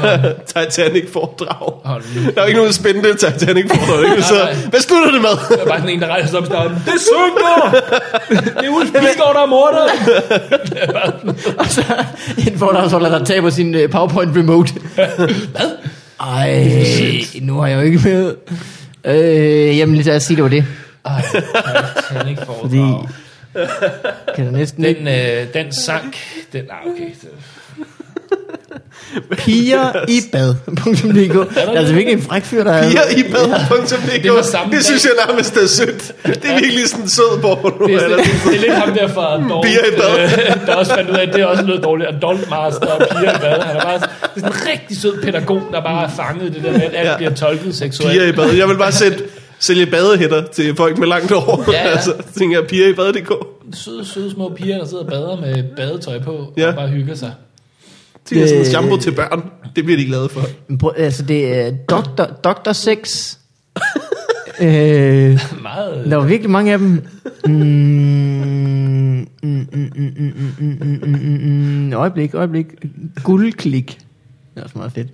B: Titanic-foredrag.
A: Hold nu.
B: Der er jo ikke nogen spændende Titanic-foredrag. ikke? Så, hvad slutter det med?
A: Der er bare sådan en, der rejser sig op i starten. Det synker! Det er Ulf Pilgaard, der er mordet!
C: Og så en foredragsholder, der taber sin øh, PowerPoint remote. Hvad? Ej, nu har jeg jo ikke med. Øh, jamen lad os sige, det var det.
A: Ej, Titanic
C: Fordi
A: foredrag.
C: kan der næsten ikke.
A: Den, øh, den sank. Den, ah, okay.
C: Piger i bad.dk. Der er altså virkelig en fræk fyr, der er.
B: Piger i bad.dk.
A: Det var samme
B: Det synes
A: dag.
B: jeg nærmest er sødt. Det er virkelig sådan en sød porno.
A: Det er,
B: eller
A: sådan, det er lidt ham der fra Adult,
B: Piger i bad.
A: øh, der også fandt ud af, at det er også noget dårligt. Adult Master og piger i bad. Han er bare sådan, det er sådan en rigtig sød pædagog, der bare har fanget det der med, at alt
B: Ja.
A: bliver tolket seksuelt.
B: piger i bad. Jeg vil bare sætte, sælge badehætter til folk med langt hår.
A: Ja, ja.
B: altså, tænker jeg, piger i bad.dk.
A: Søde, søde små piger, der sidder og bader med badetøj på
B: Ja.
A: og bare hygger sig.
B: Tænker sådan en
C: Øh.
B: shampoo til børn. Det bliver de glade for.
C: Men prøv- Altså det er doktor, doktor sex. øh,
A: Meget...
C: der var virkelig mange af dem. Mm, mm, mm, mm, mm, mm, mm, mm, mm, mm, mm. Øjeblik, øjeblik. Guldklik. Det er også meget fedt.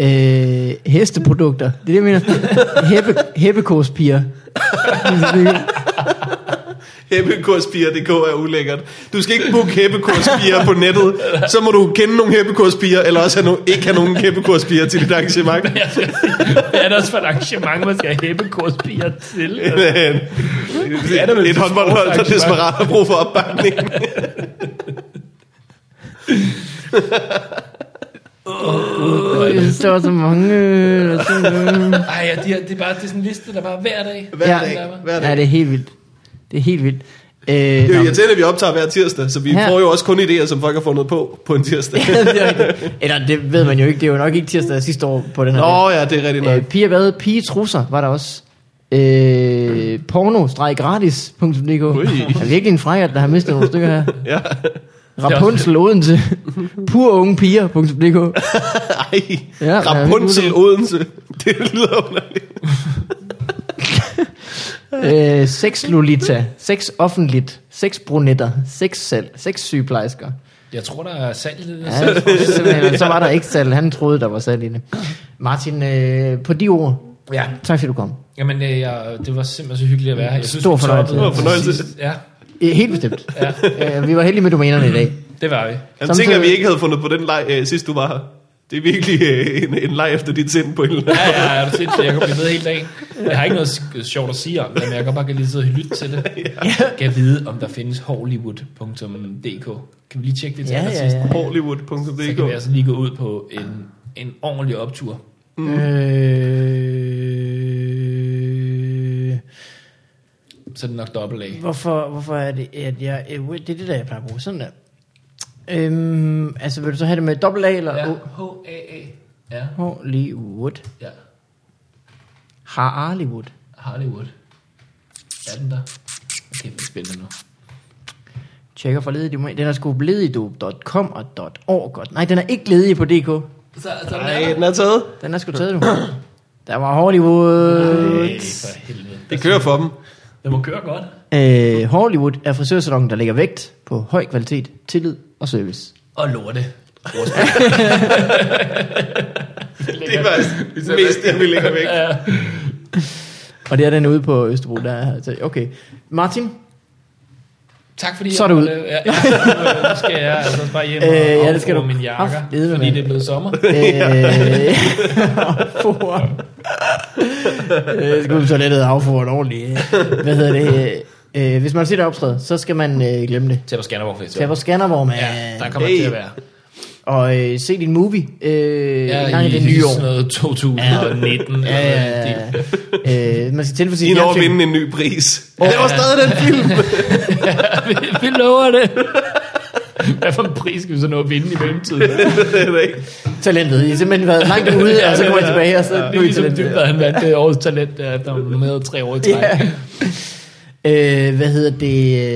C: Øh, hesteprodukter. Det er det, jeg mener. Heppe, heppekospiger.
B: Heppekurspiger.dk er ulækkert. Du skal ikke booke heppekurspiger på nettet. Så må du kende nogle heppekurspiger, eller også have no- ikke have nogen heppekurspiger til dit arrangement.
A: Hvad er der også for et arrangement, man skal have hæppekurspiger til?
B: det er da vel et håndboldhold, der
A: sportsarrangement.
B: desperat har brug for opbakning.
C: Jeg synes, der var så mange. øh, der var så mange.
A: Ej, ja, det, er, det er bare det er sådan en liste, der bare hver dag.
B: Hver
C: Ja.
B: dag. Hver dag.
C: Ja, det er helt vildt. Det er helt vildt. Øh,
B: Det er
C: nå,
B: jo irriterende, at vi optager hver tirsdag, så vi
C: Ja.
B: får jo også kun idéer, som folk har fundet på på en tirsdag.
C: det er rigtigt. Eller det ved man jo ikke. Det er jo nok ikke tirsdag sidste år på den her.
B: Nå ja, det er rigtigt nok.
C: Øh, piger hvad? Pigetrusser var der også. Øh, porno-gratis.dk Der er virkelig en frækker, der har mistet nogle stykker her.
B: Ja.
C: Rapunzel Odense. Purungepiger.dk
B: Ej,
C: Ja,
B: Rapunzel Odense. Det lyder underligt.
C: øh, seks Lolita, seks offentligt, seks brunetter, seks salg, seks sygeplejersker.
A: Jeg tror, der er salg i det.
C: Ja, jeg
A: Ja.
C: tror simpelthen, men så var der ikke salg. Han troede, der var salg i det. Martin, øh, på de ord,
A: ja.
C: tak fordi du kom.
A: Jamen, øh, jeg, det var simpelthen så hyggeligt at være her. Jeg
C: Stor
A: vi
C: fornøjelse.
A: toppede
B: Stor fornøjelse.
A: sidst. Ja,
C: Øh, Helt bestemt. Ja. Øh, vi var heldige med domænerne i dag.
A: det var vi.
B: Jeg
C: Samtidig-
B: tænker, at vi ikke havde fundet på den leg, øh, sidst du var her. Det er virkelig øh, en, en leg efter dit sind på en eller anden.
A: Ja, ja, ja, er du sindssyg? Jeg kan blive ved hele dagen. Jeg har ikke noget sk- sjovt at sige om det, men jeg kan bare kan lige sidde og lytte til det. Jeg kan vide, om der findes hollywood.dk. Kan vi lige tjekke det til
C: Ja,
A: ja,
C: ja,
A: sidst?
C: ja.
A: Så kan vi
B: Hollywood.dk
A: altså lige gå ud på en, en ordentlig optur.
C: Mm. Øh,
A: Så er det nok dobbelt af.
C: hvorfor, hvorfor er det, at jeg... øh, Det er det, der jeg plejer at bruge. Sådan der. Øhm, altså, vil du så have det med dobbelt A eller
A: Ja,
C: ja.
A: H-A-A. Ja,
C: Hollywood.
A: ja.
C: Har Hollywood.
A: Hollywood. Er den der? Okay, det er spændende nu.
C: Tjekker for ledig domæne. Den er sgu ledigdob.com og .org. godt. Nej, den er ikke ledig på DK.
A: Så, så
B: Nej, den er taget.
C: Den er sgu taget nu. Der var Hollywood.
A: Ej, for helvede.
B: Det kører for dem.
A: Det må køre godt.
C: Øh, Hollywood er frisørsalongen, der lægger vægt på høj kvalitet, tillid og service.
A: Og lorte.
B: Det er faktisk det mest, jeg vil lægge væk.
C: Og det er den ude på Østerbro, der er her. til- Okay. Martin,
A: Tak fordi
C: Så er det ud.
A: jeg måtte- øh, Ja, ja, nu skal jeg altså også bare hjem og
C: Øh,
A: øh,
C: ja, det
A: ja,
C: skal
A: skal
C: du
A: du min jakker,
C: kraftedeme
A: fordi
C: med.
A: det er blevet sommer.
C: Øh, affore. øh, skal ud på toilettet og affore et ordentligt. øh, Hvad hedder det? Øh, hvis man ser det optræde, så skal man øh, glemme det.
A: Tag på Skanderborg
C: Tag
A: Festival.
C: på Skanderborg, man.
A: Ja, der kommer hey.
B: Hey.
A: til at være.
C: Og øh, se din movie øh, ja,
A: Ja,
C: gang i,
A: i
C: det nye
A: sådan
C: år.
A: noget 2019.
C: Ja, ja, ja. Øh, man skal tilfælde
B: I
C: sin
B: når at
C: fjernsyn.
B: vinde en ny pris. Det var stadig den film.
A: vi, vi lover det. Hvad for en pris skal vi så nå at vinde i mellemtiden?
B: Det er det ikke.
C: Talentet. I har simpelthen været langt ude, og så kommer I tilbage, og så
A: Det
C: nu
A: er
C: er I
A: ligesom
C: talentet.
A: dybt, at han vandt øh, årets talent, øh, der var nomineret tre år i træk.
C: Ja. Øh, hvad hedder det?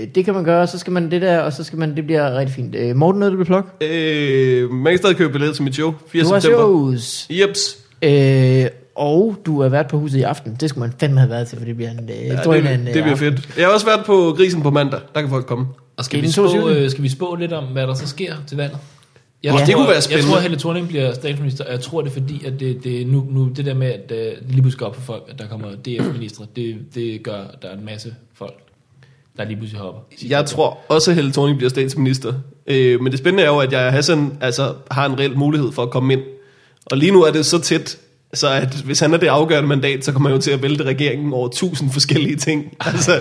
C: Øh, Det kan man gøre, så skal man det der, og så skal man, det bliver rigtig fint. Øh, Morten, noget du vil plukke?
B: Øh, man kan stadig købe billetter til mit show. 4.
C: Du har
B: september.
C: shows.
B: Jeps.
C: Øh, og du er vært på huset i aften. Det skulle man fandme have været til, for det bliver en øh, ja,
B: Ja,
C: drøn af en
B: det,
C: øh,
B: det bliver
C: aften.
B: fedt. Jeg har også været på Grisen på mandag. Der kan folk komme.
A: Og skal
C: Det
A: vi,
C: er den
A: spå,
C: 22..
A: øh, skal vi spå lidt om, hvad der så sker til valget? Jeg
B: Åh, det kunne være
A: Jeg
B: spændende.
A: tror, at Helle Thorning bliver statsminister, og jeg tror det, er fordi at det, det, nu, nu, det der med, at øh, det lige pludselig går op for folk, at der kommer DF-minister, det, det gør, at der er en masse folk, der lige pludselig hopper.
B: Jeg tror også, at Helle Thorning bliver statsminister. Øh, men det spændende er jo, at jeg Hassan altså, har en reel mulighed for at komme ind. Og lige nu er det så tæt, så at hvis han er det afgørende mandat, så kommer han jo til at vælte regeringen over tusind forskellige ting. Altså,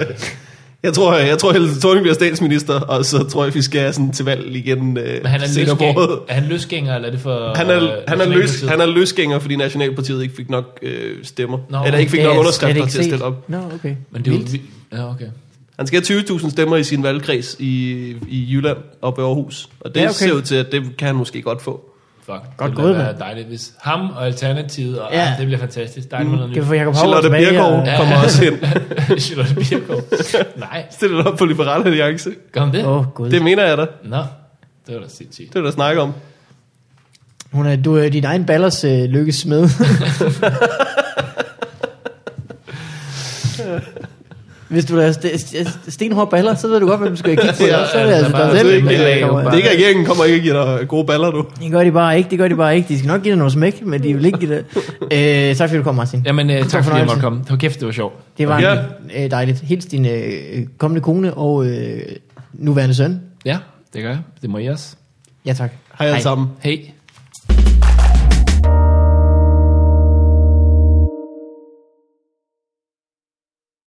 B: jeg tror, jeg, jeg tror Helle Thorning bliver statsminister, og så tror jeg, vi skal have sådan til valg igen øh,
A: Men han er,
B: senere på året.
A: løsgæng, er han løsgænger, eller er det for...
B: Han er,
A: øh,
B: han, er løs,
A: Nationalpartiet?
B: han er løsgænger, fordi Nationalpartiet ikke fik nok øh, stemmer.
A: Nå,
B: Nå, Eller ikke fik
C: Det er
B: nok
C: jeg
B: underskrifter
C: slet ikke
B: til at
C: set.
B: stille op.
C: Nå, no, okay.
A: Men det er jo...
C: Vildt.
A: vildt. Ja, okay.
B: Han skal have 20.000 stemmer i sin valgkreds i, i Jylland og i Aarhus. Og det
C: Ja,
B: ja,
C: okay.
B: okay. ser ud til, at det kan han måske godt få.
A: Fuck,
C: Godt
A: Godt det
C: gået,
A: ville være
C: mand.
A: dejligt, hvis ham og Alternativet, og
C: Ja.
A: ja. det bliver fantastisk. Der er mm, noget
C: Kan vi
A: nyt.
C: få Jacob Havgaard
B: Charlotte
C: tilbage?
B: Birkov
C: og-
B: kommer også ind.
A: Charlotte Birkow. Nej,
B: Stil dig op på Liberal Alliance.
A: gør hun det?
C: Åh, oh, gud.
B: Det mener jeg da.
A: Nå, det var da sindssygt.
B: Det er der snakke om.
C: Hun er, du er din egen ballers øh, lykkes med. Hvis du er st- st- stenhård baller, så ved du godt, hvem du skal kigge på.
B: Ja,
C: så er det altså
A: bare-
C: dig
B: Det
C: selv.
B: er ikke, øh, det
A: det kommer
B: er ikke regeringen kommer ikke at give dig gode baller, du.
C: Det gør de bare ikke, det gør de bare ikke. De skal nok give dig noget smæk, men de vil ikke give dig... Øh, tak fordi du kom, Martin.
A: Jamen, øh, tak fordi
C: fornøjelse.
A: jeg måtte komme. Det var kæft, det var sjovt.
C: Det var
B: Ja.
C: ja. øh, dejligt. Hils din øh, kommende kone og øh, nuværende søn.
A: Ja, det gør jeg. Det må I også.
C: Ja, tak.
B: Hej alle sammen.
A: Hej.